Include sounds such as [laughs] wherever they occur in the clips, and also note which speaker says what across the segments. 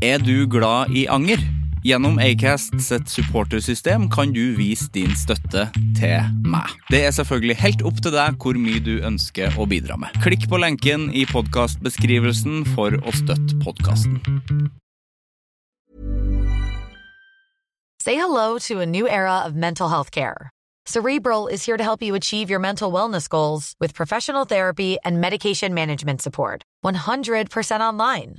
Speaker 1: Er du glad i anger? Gjennom Acast sitt supportersystem kan du vise din støtte til meg. Det er selvfølgelig helt opp til deg hvor mye du ønsker å bidra med. Klikk på lenken i podkastbeskrivelsen for å støtte podkasten.
Speaker 2: Say hello to a new era of mental health care. Cerebral is here to help you achieve your mental wellness goals with professional therapy and medication management support. 100% online.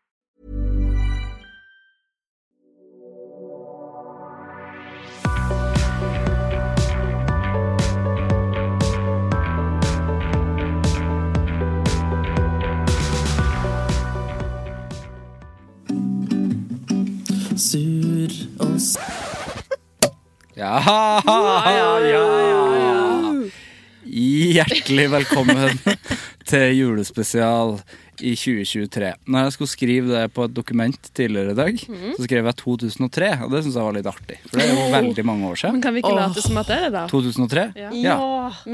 Speaker 3: Sur og s...
Speaker 1: Ja, ja, ja, ja. Hjertelig velkommen [laughs] til julespesial i 2023. Når jeg skulle skrive det på et dokument tidligere i dag, så skrev jeg 2003, og det syns jeg var litt artig. For det er jo veldig mange år
Speaker 4: Men
Speaker 1: siden.
Speaker 4: kan vi ikke late som at det er det, da?
Speaker 1: 2003?
Speaker 4: Ja.
Speaker 1: ja.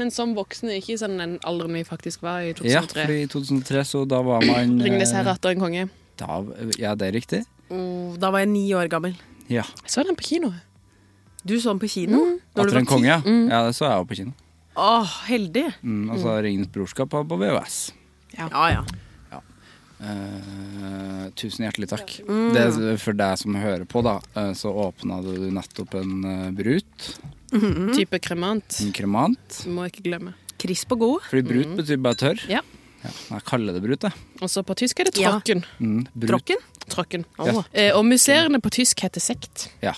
Speaker 4: Men som voksne, ikke i sånn den alderen vi faktisk var i
Speaker 1: Ja,
Speaker 4: 2003.
Speaker 1: fordi i 2003 så da var
Speaker 4: [clears throat]
Speaker 1: man eh,
Speaker 4: Ringnes herre atter en konge.
Speaker 1: Da, ja, det er riktig.
Speaker 3: Oh, da var jeg ni år gammel.
Speaker 1: Ja.
Speaker 4: Jeg så den på kino.
Speaker 3: Du så den på kino?
Speaker 4: Mm.
Speaker 3: når du
Speaker 1: Atter
Speaker 3: var
Speaker 1: en konge,
Speaker 3: ti.
Speaker 1: ja. ja. Det så jeg jo på kino.
Speaker 3: Åh, heldig.
Speaker 1: Mm, og så Ringenes brorskap var på VHS.
Speaker 3: Ja, ja.
Speaker 1: Eh, tusen hjertelig takk.
Speaker 4: Mm.
Speaker 1: Det er for deg som hører på, da, eh, så åpna du nettopp en eh, brut, Mhm.
Speaker 4: Type kremant.
Speaker 1: en kremant.
Speaker 4: Må ikke glemme.
Speaker 3: Krisp og god.
Speaker 1: Fordi brut betyr bare tørr.
Speaker 4: Mm. Ja.
Speaker 1: Jeg kaller det brut, jeg.
Speaker 4: Og så på tysk er det
Speaker 3: Ja.
Speaker 4: tråkken.
Speaker 1: Mm, brut.
Speaker 3: Tråkken.
Speaker 4: Tråkken.
Speaker 1: Ja.
Speaker 4: Eh, og museene på tysk heter sekt.
Speaker 1: Ja.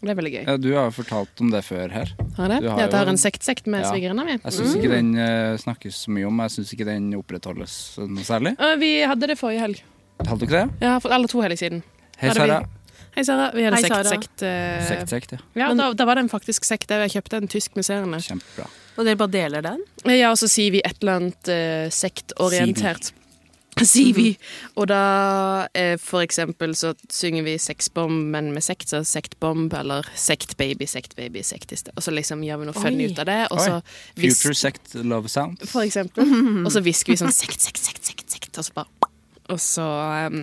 Speaker 4: Det er veldig gøy.
Speaker 1: Ja, Du har jo fortalt om det før her.
Speaker 4: Har det?
Speaker 1: Du har jo-
Speaker 4: Ja, det har en sektsekt med
Speaker 1: Ja.
Speaker 4: svigerinna mi. Mm.
Speaker 1: Jeg syns ikke den eh, snakkes så mye om. Jeg syns ikke den opprettholdes noe særlig.
Speaker 4: Eh, Vi hadde det forrige helg.
Speaker 1: Hadde du ikke det?
Speaker 4: Ja, for alle to helg siden.
Speaker 1: Hei,
Speaker 4: Hadde vi-
Speaker 1: Sara.
Speaker 4: Hei, Sara. Vi hadde
Speaker 3: Hei, Sara.
Speaker 4: sekt, sekt. eh,
Speaker 1: Sekt, sekt, ja.
Speaker 4: Ja, da, da var det en faktisk sekt. der Jeg kjøpte en tysk museerne.
Speaker 1: Kjempebra.
Speaker 3: Og dere bare deler den?
Speaker 4: Ja, og så sier vi et eller annet eh, sektorientert. Sier vi. Mhm. Og da eh, for eksempel så synger vi sexbomb, men med sekt, så sektbomb, eller sektbaby, sektbaby, sekt i sted. Og så liksom gjør vi noe funny
Speaker 3: Oi.
Speaker 4: ut av det, og så
Speaker 1: Oi.
Speaker 4: hvis,
Speaker 1: Future Sect Love Sound.
Speaker 4: For eksempel.
Speaker 3: [laughs]
Speaker 4: Og så hvisker vi sånn sekt, sekt, sekt, sekt, sekt, og så bare Og så em,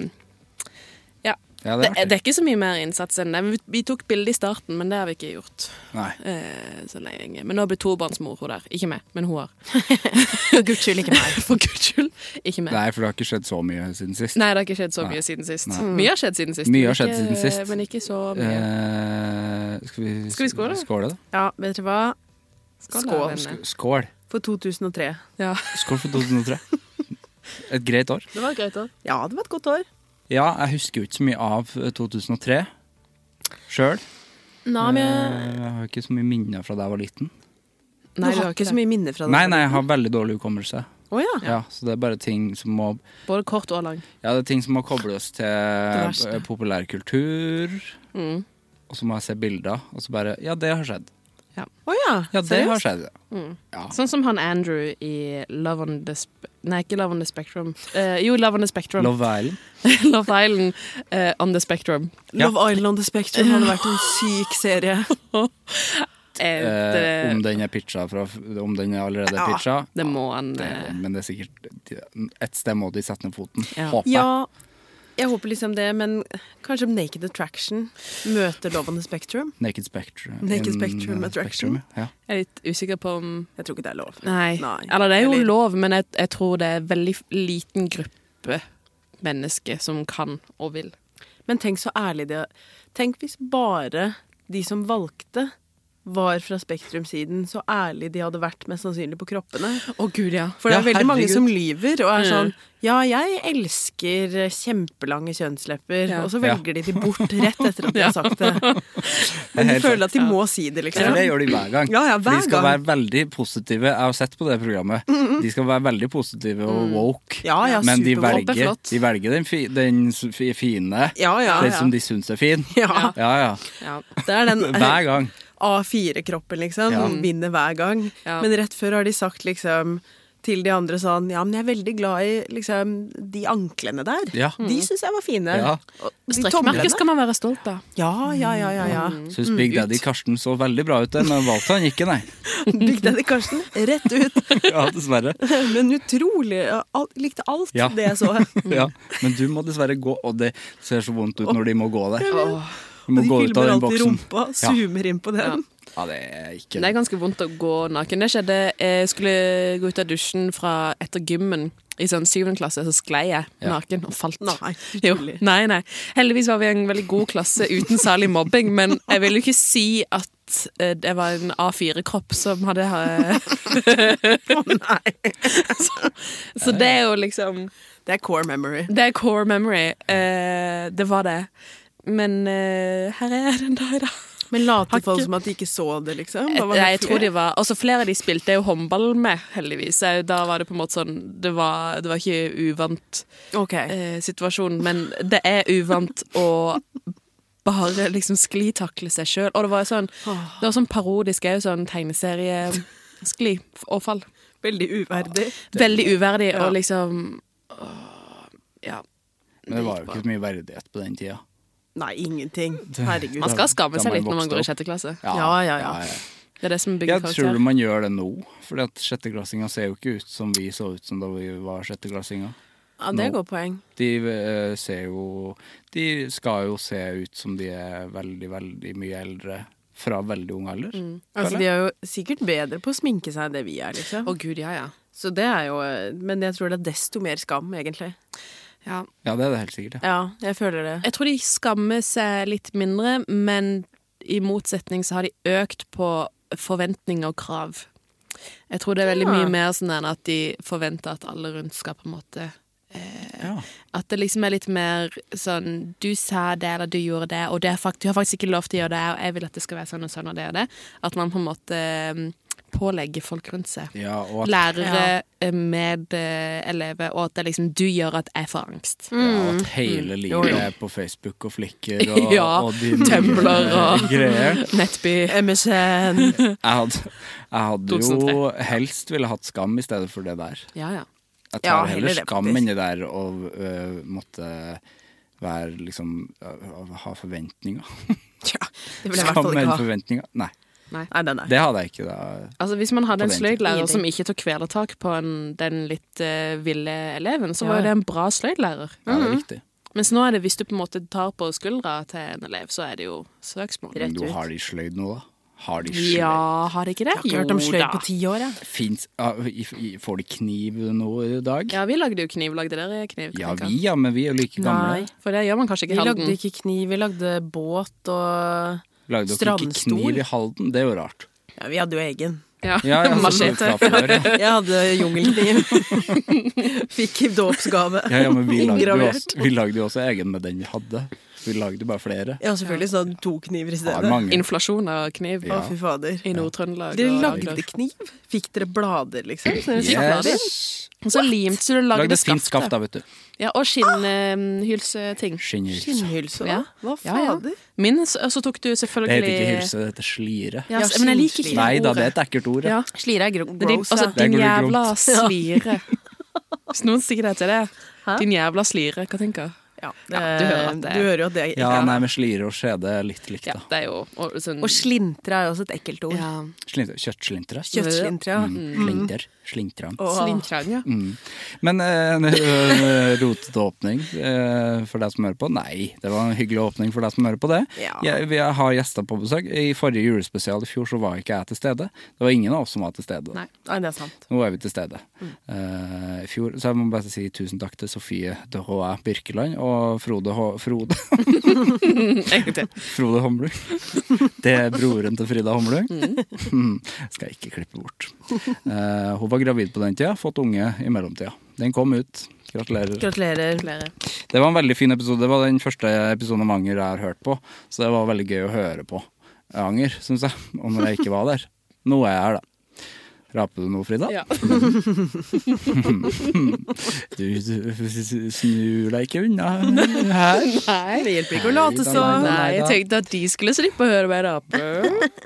Speaker 4: Ja.
Speaker 1: Ja,
Speaker 4: Det,
Speaker 1: det er
Speaker 4: det
Speaker 1: artig.
Speaker 4: er ikke så mye mer innsats enn det. Vi, vi tok bilde i starten, men det har vi ikke gjort.
Speaker 1: Nei.
Speaker 4: Eh, så lenge. Men nå blir tobarnsmor hun der. Ikke meg, men hun har.
Speaker 3: [laughs] For guds skyld, ikke meg.
Speaker 4: [laughs] For guds skyld. Ikke meg. Nei.
Speaker 1: Nei, for det har ikke skjedd så mye siden sist.
Speaker 4: det har ikke skjedd så
Speaker 1: Nei.
Speaker 4: mye siden sist.
Speaker 1: Nei.
Speaker 4: Mye har skjedd siden sist.
Speaker 1: Mye
Speaker 4: men
Speaker 1: har skjedd
Speaker 4: ikke-
Speaker 1: siden sist.
Speaker 4: Men ikke så mye.
Speaker 1: Eh, skal, vi,
Speaker 4: Skal vi skåle?
Speaker 1: da?
Speaker 3: Ja, vet dere hva?
Speaker 4: Skål,
Speaker 3: skål.
Speaker 4: da, venner.
Speaker 1: Skål.
Speaker 4: Mm.
Speaker 3: For 2003.
Speaker 4: Ja.
Speaker 1: Skål for 2003. Et greit år.
Speaker 4: Det var greit, da.
Speaker 3: Ja, det var et godt år.
Speaker 1: Ja, jeg husker jo ikke så mye av 2003 sjøl. Eh,
Speaker 3: Nei,
Speaker 4: Eh,
Speaker 3: men jeg...
Speaker 1: Jeg har ikke så mye minner fra da jeg var liten.
Speaker 4: Nei,
Speaker 3: du har ikke så mye minner fra det.
Speaker 1: Nei, nei, jeg har veldig dårlig hukommelse.
Speaker 3: Å ja.
Speaker 1: Ja, så det er bare ting som må
Speaker 4: Både kort og lang.
Speaker 1: Ja, det er ting som må kobles til
Speaker 3: verste. Mm.
Speaker 1: eh, populærkultur. og så må jeg se bilder, og så bare Ja, det har skjedd.
Speaker 3: Å ja.
Speaker 1: Ja, det har skjedd.
Speaker 4: Sånn som han Andrew i Love on the Sp Nei, ikke Love on the Spectrum. Eh, jo, Love on the Spectrum. [laughs] Love,
Speaker 1: Love Island.
Speaker 4: Island eh, on the Spectrum.
Speaker 1: Ja.
Speaker 3: Love Island on the Spectrum hadde vært en syk serie.
Speaker 4: [laughs] Eh,
Speaker 1: Eh, om
Speaker 4: det,
Speaker 1: den er pitcha fra Om den er allerede
Speaker 3: Ja,
Speaker 1: pitcha.
Speaker 4: det må han
Speaker 1: Det,
Speaker 4: eh,
Speaker 1: men det er sikkert Et sted må de sette ned foten.
Speaker 4: Ja.
Speaker 1: Håper jeg.
Speaker 3: Ja, jeg håper liksom det, men kanskje Naked Attraction møter Love on the Spectrum?
Speaker 1: Naked Spectrum.
Speaker 3: Naked
Speaker 1: in,
Speaker 3: Spectrum
Speaker 1: eh,
Speaker 3: Attraction.
Speaker 1: Spectrum, ja.
Speaker 4: Jeg er litt usikker på om
Speaker 3: Jeg tror ikke det er lov.
Speaker 4: Nei.
Speaker 3: Nei.
Speaker 4: Eller det er jo
Speaker 3: Eller-
Speaker 4: lov, men jeg, jeg tror det er veldig liten gruppe mennesker som kan og vil.
Speaker 3: Men tenk så ærlig det Tenk hvis bare de som valgte, var fra Spektrum-siden, så ærlig de hadde vært mest sannsynlig på kroppene.
Speaker 4: Å gud, ja.
Speaker 3: For det
Speaker 1: Ja,
Speaker 3: er veldig mange
Speaker 1: herregud.
Speaker 3: som lyver og er
Speaker 4: Mm.
Speaker 3: sånn Ja, jeg elsker kjempelange kjønnslepper,
Speaker 4: Ja.
Speaker 3: og så
Speaker 1: Ja.
Speaker 3: velger de de bort rett etter
Speaker 1: [laughs]
Speaker 3: at de har sagt det. Men de
Speaker 1: Helt
Speaker 3: føler at de må si det,
Speaker 1: For
Speaker 3: liksom.
Speaker 1: det gjør de hver gang.
Speaker 3: Ja, ja,
Speaker 1: For
Speaker 3: hver
Speaker 1: de skal
Speaker 3: gang. Mm,
Speaker 1: være veldig positive. Jeg har sett på det programmet. De skal være veldig positive og woke.
Speaker 3: Ja, ja,
Speaker 1: Men de
Speaker 3: superwoke.
Speaker 4: Woke er
Speaker 1: velger,
Speaker 4: flott.
Speaker 1: de velger den, fi, den s- fi- fine.
Speaker 3: Ja, ja.
Speaker 1: Den som de syns er fin.
Speaker 3: ja. eh,
Speaker 1: Ja, ja.
Speaker 4: ja.
Speaker 3: Det er den
Speaker 1: [laughs] Hver gang.
Speaker 3: A4-kroppen, liksom.
Speaker 1: Ja.
Speaker 3: Vinner hver gang.
Speaker 4: Ja.
Speaker 3: Men rett før har de sagt liksom til de andre sånn Ja, men jeg er veldig glad i liksom de anklene der.
Speaker 1: Ja.
Speaker 3: De syns jeg var fine.
Speaker 1: Ja.
Speaker 3: Og de tomlene.
Speaker 4: Strekkmerket skal man være stolt av.
Speaker 3: Ja, ja, ja, ja. ja.
Speaker 1: Syns Big Daddy Karsten så veldig bra ut, der, men valgte han ikke, nei. [laughs]
Speaker 3: Big Daddy Karsten rett ut. [laughs]
Speaker 1: Ja, dessverre.
Speaker 3: Men utrolig. Jeg al- likte alt
Speaker 1: Ja.
Speaker 3: det jeg så.
Speaker 1: [laughs] Ja. Men du må dessverre gå, og det ser så vondt ut når de må gå der.
Speaker 4: Åh.
Speaker 1: Du
Speaker 3: Og
Speaker 1: må
Speaker 3: de
Speaker 1: gå ut av
Speaker 3: filmer
Speaker 1: den
Speaker 3: alltid
Speaker 1: boksen.
Speaker 3: rumpa,
Speaker 1: Ja.
Speaker 3: zoomer inn på den.
Speaker 1: Ja, det er ikke
Speaker 4: Det er ganske vondt å gå naken. Det skjedde Jeg skulle gå ut av dusjen fra etter gymmen i sånn syvende klasse, så sklei jeg
Speaker 1: Ja.
Speaker 4: naken og falt.
Speaker 3: Nei,
Speaker 4: Jo,
Speaker 3: utrolig.
Speaker 4: nei, nei. Heldigvis var vi en veldig god klasse uten særlig mobbing, men jeg vil jo ikke si at eh, det var en A4-kropp som hadde eh,
Speaker 3: Å nei.
Speaker 4: så, så det er jo liksom
Speaker 3: Det er core memory.
Speaker 4: Det er core memory. Eh, det var det. Men eh, her er jeg den dag i dag.
Speaker 3: Men
Speaker 4: Har
Speaker 3: later
Speaker 4: ikke-
Speaker 3: folk som at de ikke så det, liksom? Da var det
Speaker 4: Nei, jeg tror
Speaker 3: flere.
Speaker 4: de var Også flere av de spilte jeg jo håndball med, heldigvis. Så Da var det på en måte sånn Det var, det var ikke uvant
Speaker 3: Ok.
Speaker 4: eh, situasjon, men det er uvant å bare liksom sklitakle seg sjøl. Og det var jo sånn Det var sånn parodisk òg, sånn tegneserieskli og fall.
Speaker 3: Veldig uverdig.
Speaker 4: Veldig uverdig
Speaker 3: Ja.
Speaker 4: og liksom åh, Ja.
Speaker 1: Men det var jo ikke så mye verdighet på den tida.
Speaker 3: Nei, ingenting. Herregud.
Speaker 4: Man skal skamme
Speaker 1: Da
Speaker 4: seg
Speaker 1: man
Speaker 4: litt når man
Speaker 1: vokste
Speaker 4: går i
Speaker 1: opp.
Speaker 4: sjette klasse.
Speaker 3: Ja, ja, ja.
Speaker 4: Det er det som bygger
Speaker 1: Jeg tror
Speaker 4: karakter.
Speaker 1: man gjør det nå, Fordi at sjetteklassinger ser jo ikke ut som vi så ut som da vi var sjetteklassinger.
Speaker 3: Ja, det er
Speaker 1: Nå.
Speaker 3: godt poeng.
Speaker 1: De eh, ser jo De skal jo se ut som de er veldig, veldig mye eldre fra veldig ung alder.
Speaker 4: Mm.
Speaker 3: Altså, de er jo sikkert bedre på å sminke seg enn det vi er, liksom.
Speaker 4: Å gud, ja, ja.
Speaker 3: Så det er jo Men jeg tror det er desto mer skam, egentlig.
Speaker 4: ja.
Speaker 1: Ja, det er det helt sikkert. Ja.
Speaker 3: Ja, jeg føler det.
Speaker 4: Jeg tror de skammer seg litt mindre, men i motsetning så har de økt på forventninger og krav. Jeg tror det er veldig
Speaker 3: Ja.
Speaker 4: mye mer sånn enn at de forventer at alle rundt skal på en måte
Speaker 1: Ja.
Speaker 4: At det liksom er litt mer sånn Du sa det, eller du gjorde det, og det er fakt du har faktisk ikke lov til å gjøre det, og jeg vil at det skal være sånn og sånn, og det og det. At man på en måte mm, pålegger folk rundt seg.
Speaker 1: ja, og at,
Speaker 4: Lærere eh, med eh, elever, og at det er liksom du gjør at jeg får angst.
Speaker 1: ja, og at hele livet er på Facebook og
Speaker 4: [laughs]
Speaker 1: flikker og,
Speaker 4: Mm. Ja,
Speaker 1: og de nye
Speaker 4: Tumblr og-
Speaker 1: greier.
Speaker 4: Nettby.
Speaker 3: MSN.
Speaker 1: Jeg hadde, jeg hadde jo
Speaker 4: 2003.
Speaker 1: helst ville hatt skam i stedet for det der.
Speaker 4: Ja, ja.
Speaker 1: Jeg
Speaker 3: Ja,
Speaker 1: tar
Speaker 3: heller
Speaker 1: heller
Speaker 3: det,
Speaker 1: skam
Speaker 3: faktisk.
Speaker 1: enn det der å øh, måtte være liksom øh, Ha
Speaker 3: [laughs]
Speaker 1: forventninger.
Speaker 3: Tja, det vil jeg i hvert
Speaker 1: Skam
Speaker 3: fall
Speaker 1: enn
Speaker 3: ikke ha.
Speaker 1: forventninger. Nei,
Speaker 3: Nei, den er
Speaker 1: det hadde jeg ikke da.
Speaker 4: Altså Hvis man hadde en
Speaker 1: På den tiden.
Speaker 4: sløydlærer som ikke tok kvelertak på en, den litt eh, ville eleven, så var
Speaker 3: Ja.
Speaker 4: jo det en bra sløydlærer.
Speaker 1: Ja,
Speaker 3: Mhm,
Speaker 1: det er riktig.
Speaker 4: Mens nå er det hvis du på en måte tar på skuldra til en elev, så er det jo søksmål.
Speaker 1: Men du har de sløyd nå, da? Har de sløyd?
Speaker 4: Ja, har det ikke det?
Speaker 3: Jeg har ikke hørt om
Speaker 4: Jo
Speaker 3: sløyd
Speaker 4: da.
Speaker 3: på ti år, jeg.
Speaker 1: Fins ja, i- i- Får de kniv nå i dag?
Speaker 4: Ja, vi lagde jo kniv. Lagde dere kniv?
Speaker 1: Ja,
Speaker 4: Krenka?
Speaker 1: vi, ja, men vi er jo like gamle.
Speaker 4: For det gjør man kanskje
Speaker 3: Vi
Speaker 4: ikke i
Speaker 3: lagde
Speaker 4: Halden.
Speaker 3: ikke kniv, vi lagde båt og
Speaker 1: Lagde dere ikke
Speaker 3: Strandstol.
Speaker 1: kniv i Halden? Det er jo rart.
Speaker 3: Ja, vi hadde jo egen.
Speaker 4: Ja.
Speaker 1: Ja,
Speaker 4: [laughs]
Speaker 3: [laughs]
Speaker 1: ja, sånn
Speaker 4: Machete.
Speaker 1: fra før, ja.
Speaker 3: Jeg hadde jungelkniv. Fikk i dåpsgave.
Speaker 1: Ja, ja, men vi lagde, jo
Speaker 3: [laughs] Inngravert.
Speaker 1: også, vi lagde jo også egen med den vi hadde. Vi lagde bare flere.
Speaker 3: Ja, selvfølgelig. Så hadde to kniver i
Speaker 1: Har
Speaker 3: stedet. Å,
Speaker 1: mange.
Speaker 4: Inflasjon av kniv
Speaker 1: Ja.
Speaker 3: fy fader.
Speaker 4: i Nord-Trøndelag.
Speaker 3: Dere
Speaker 4: og
Speaker 3: lagde
Speaker 4: Agder.
Speaker 3: kniv? Fikk dere blader, liksom? Så dere staplet det inn?
Speaker 1: Yes.
Speaker 4: Og så limte så du
Speaker 1: Lagde
Speaker 4: lagde
Speaker 1: et fint skaft,
Speaker 4: skaft.
Speaker 1: da, vet du.
Speaker 4: Ja, og skinnhylseting.
Speaker 1: Skinnhylse.
Speaker 3: Skinnhylse, da?
Speaker 4: Ja.
Speaker 3: Hva
Speaker 4: Ja, ja.
Speaker 3: fader?
Speaker 4: Min, så så tok du
Speaker 1: Det
Speaker 4: selvfølgelig
Speaker 1: heter ikke hylse, det heter slire.
Speaker 4: Ja, s- men jeg liker ikke
Speaker 1: Nei da, det er
Speaker 4: ordet.
Speaker 1: et ekkelt ord.
Speaker 4: Ja.
Speaker 1: Ja.
Speaker 4: Slire er gross.
Speaker 3: Gross,
Speaker 4: Din, altså,
Speaker 3: ja.
Speaker 1: Der
Speaker 4: din
Speaker 1: går det
Speaker 4: jævla
Speaker 1: gromt.
Speaker 4: [laughs] slire. Hvis noen sier det til deg,
Speaker 3: Hæ?
Speaker 4: din jævla slire, hva tenker jeg?
Speaker 3: Ja,
Speaker 4: Ja, du hører at det-
Speaker 3: eh, du hører jo at det er
Speaker 1: Ja, nei, men slire og skjede er litt likt,
Speaker 4: Ja,
Speaker 1: da.
Speaker 4: det er jo og, sånn,
Speaker 3: Og slintre er jo også et ekkelt ord.
Speaker 4: ja.
Speaker 1: Slinte- Kjøttslintre.
Speaker 3: Kjøttslintre, ja.
Speaker 1: Mm. Slinter. Slintran.
Speaker 3: Åh.
Speaker 4: Slintran, ja.
Speaker 3: Mm.
Speaker 1: Men eh, en eh, rotete åpning eh, for deg som hører på? Nei, det var en hyggelig åpning for deg som hører på det.
Speaker 3: Ja.
Speaker 1: Jeg, vi har gjester på besøk. I forrige julespesial i fjor så var ikke jeg til stede. Det var ingen av oss som var til stede.
Speaker 4: Nei.
Speaker 3: Nei, det er sant.
Speaker 1: Nå er vi til stede. Eh, I fjor så jeg må bare si tusen takk til Sofie de Roa Birkeland og Frode H... Frode,
Speaker 4: En gang til.
Speaker 1: [laughs] Frode Homlung. Det er broren til Frida Homlung. Mm. [laughs] Skal jeg ikke klippe bort. Eh, hun var gravid på den tida, fått unge i mellomtida. Den kom ut. Gratulerer.
Speaker 3: Gratulerer.
Speaker 1: Det var en veldig fin episode. Det var den første episoden om Anger jeg har hørt på. Så det var veldig gøy å høre på Anger, syns jeg. [laughs] Og når jeg ikke var der. Nå er jeg her, da. Raper du noe, Frida?
Speaker 4: Ja.
Speaker 1: [laughs] Du, du snur deg ikke unna her.
Speaker 4: Nei, det hjelper
Speaker 1: ikke å late som.
Speaker 4: Nei, jeg tenkte at de skulle slippe å høre meg rape.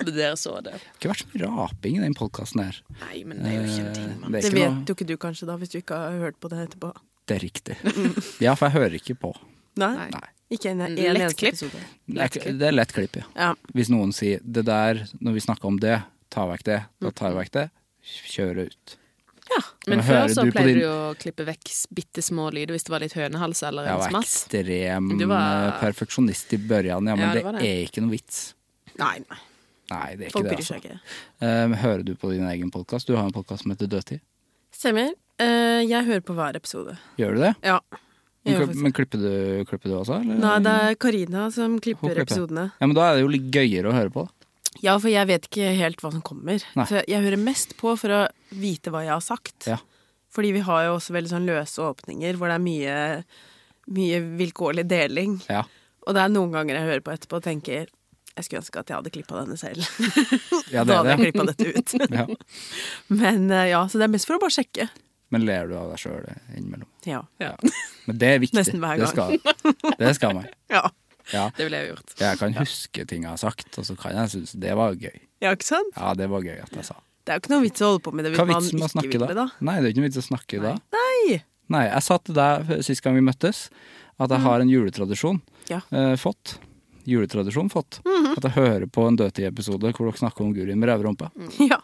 Speaker 4: Men dere så det.
Speaker 1: Det har ikke vært så mye raping i den podkasten her.
Speaker 4: Nei, men det er jo ikke en ting,
Speaker 1: Eh,
Speaker 4: mann.
Speaker 1: det,
Speaker 3: Det
Speaker 1: er ikke
Speaker 3: vet
Speaker 1: noe,
Speaker 3: jo ikke du kanskje, da, hvis du ikke har hørt på det etterpå.
Speaker 1: det er riktig. Ja, for jeg hører ikke på.
Speaker 3: Nei?
Speaker 4: Nei. Mm,
Speaker 3: Ikke en, en
Speaker 4: Lett
Speaker 3: eneste
Speaker 4: klipp.
Speaker 3: episode.
Speaker 1: Det er, det er lett klipp, ja.
Speaker 3: Ja.
Speaker 1: Hvis noen sier 'det der', når vi snakker om det, ta vekk det, da tar jeg vekk det. Kjøre ut.
Speaker 4: Men
Speaker 1: Men hører
Speaker 4: før så
Speaker 1: du på din-
Speaker 4: pleide du å klippe vekk bitte små lyder hvis det var litt hønehals eller
Speaker 1: Jeg
Speaker 4: en
Speaker 1: var
Speaker 4: smatt.
Speaker 1: ekstrem
Speaker 4: Du var-
Speaker 1: eh, perfeksjonist i børjan, ja, men
Speaker 4: Ja,
Speaker 1: det,
Speaker 4: det var
Speaker 1: er ikke noe vits.
Speaker 3: Nei, nei.
Speaker 1: Nei, det er ikke
Speaker 3: Folk
Speaker 1: det.
Speaker 3: bryr
Speaker 1: Altså.
Speaker 3: seg ikke.
Speaker 1: Eh, hører du på din egen podkast? Du har en podkast som heter Dødtid.
Speaker 3: Stemmer. Eh, jeg hører på hver episode.
Speaker 1: Gjør du det?
Speaker 3: Ja. Jeg gjør
Speaker 1: Men,
Speaker 3: faktisk-
Speaker 1: men klipper, du, klipper du også, eller?
Speaker 3: Nei, det er Karina som
Speaker 1: Mm. Hun
Speaker 3: klipper
Speaker 1: klipper.
Speaker 3: episodene.
Speaker 1: Ja, men da er det jo litt gøyere å høre på. da.
Speaker 3: Ja, for jeg vet ikke helt hva som kommer.
Speaker 1: Nei.
Speaker 3: Så jeg hører mest på for å vite hva jeg har sagt.
Speaker 1: Ja.
Speaker 3: Fordi vi har jo også veldig sånn løse åpninger hvor det er mye, mye vilkårlig deling.
Speaker 1: Ja.
Speaker 3: Og det er noen ganger jeg hører på etterpå og tenker jeg skulle ønske at jeg hadde klippa denne selv.
Speaker 1: ja, det
Speaker 3: da
Speaker 1: er
Speaker 3: hadde jeg
Speaker 1: det.
Speaker 3: klippa dette ut.
Speaker 1: [laughs] Ja.
Speaker 3: Men eh, ja, så det er mest for å bare sjekke.
Speaker 1: Men ler du av deg sjøl innimellom?
Speaker 3: Ja.
Speaker 4: Ja,
Speaker 1: Men det er viktig.
Speaker 3: Nesten hver
Speaker 1: Det skal, det skal
Speaker 3: [laughs]
Speaker 1: man.
Speaker 3: Ja,
Speaker 1: Ja.
Speaker 4: det ville jeg jo gjort.
Speaker 1: Jeg kan huske ting jeg har sagt, og så kan jeg synes det var gøy.
Speaker 3: ja ikke sant?
Speaker 1: Ja, det var gøy at jeg sa.
Speaker 3: Det er jo ikke noe vits å holde på med det hvis
Speaker 1: Hva er
Speaker 3: man
Speaker 1: vitsen med å
Speaker 3: ikke
Speaker 1: snakke
Speaker 3: vil
Speaker 1: da?
Speaker 3: det, da.
Speaker 1: Nei, det er ikke noe vits å snakke da.
Speaker 3: Nei!
Speaker 1: Nei, jeg sa til deg sist gang vi møttes at jeg har en juletradisjon
Speaker 3: Mm. Ja. Mhm.
Speaker 1: eh, fått. Juletradisjon fått. At jeg hører på en Dødtid-episode hvor dere snakker om Guri med rævrumpa.
Speaker 3: ja.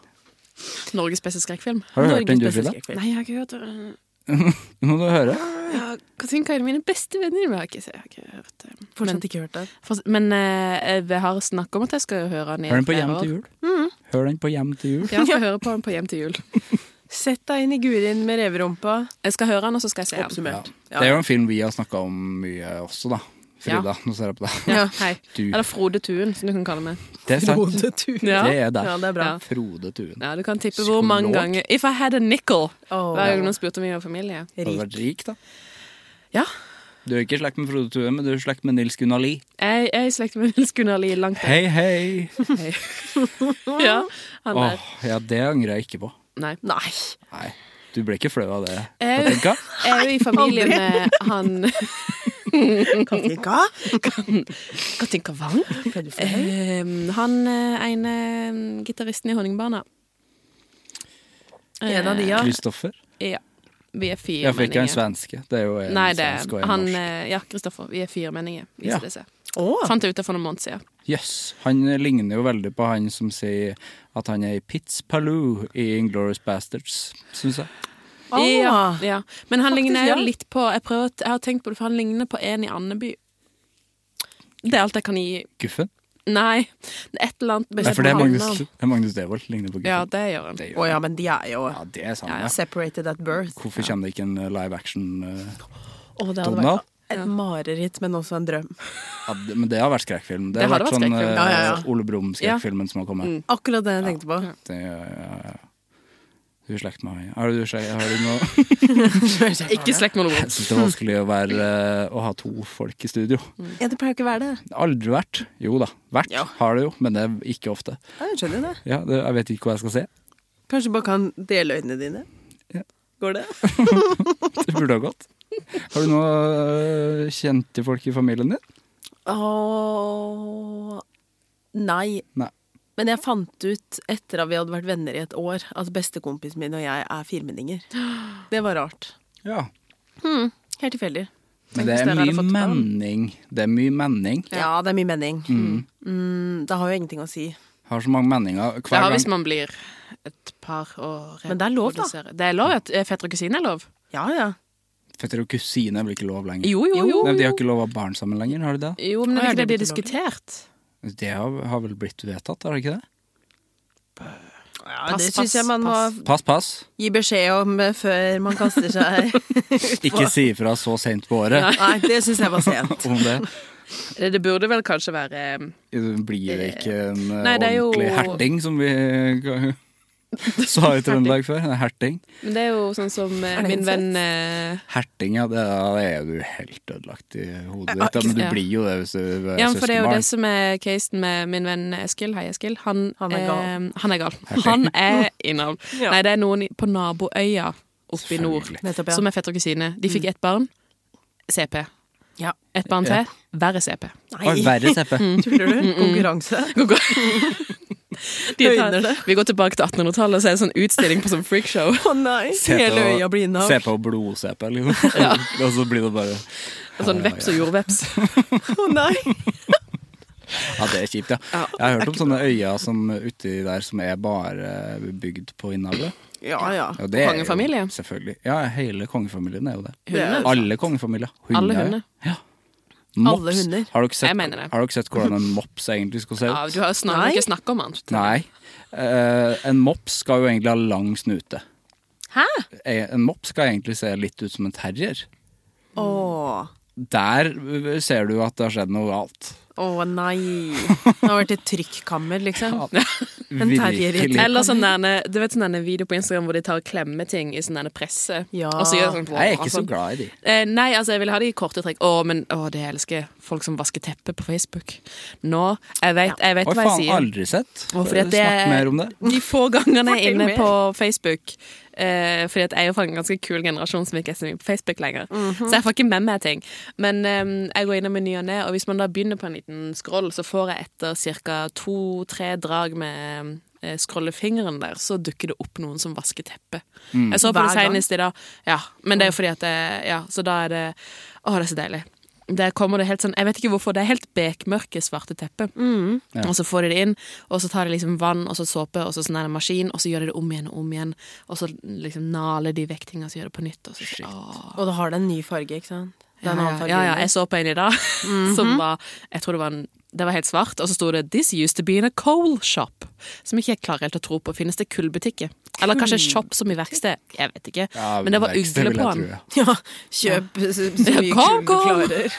Speaker 4: Norges beste skrekkfilm.
Speaker 1: Har du hørt den, du,
Speaker 3: beste
Speaker 1: Frida?
Speaker 3: skrekkfilm.
Speaker 4: Nei, jeg har ikke hørt øh, det.
Speaker 1: [laughs] Nå må du høre.
Speaker 4: Ja, Katinka er mine beste venner, men jeg har ikke, jeg har ikke hørt øh. det. Men,
Speaker 3: Fortsatt ikke hørt den.
Speaker 4: for, men eh, jeg har snakk om at jeg skal høre den i
Speaker 1: Hør den på
Speaker 4: flere
Speaker 1: Hjem
Speaker 4: år.
Speaker 1: til jul.
Speaker 3: Mm.
Speaker 1: Hør den på Hjem til
Speaker 4: [laughs]
Speaker 1: jul.
Speaker 4: Ja, jeg skal høre på den på Hjem til jul.
Speaker 3: Sett deg inn i Gurin med reverumpa.
Speaker 4: Jeg skal høre den, og så skal jeg se den.
Speaker 1: Ja.
Speaker 3: Oppsummert.
Speaker 1: Det er jo en film vi har snakka om mye også, da. Frida, nå ser jeg på deg.
Speaker 4: Ja, hei.
Speaker 1: Du.
Speaker 4: Eller Frode Tuen, som du kan kalle meg.
Speaker 1: Det er sant.
Speaker 3: Frode Tuen.
Speaker 4: Ja.
Speaker 1: Det er
Speaker 3: Ja,
Speaker 1: deg.
Speaker 3: det er bra.
Speaker 4: Ja.
Speaker 1: Frode Tuen.
Speaker 4: Ja, du kan tippe hvor mange
Speaker 1: Psykolog.
Speaker 4: ganger If I had a nickel,
Speaker 3: Åh.
Speaker 4: hver gang noen spurte om jeg var familie.
Speaker 1: Har du vært rik, da?
Speaker 4: Ja.
Speaker 1: Du er ikke i slekt med Frode Tuen, men du er i slekt med Nils Gunnar Lie.
Speaker 4: Jeg, jeg er i slekt med Nils Gunnar Lie langt der.
Speaker 1: Hei, hei.
Speaker 4: Ja, han
Speaker 1: Åh,
Speaker 4: der.
Speaker 1: ja, det angrer jeg ikke på.
Speaker 4: Nei.
Speaker 3: Nei.
Speaker 1: Nei, du ble ikke flau av det,
Speaker 4: Jeg-
Speaker 1: Katinka?
Speaker 4: Jeg er jo i familie med han [laughs]
Speaker 3: Katinka?
Speaker 4: Katinka Wang. Eh, han eh, ene eh, gitaristen i Honningbarna.
Speaker 3: En av de, ja.
Speaker 1: Kristoffer?
Speaker 4: Ja. Vi er fire
Speaker 1: Ja, for ikke han
Speaker 4: meninger.
Speaker 1: svenske. Det er jo en
Speaker 4: Nei, det
Speaker 1: svensk og
Speaker 4: er
Speaker 1: en
Speaker 4: han
Speaker 1: norsk.
Speaker 4: eh, Ja, Kristoffer. Vi er firemenninger.
Speaker 1: Ja.
Speaker 4: Viser det seg.
Speaker 3: Åh.
Speaker 4: Fant jeg ut det for noen måneder siden.
Speaker 1: Jøss. Han ligner jo veldig på han som sier at han er i Pitts Paloo i Inglorious Bastards, syns jeg.
Speaker 4: Ja,
Speaker 3: Ah.
Speaker 4: ja. Men han
Speaker 3: Faktisk,
Speaker 4: ligner jo
Speaker 3: ja.
Speaker 4: litt på jeg, prøver, å- jeg har tenkt på det, for han ligner på en i Andeby. Det er alt jeg kan gi.
Speaker 1: Guffen?
Speaker 4: Nei, et eller annet
Speaker 1: Nei, for det er
Speaker 4: bestemt
Speaker 1: Magnus,
Speaker 4: navn.
Speaker 1: det er Magnus Devold. Ligner på Guffen.
Speaker 4: Ja, det gjør han.
Speaker 1: det
Speaker 3: Å
Speaker 1: gjør
Speaker 3: ja, men de er jo
Speaker 1: Ja, det er sant.
Speaker 4: Ja,
Speaker 1: Ja,
Speaker 3: separated at birth.
Speaker 1: Hvorfor kommer det ikke en eh, live action eh,
Speaker 3: Å, det hadde
Speaker 1: Donald?
Speaker 3: vært et mareritt, men også en drøm.
Speaker 1: Ja, det- men det har vært skrekkfilm. Det,
Speaker 4: Det
Speaker 1: har
Speaker 4: hadde
Speaker 1: vært
Speaker 4: vært
Speaker 1: sånn
Speaker 4: skrekkfilm.
Speaker 1: eh,
Speaker 3: Ja, ja, ja.
Speaker 4: Mm.
Speaker 1: Ole Brumm-skrekkfilmen som har kommet.
Speaker 3: Akkurat det jeg tenkte på.
Speaker 1: Det, ja, ja. Du er i slekt med meg. Har du, slekt- har du noe [laughs]
Speaker 4: Ikke slekt med
Speaker 1: Jeg syns det er vanskelig å, være, eh, å ha to folk i studio.
Speaker 3: Ja, det pleier jo ikke å være det.
Speaker 1: Aldri vært. Jo da, vært
Speaker 3: Ja.
Speaker 1: har det jo, men det er ikke ofte.
Speaker 3: Ja, jeg skjønner det.
Speaker 1: Ja, det, jeg vet ikke hva jeg skal se.
Speaker 3: Kanskje du bare kan dele øynene dine?
Speaker 1: Ja.
Speaker 3: Går det?
Speaker 1: Det burde ha gått. Har du noe øh, kjente folk i familien din?
Speaker 3: Åh, nei.
Speaker 1: Nei.
Speaker 3: Men jeg fant ut etter at vi hadde vært venner i et år, at bestekompisen min og jeg er firmenninger. Det var rart.
Speaker 1: Ja.
Speaker 3: Helt tilfeldig.
Speaker 1: Men det er
Speaker 3: Tenk hvis dere hadde
Speaker 1: mye
Speaker 3: fått barn.
Speaker 1: menning. Det er mye menning.
Speaker 3: Ja, det er mye mening. Mm, det har jo ingenting å si.
Speaker 1: Har så mange menninger
Speaker 4: Det
Speaker 1: hver
Speaker 4: har hvis
Speaker 1: gang.
Speaker 4: man blir et par og
Speaker 3: Men det er lov, da.
Speaker 4: reprodusere. Det er lov at eh, fetter og kusine er lov.
Speaker 3: Ja, ja.
Speaker 1: Fetter og kusine blir ikke lov lenger.
Speaker 4: Jo, jo, jo.
Speaker 1: Nei, de har ikke lov å ha barn sammen lenger, har de det?
Speaker 4: Jo, men
Speaker 3: Å, ja,
Speaker 4: er det ikke det
Speaker 3: det
Speaker 4: blir
Speaker 3: betyr
Speaker 4: diskutert?
Speaker 1: Det har, har vel blitt vedtatt, har det ikke det?
Speaker 4: Pass,
Speaker 3: det
Speaker 4: pass,
Speaker 3: syns jeg man må
Speaker 4: pass.
Speaker 1: Pass, pass.
Speaker 3: gi beskjed om eh, før man kaster [laughs] seg
Speaker 1: Ikke si ifra så sent på året
Speaker 3: Nei, det syns jeg var sent.
Speaker 1: om
Speaker 4: [laughs]
Speaker 1: det.
Speaker 4: Eh, Det, det burde vel kanskje være eh,
Speaker 1: Blir det ikke en øh,
Speaker 4: Nei, det er jo-
Speaker 1: ordentlig herting, som vi [laughs] sa i Trøndelag før? En Herting.
Speaker 4: Men det er jo sånn som eh, min venn eh,
Speaker 1: Herting, ja. Det, da er du helt ødelagt i hodet ditt. Ja, men du
Speaker 4: ja.
Speaker 1: blir jo det hvis du er
Speaker 4: Ja, men for det er jo det
Speaker 1: søskenbarn.
Speaker 4: som er casen med min venn Eskil. Hei, Eskil. Han,
Speaker 3: Han er gal.
Speaker 4: eh, han er gal. Han er innavl.
Speaker 3: Ja.
Speaker 4: Nei, det er noen i- på naboøya oppe i nord
Speaker 1: Selvfølgelig.
Speaker 3: Nettopp, ja.
Speaker 4: som er fetter og kusine. De fikk ett barn. CP.
Speaker 3: Ja.
Speaker 4: Et barn
Speaker 1: Ja.
Speaker 4: til. Verre CP.
Speaker 1: Oi, verre teppe.
Speaker 4: [laughs]
Speaker 3: Tuller du? Konkurranse?
Speaker 4: De tar,
Speaker 3: Høyner det.
Speaker 4: vi går tilbake til 1800-tallet, og så er det sånn utstilling på sånn freakshow.
Speaker 3: Å nei! Hele øya blir innavl.
Speaker 1: Se på blod-CP, liksom.
Speaker 4: [laughs]
Speaker 1: [laughs] og så blir det bare
Speaker 4: [laughs] Sånn veps og
Speaker 1: [laughs]
Speaker 4: jordveps.
Speaker 3: Å nei!
Speaker 1: Ja, det er kjipt, ja.
Speaker 4: Ja,
Speaker 1: Jeg har hørt om sånne øyer som, uti der som er bare bygd på innavle.
Speaker 3: Ja ja.
Speaker 1: Ja, det er jo-
Speaker 4: Kongefamilie.
Speaker 1: Selvfølgelig. Ja, hele kongefamilien er jo det.
Speaker 4: Hundene.
Speaker 1: Alle kongefamilier.
Speaker 4: Alle
Speaker 1: ja.
Speaker 4: hunder.
Speaker 1: Ja. Mops.
Speaker 3: Alle hunder.
Speaker 1: Har dere sett,
Speaker 4: Jeg mener det.
Speaker 1: Har dere sett hvordan en mops egentlig skal se ut?
Speaker 4: Ja, du har jo snart
Speaker 3: Nei.
Speaker 4: ikke snakket om han.
Speaker 1: Nei. Eh, en mops skal jo egentlig ha lang snute. Hæ? En mops skal egentlig se litt ut som en terrier.
Speaker 3: Åh.
Speaker 1: Der eh, ser du at det har skjedd noe galt.
Speaker 3: Å nei. Det har vært et trykkammer, liksom. En terrier i et
Speaker 1: Virkelig.
Speaker 3: terrier.
Speaker 4: Eller sånn derne, du vet sånn derne video på Instagram hvor de tar og klemmer ting i sånn derne presse.
Speaker 3: Ja.
Speaker 4: Og så gjør sånn,
Speaker 1: Jeg er ikke så
Speaker 4: sånn.
Speaker 1: glad i de.
Speaker 4: Eh, nei, altså jeg vil ha de i korte trekk. Å, men å, det elsker jeg. folk som vasker teppet på Facebook. Nå, jeg vet, jeg vet
Speaker 1: Oi,
Speaker 4: hva jeg
Speaker 1: faen,
Speaker 4: sier.
Speaker 1: aldri sett. Eh,
Speaker 4: Å, fordi at det-
Speaker 1: Snakk mer om det.
Speaker 4: De få gangene jeg er
Speaker 3: Fortell
Speaker 4: inne
Speaker 3: mer.
Speaker 4: på Facebook eh, Fordi at jeg er jo fra en ganske kul generasjon som ikke er så mye på Facebook lenger.
Speaker 3: Mhm.
Speaker 4: Så jeg får ikke med meg ting. Men eh, jeg går innom i ny og ne, og hvis man da begynner på en liten scroll, så får jeg etter ca. to-tre drag med eh, scrollefingeren der, så dukker det opp noen som vasker teppet. Jeg så på det
Speaker 3: Hver gang? Mm.
Speaker 4: senest i dag. Ja, men det er jo fordi at det, Ja, så da er det Å, det er så deilig. Der kommer det helt sånn Jeg vet ikke hvorfor. Det er helt bekmørke svarte teppet. Og så får de det inn, og så tar de liksom vann og så såpe og så sånn der maskin, og så gjør de det om igjen og om igjen. Og så liksom naler de vekk ting og så gjør det på nytt. Og så, Åh,
Speaker 3: Og da har det en ny farge, ikke sant? Det
Speaker 4: ja,
Speaker 3: er en annen
Speaker 4: ja,
Speaker 3: farge.
Speaker 4: ja, ja,
Speaker 3: under.
Speaker 4: jeg så på en i dag [laughs]
Speaker 1: Mhm.
Speaker 4: som var Jeg tror det var en det var helt svart, og så sto det 'This used to be in a coal shop'. Som ikke jeg klarer helt å tro på. Finnes det kullbutikker? Eller kanskje shop som i verksted? Jeg vet ikke.
Speaker 1: Ja,
Speaker 4: Men det var
Speaker 1: verksted,
Speaker 4: ugle
Speaker 1: vil jeg
Speaker 4: på
Speaker 1: tro,
Speaker 4: den.
Speaker 1: ja.
Speaker 4: [laughs]
Speaker 3: Ja, kjøp så, så mye
Speaker 4: Kom,
Speaker 3: kull du
Speaker 4: kom.
Speaker 3: klarer.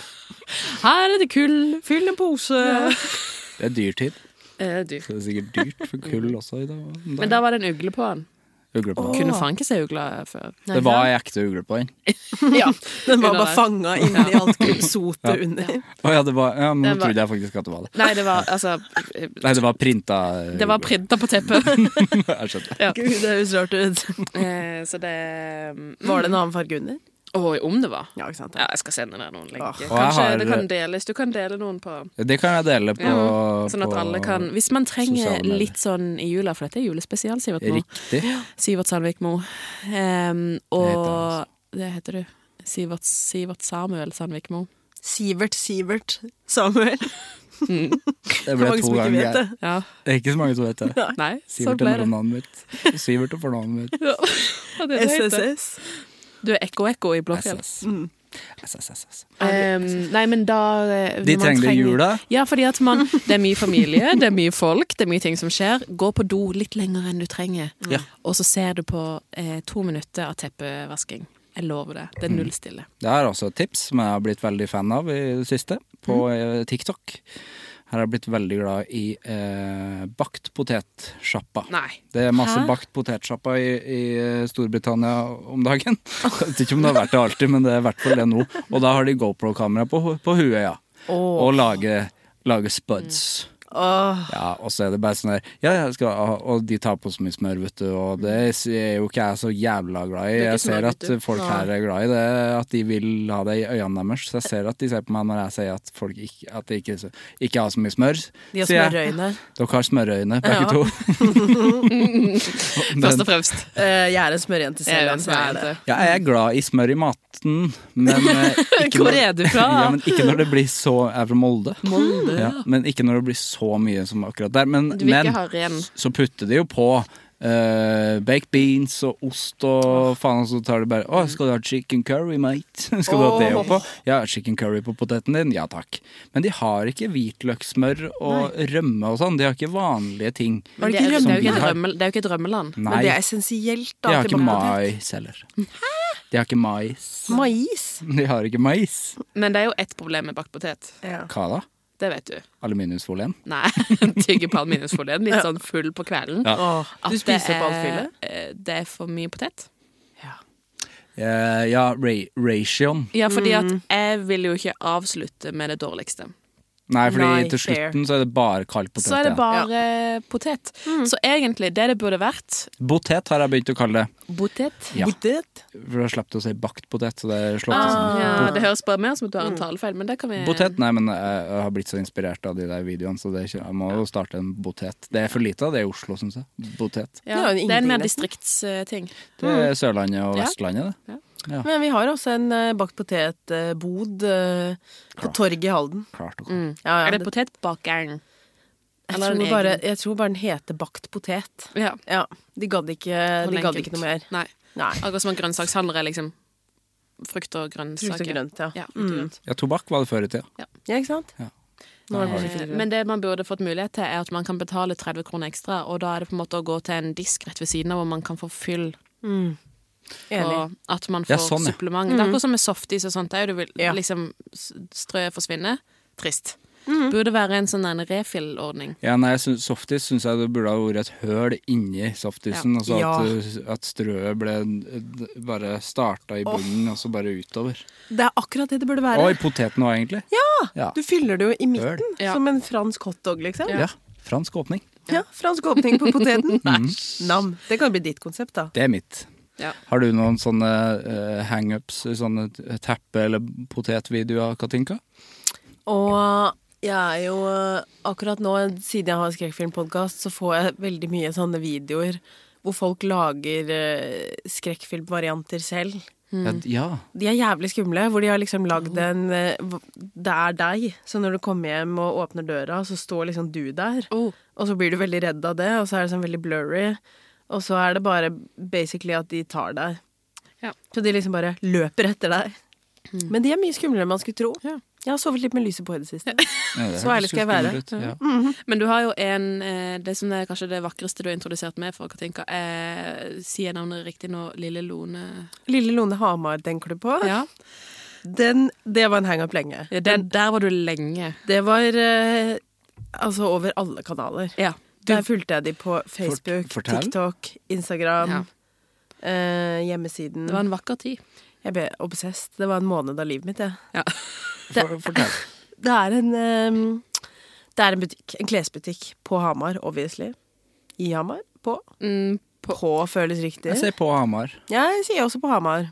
Speaker 4: Her er det kull.
Speaker 3: Fyll en pose.
Speaker 1: Det er dyrtid.
Speaker 4: Eh, du.
Speaker 1: Så det er sikkert dyrt for kull også i dag.
Speaker 4: Men da var det en ugle på den.
Speaker 1: Ugle på den.
Speaker 4: Kunne faen ikke se ugler før.
Speaker 1: Det var ei ekte ugle på den.
Speaker 4: ja.
Speaker 3: Den
Speaker 4: Under
Speaker 3: var bare
Speaker 4: der.
Speaker 3: fanga inni alt sotet under.
Speaker 1: Å ja, det var Ja, men nå
Speaker 4: Den var-
Speaker 1: trodde jeg faktisk at det var det.
Speaker 4: Nei, det var altså
Speaker 1: Nei, det var printa eh,
Speaker 4: Det var
Speaker 1: ugle.
Speaker 4: printa på teppet.
Speaker 1: [laughs] Jeg skjønte.
Speaker 4: Ja.
Speaker 3: Gud, det høres rart ut.
Speaker 4: Eh, så det um,
Speaker 3: Var det en annen farge under?
Speaker 4: Oi, om det var?
Speaker 3: Ja, ikke sant.
Speaker 4: Ja, jeg skal sende deg noen
Speaker 3: Åh.
Speaker 4: lenker.
Speaker 1: Og jeg
Speaker 4: Kanskje
Speaker 1: har- eh,
Speaker 4: det kan deles. Du kan dele noen på
Speaker 1: Det kan jeg dele på,
Speaker 4: Sånn at
Speaker 1: på
Speaker 4: alle kan Hvis man trenger
Speaker 1: sosiale medier.
Speaker 4: litt sånn i jula, for dette er julespesial, Sivert Mo.
Speaker 1: Riktig.
Speaker 4: Sivert Sandvik Mo. Em,
Speaker 1: han,
Speaker 4: og Det heter du. Sivert, Sivert Samuel Sandvik Mo.
Speaker 3: Sivert Sivert Samuel.
Speaker 1: Det
Speaker 3: For
Speaker 1: ble
Speaker 3: mange
Speaker 1: to
Speaker 3: som ikke
Speaker 1: ganger.
Speaker 3: vet det.
Speaker 4: Ja.
Speaker 1: Det er ikke så mange som vet det.
Speaker 4: Nei, sånn
Speaker 1: Sivert er
Speaker 4: ble det.
Speaker 1: mellomnavnet mitt. Sivert er fornavnet mitt.
Speaker 4: Ja, det er det det heter.
Speaker 3: SSS.
Speaker 4: Du er ekko-ekko i Blåfjell.
Speaker 1: SS. SSSS.
Speaker 4: Em, nei, men da eh,
Speaker 1: De
Speaker 4: når man
Speaker 1: trenger det i jula.
Speaker 4: Ja, fordi at man Det er mye familie, det er mye folk, det er mye ting som skjer. Gå på do litt lenger enn du trenger,
Speaker 1: Ja.
Speaker 4: og så ser du på eh, to minutter av teppevasking. Jeg lover det. Det er null stille. Mm.
Speaker 1: Det er også et tips som jeg har blitt veldig fan av i det siste, på eh, TikTok. Her har jeg blitt veldig glad i eh, bakt potetsjappa.
Speaker 4: Nei.
Speaker 1: Det er masse
Speaker 3: Hæ?
Speaker 1: bakt potetsjappa i, i eh, Storbritannia om dagen. [laughs] Jeg vet ikke om det har vært det alltid, men det er i hvert fall det nå. Og da har de GoPro-kamera på, ho- på huet, ja. Og lager, lager spuds.
Speaker 4: Mm.
Speaker 3: Åh,
Speaker 1: Ja, og så er det bare sånn der Ja, jeg skal ha Og de tar på så mye smør, vet du, og det er jo ikke jeg så jævla glad i.
Speaker 4: Det er ikke
Speaker 1: Jeg
Speaker 4: smør,
Speaker 1: ser at
Speaker 4: vet du.
Speaker 1: folk her er glad i det, at de vil ha det i øynene deres. Så jeg ser at de ser på meg når jeg sier at folk ikke, at de ikke, ikke har så mye smør.
Speaker 3: de har
Speaker 1: sier jeg.
Speaker 3: smørøyne.
Speaker 1: Dere har smørøyne, begge to.
Speaker 4: Først og fremst.
Speaker 3: Eh, jeg er en smørjente
Speaker 4: Jeg er
Speaker 3: selv.
Speaker 4: jo en
Speaker 3: altså, jeg er det.
Speaker 4: smørjente.
Speaker 1: Ja, jeg er glad i smør i maten, men
Speaker 4: [laughs]
Speaker 1: eh, ikke,
Speaker 4: Hvor
Speaker 1: når,
Speaker 4: er du fra?
Speaker 1: ja, men ikke når det blir så Jeg er fra Molde. ja, men ikke når det blir så mye som akkurat der. Men,
Speaker 4: Du vil
Speaker 1: men
Speaker 4: ikke ha ren.
Speaker 1: så putter de jo på eh, baked beans og ost og faen, og så tar de bare Å, skal du ha chicken curry, mate? [laughs] skal du ha det oppå? Ja, chicken curry på poteten din? Ja takk. Men de har ikke hvitløkssmør og rømme og sånn. De har ikke vanlige ting.
Speaker 4: Men det,
Speaker 3: ikke
Speaker 4: er, det, er jo
Speaker 1: rømme?
Speaker 4: ikke et drømme, det er jo ikke et drømmeland.
Speaker 3: Men
Speaker 1: Nei,
Speaker 3: det
Speaker 1: de
Speaker 3: er essensielt. da
Speaker 1: har
Speaker 3: til
Speaker 1: ikke
Speaker 3: bakpotet.
Speaker 1: mais heller. De har ikke mais. [laughs]
Speaker 3: Mais?
Speaker 1: De har ikke mais.
Speaker 4: Men det er jo ett problem med bakt potet.
Speaker 3: Ja.
Speaker 1: Hva da?
Speaker 4: Det vet du.
Speaker 1: Aluminiumsfolien?
Speaker 4: [laughs] Nei, tygge på aluminiumsfolien, litt sånn full på kvelden.
Speaker 1: Ja.
Speaker 3: Åh,
Speaker 4: At
Speaker 3: du
Speaker 4: det
Speaker 3: spiser
Speaker 4: er-
Speaker 3: på alt fyllet?
Speaker 4: eh, Det er for mye potet.
Speaker 1: Eh, ja, ra ration.
Speaker 4: Ja, fordi at jeg vil jo ikke avslutte med det dårligste.
Speaker 1: Nei, fordi
Speaker 3: Nei,
Speaker 1: til
Speaker 3: fair.
Speaker 1: slutten så er det bare kald potet.
Speaker 4: Så er det
Speaker 1: igjen.
Speaker 4: bare potet. Så egentlig, det det burde vært
Speaker 1: Botet har jeg begynt å kalle det.
Speaker 4: Potet?
Speaker 1: Ja.
Speaker 3: Potet?
Speaker 1: For da slapp du å si bakt potet. Så det slår ikke
Speaker 3: Ah.
Speaker 1: sammen.
Speaker 4: Ja, det høres bare mer som at du har en talefeil, men det kan vi
Speaker 1: Botet? Nei, men jeg, jeg har blitt så inspirert av de der videoene, så det er ikke, jeg må jo starte en botet. Det er for lite av det i Oslo, syns jeg. Botet.
Speaker 3: Det
Speaker 4: Ja,
Speaker 3: er jo
Speaker 4: det er
Speaker 3: ingenting,
Speaker 4: en mer
Speaker 3: nesten.
Speaker 4: distriktsting.
Speaker 1: Det er Sørlandet og
Speaker 4: Mm. Ja.
Speaker 1: Vestlandet, det.
Speaker 3: Men vi har også en eh, bakt potetbod eh, på torget i Halden.
Speaker 1: Klart og
Speaker 4: Mm.
Speaker 3: Ja, ja,
Speaker 4: Er det
Speaker 3: det-
Speaker 4: potetbakeren?
Speaker 3: jeg,
Speaker 4: eller en
Speaker 3: tror bare,
Speaker 4: egen?
Speaker 3: jeg tror bare den heter bakt potet.
Speaker 4: Ja.
Speaker 3: Ja, De gadd ikke,
Speaker 4: sånn
Speaker 3: de gadd
Speaker 4: enkelt.
Speaker 3: ikke noe mer.
Speaker 4: Nei.
Speaker 3: Nei.
Speaker 4: Akkurat som at grønnsakshandlere er liksom frukt og grønnsaker.
Speaker 3: Frukt og grønt, ja.
Speaker 4: Ja, frukt og
Speaker 3: Mm.
Speaker 4: grønt.
Speaker 1: Ja, tobakk var det før i tida.
Speaker 3: Ja, ikke sant?
Speaker 1: Ja.
Speaker 3: Nå er det kanskje
Speaker 4: Eh,
Speaker 3: ikke
Speaker 4: Men det man burde fått mulighet til, er at man kan betale 30 kroner ekstra, og da er det på en måte å gå til en disk rett ved siden av hvor man kan få fyll, Mm.
Speaker 3: Enig.
Speaker 4: og at man får
Speaker 1: Ja, sånn, ja.
Speaker 4: supplement. Det er akkurat som med softis og sånt, det er jo du vil
Speaker 3: Ja.
Speaker 4: liksom s- strø forsvinne. Trist.
Speaker 3: Mm.
Speaker 4: Burde være en sånn der refill-ordning.
Speaker 1: Ja, nei, jeg syns- softis syns jeg det burde ha vært et høl inni softisen. Altså at, at strøet ble eh, bare starta i bunnen, og så bare utover.
Speaker 3: Det er akkurat det det burde være.
Speaker 1: Og i poteten òg, egentlig. Ja.
Speaker 3: Du fyller det jo i midten,
Speaker 1: Høl.
Speaker 4: Ja.
Speaker 3: som en fransk hotdog, liksom.
Speaker 1: Ja. Fransk åpning. Mm.
Speaker 3: Ja, Fransk åpning
Speaker 4: [laughs]
Speaker 3: på poteten. Nam. Det kan jo bli ditt konsept, da.
Speaker 1: Det er mitt.
Speaker 4: Ja.
Speaker 1: Har du noen sånne eh, hangups, sånne teppe- eller potetvideoer, Katinka?
Speaker 3: Og jeg er jo eh, akkurat nå, siden jeg har skrekkfilmpodkast, så får jeg veldig mye sånne videoer hvor folk lager eh, skrekkfilmvarianter selv.
Speaker 1: Ja, ja.
Speaker 3: De er jævlig skumle, hvor de har liksom lagd en eh, v- Det er deg. Så når du kommer hjem og åpner døra, så står liksom du der.
Speaker 4: Oh.
Speaker 3: Og så blir du veldig redd av det, og så er det sånn veldig blurry. Og så er det bare basically at de tar deg.
Speaker 4: Ja. Mm.
Speaker 3: Så de liksom bare løper etter deg. Men de er mye skumlere enn man skulle tro.
Speaker 4: Ja.
Speaker 3: Jeg har sovet litt med lyset på i det siste.
Speaker 1: Ja, det
Speaker 3: Så
Speaker 1: høres
Speaker 3: ærlig skal jeg
Speaker 1: jo
Speaker 3: være. Mm.
Speaker 1: skummelt ut, Ja.
Speaker 4: Men du har jo en eh, Det som er kanskje det vakreste du har introdusert meg for, Katinka, er Sier jeg navnet riktig nå? Lille Lone?
Speaker 3: Lille Lone Hamar tenker du på?
Speaker 4: Ja.
Speaker 3: Den, det var en hangup lenge.
Speaker 4: Ja, Der, der var du lenge.
Speaker 3: Det var eh, altså over alle kanaler.
Speaker 4: Ja.
Speaker 3: Der fulgte jeg de på Facebook,
Speaker 1: fortell.
Speaker 3: TikTok, Instagram,
Speaker 4: Ja.
Speaker 3: eh, hjemmesiden.
Speaker 4: Det var en vakker tid.
Speaker 3: Jeg ble obsessed. Det var en måned av livet mitt, jeg.
Speaker 4: Ja.
Speaker 1: For, fortell.
Speaker 3: Det er en, ehm, det er en butikk, en klesbutikk på Hamar, obviously. I Hamar. På.
Speaker 4: Mm,
Speaker 3: På, føles riktig.
Speaker 4: Altså-
Speaker 1: Jeg ser på Hamar.
Speaker 3: Ja, jeg sier også på Hamar.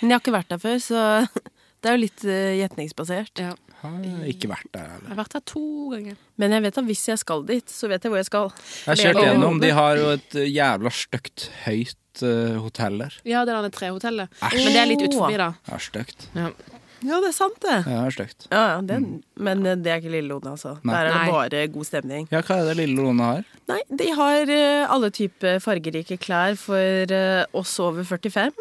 Speaker 3: Men jeg har ikke vært der før, så [laughs] det er jo litt eh, gjetningsbasert.
Speaker 4: ja.
Speaker 1: Har ikke vært der heller.
Speaker 4: Jeg har vært her to ganger.
Speaker 3: Men jeg vet at hvis jeg skal dit, så vet jeg hvor jeg skal.
Speaker 1: Jeg har kjørt gjennom. De har jo et eh, jævla stygt høyt eh, hotell der.
Speaker 4: Ja, det er det trehotellet. Men det er litt ut forbi, da.
Speaker 1: Ja, stygt.
Speaker 3: Ja, det er sant, det.
Speaker 1: Ja, stygt.
Speaker 3: Ja, ja, det men eh, det er ikke Lille Lone, altså.
Speaker 1: Nei.
Speaker 3: Der er
Speaker 4: Nei.
Speaker 3: det bare god stemning.
Speaker 1: Ja, hva er det lille Lone har?
Speaker 3: Nei, de har eh, alle typer fargerike klær for eh, oss over 45.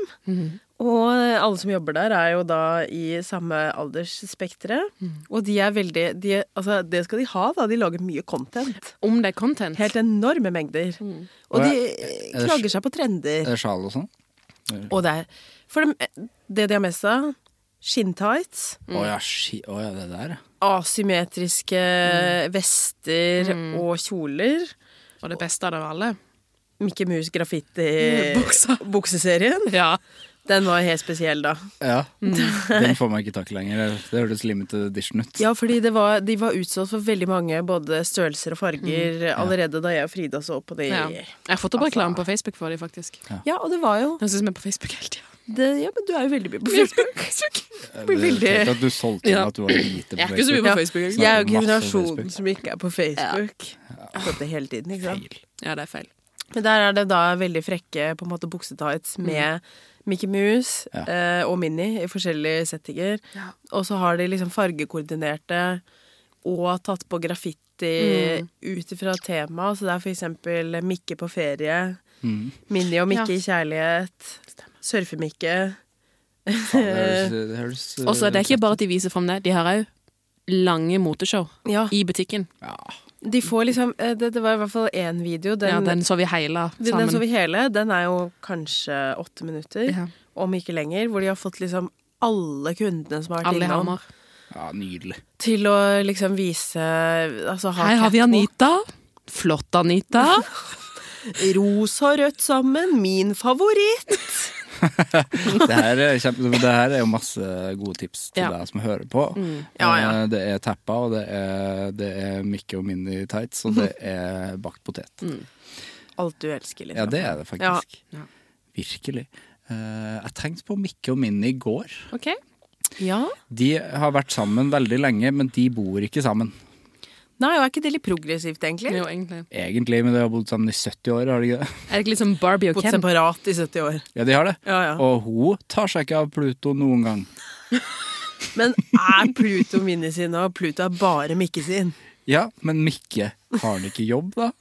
Speaker 3: Og eh, alle som jobber der, er jo da i samme aldersspekteret. Og de er veldig de, Altså, det skal de ha, da. De lager mye content.
Speaker 4: Om det er content.
Speaker 3: Helt enorme mengder. Og
Speaker 1: Og
Speaker 3: de
Speaker 1: jeg-
Speaker 3: eh,
Speaker 1: er det
Speaker 3: knager seg på trender.
Speaker 1: Er det sjal og sånn?
Speaker 3: eh, Og det er For dem- det de har mest av skinntights,
Speaker 4: Mm.
Speaker 1: Å ja, shi, å ja, det der, ja.
Speaker 3: asymmetriske Mm. vester og kjoler.
Speaker 4: Og det beste av det alle.
Speaker 3: Mickey Mouse [laughs] graffiti-bukseserien.
Speaker 4: Ja.
Speaker 3: Den var helt spesiell, da.
Speaker 1: ja.
Speaker 4: Mm. [laughs]
Speaker 1: Den får man ikke tak i lenger. Det hørtes limited edition ut.
Speaker 3: Ja, fordi det var, de var utsolgt for veldig mange både størrelser og farger allerede da jeg og Frida så på de.
Speaker 4: ja.
Speaker 3: Mm.
Speaker 4: Altså.
Speaker 3: Ja.
Speaker 4: Jeg har fått opp reklame på Facebook for dem, faktisk.
Speaker 3: og det var jo
Speaker 4: Den syns vi er på Facebook hele tida.
Speaker 3: det, [laughs] Ja, men du er jo veldig mye på Facebook.
Speaker 1: Jeg
Speaker 3: blir
Speaker 1: vet
Speaker 3: veldig-
Speaker 1: ikke at du solgte inn
Speaker 4: Ja.
Speaker 1: at du var lite
Speaker 4: Jeg
Speaker 1: på
Speaker 4: er ikke så
Speaker 1: Facebook.
Speaker 4: mye
Speaker 3: Ja.
Speaker 4: på Facebook. Ikke?
Speaker 3: Jeg
Speaker 4: sant?
Speaker 3: er jo
Speaker 1: Masse
Speaker 3: generasjonen
Speaker 1: Facebook.
Speaker 3: som ikke er på Facebook. Jeg har fått det hele tiden, ikke sant.
Speaker 4: Ja, det er feil.
Speaker 3: Men der er det da veldig frekke på en måte buksetights
Speaker 4: Mm.
Speaker 3: med Mickey Mouse
Speaker 1: Ja.
Speaker 3: eh, og Minnie i forskjellige settinger. Og så har de liksom fargekoordinerte og tatt på graffiti
Speaker 4: Mm.
Speaker 3: ut ifra tema. Så det er for eksempel Mikke på ferie,
Speaker 1: Mm.
Speaker 3: Minnie og
Speaker 4: Ja.
Speaker 3: Mikke i kjærlighet, surfe-Mikke.
Speaker 1: Faen, det høres- det
Speaker 4: [laughs]
Speaker 1: høres-
Speaker 4: Og så er det ikke bare at de viser fram det, de har òg lange moteshow
Speaker 3: Ja,
Speaker 4: i butikken.
Speaker 1: Ja.
Speaker 3: de får liksom eh, Det, det var i hvert fall én video. Den,
Speaker 4: ja, den så vi heila
Speaker 3: den,
Speaker 4: sammen.
Speaker 3: så vi hele. Den er jo kanskje åtte minutter.
Speaker 4: ja.
Speaker 3: om ikke lenger, hvor de har fått liksom alle kundene som har vært
Speaker 4: Alle i
Speaker 3: innom,
Speaker 4: Hamar.
Speaker 1: ja, nydelig.
Speaker 3: til å liksom vise altså, ha
Speaker 4: Her har vi
Speaker 3: catwalk.
Speaker 4: Anita. Flott, Anita.
Speaker 3: Rosa og rødt sammen, min favoritt!
Speaker 1: Det her, er kjempe, det her er jo masse gode tips til
Speaker 4: Ja. Mm.
Speaker 1: deg som hører på.
Speaker 3: Ja, ja.
Speaker 1: Eh, Det er tappa, og det er, det er Mikke og Minnie tights, og det
Speaker 4: [laughs]
Speaker 1: er bakt
Speaker 4: Mm.
Speaker 1: potet.
Speaker 3: Alt du elsker, liksom.
Speaker 1: Ja, det er det faktisk. Virkelig. Eh, Jeg tenkte på Mikke og Minnie i går.
Speaker 4: [laughs] Ok.
Speaker 3: Ja.
Speaker 1: De har vært sammen veldig lenge, men de bor ikke sammen.
Speaker 3: Nei, og er ikke det litt progressivt, egentlig?
Speaker 4: Jo, egentlig.
Speaker 1: Egentlig, men de har bodd sammen i 70 år, har de ikke det?
Speaker 4: Er det ikke litt sånn Barbie og
Speaker 3: Bodd
Speaker 4: Ken?
Speaker 3: separat i 70 år.
Speaker 1: Ja, de har det.
Speaker 3: Ja, ja.
Speaker 1: Og hun tar seg ikke av Pluto noen gang.
Speaker 3: Men er Pluto Minnie sin, og Pluto er bare Mikke sin?
Speaker 1: Ja, men Mikke, har han ikke jobb, da?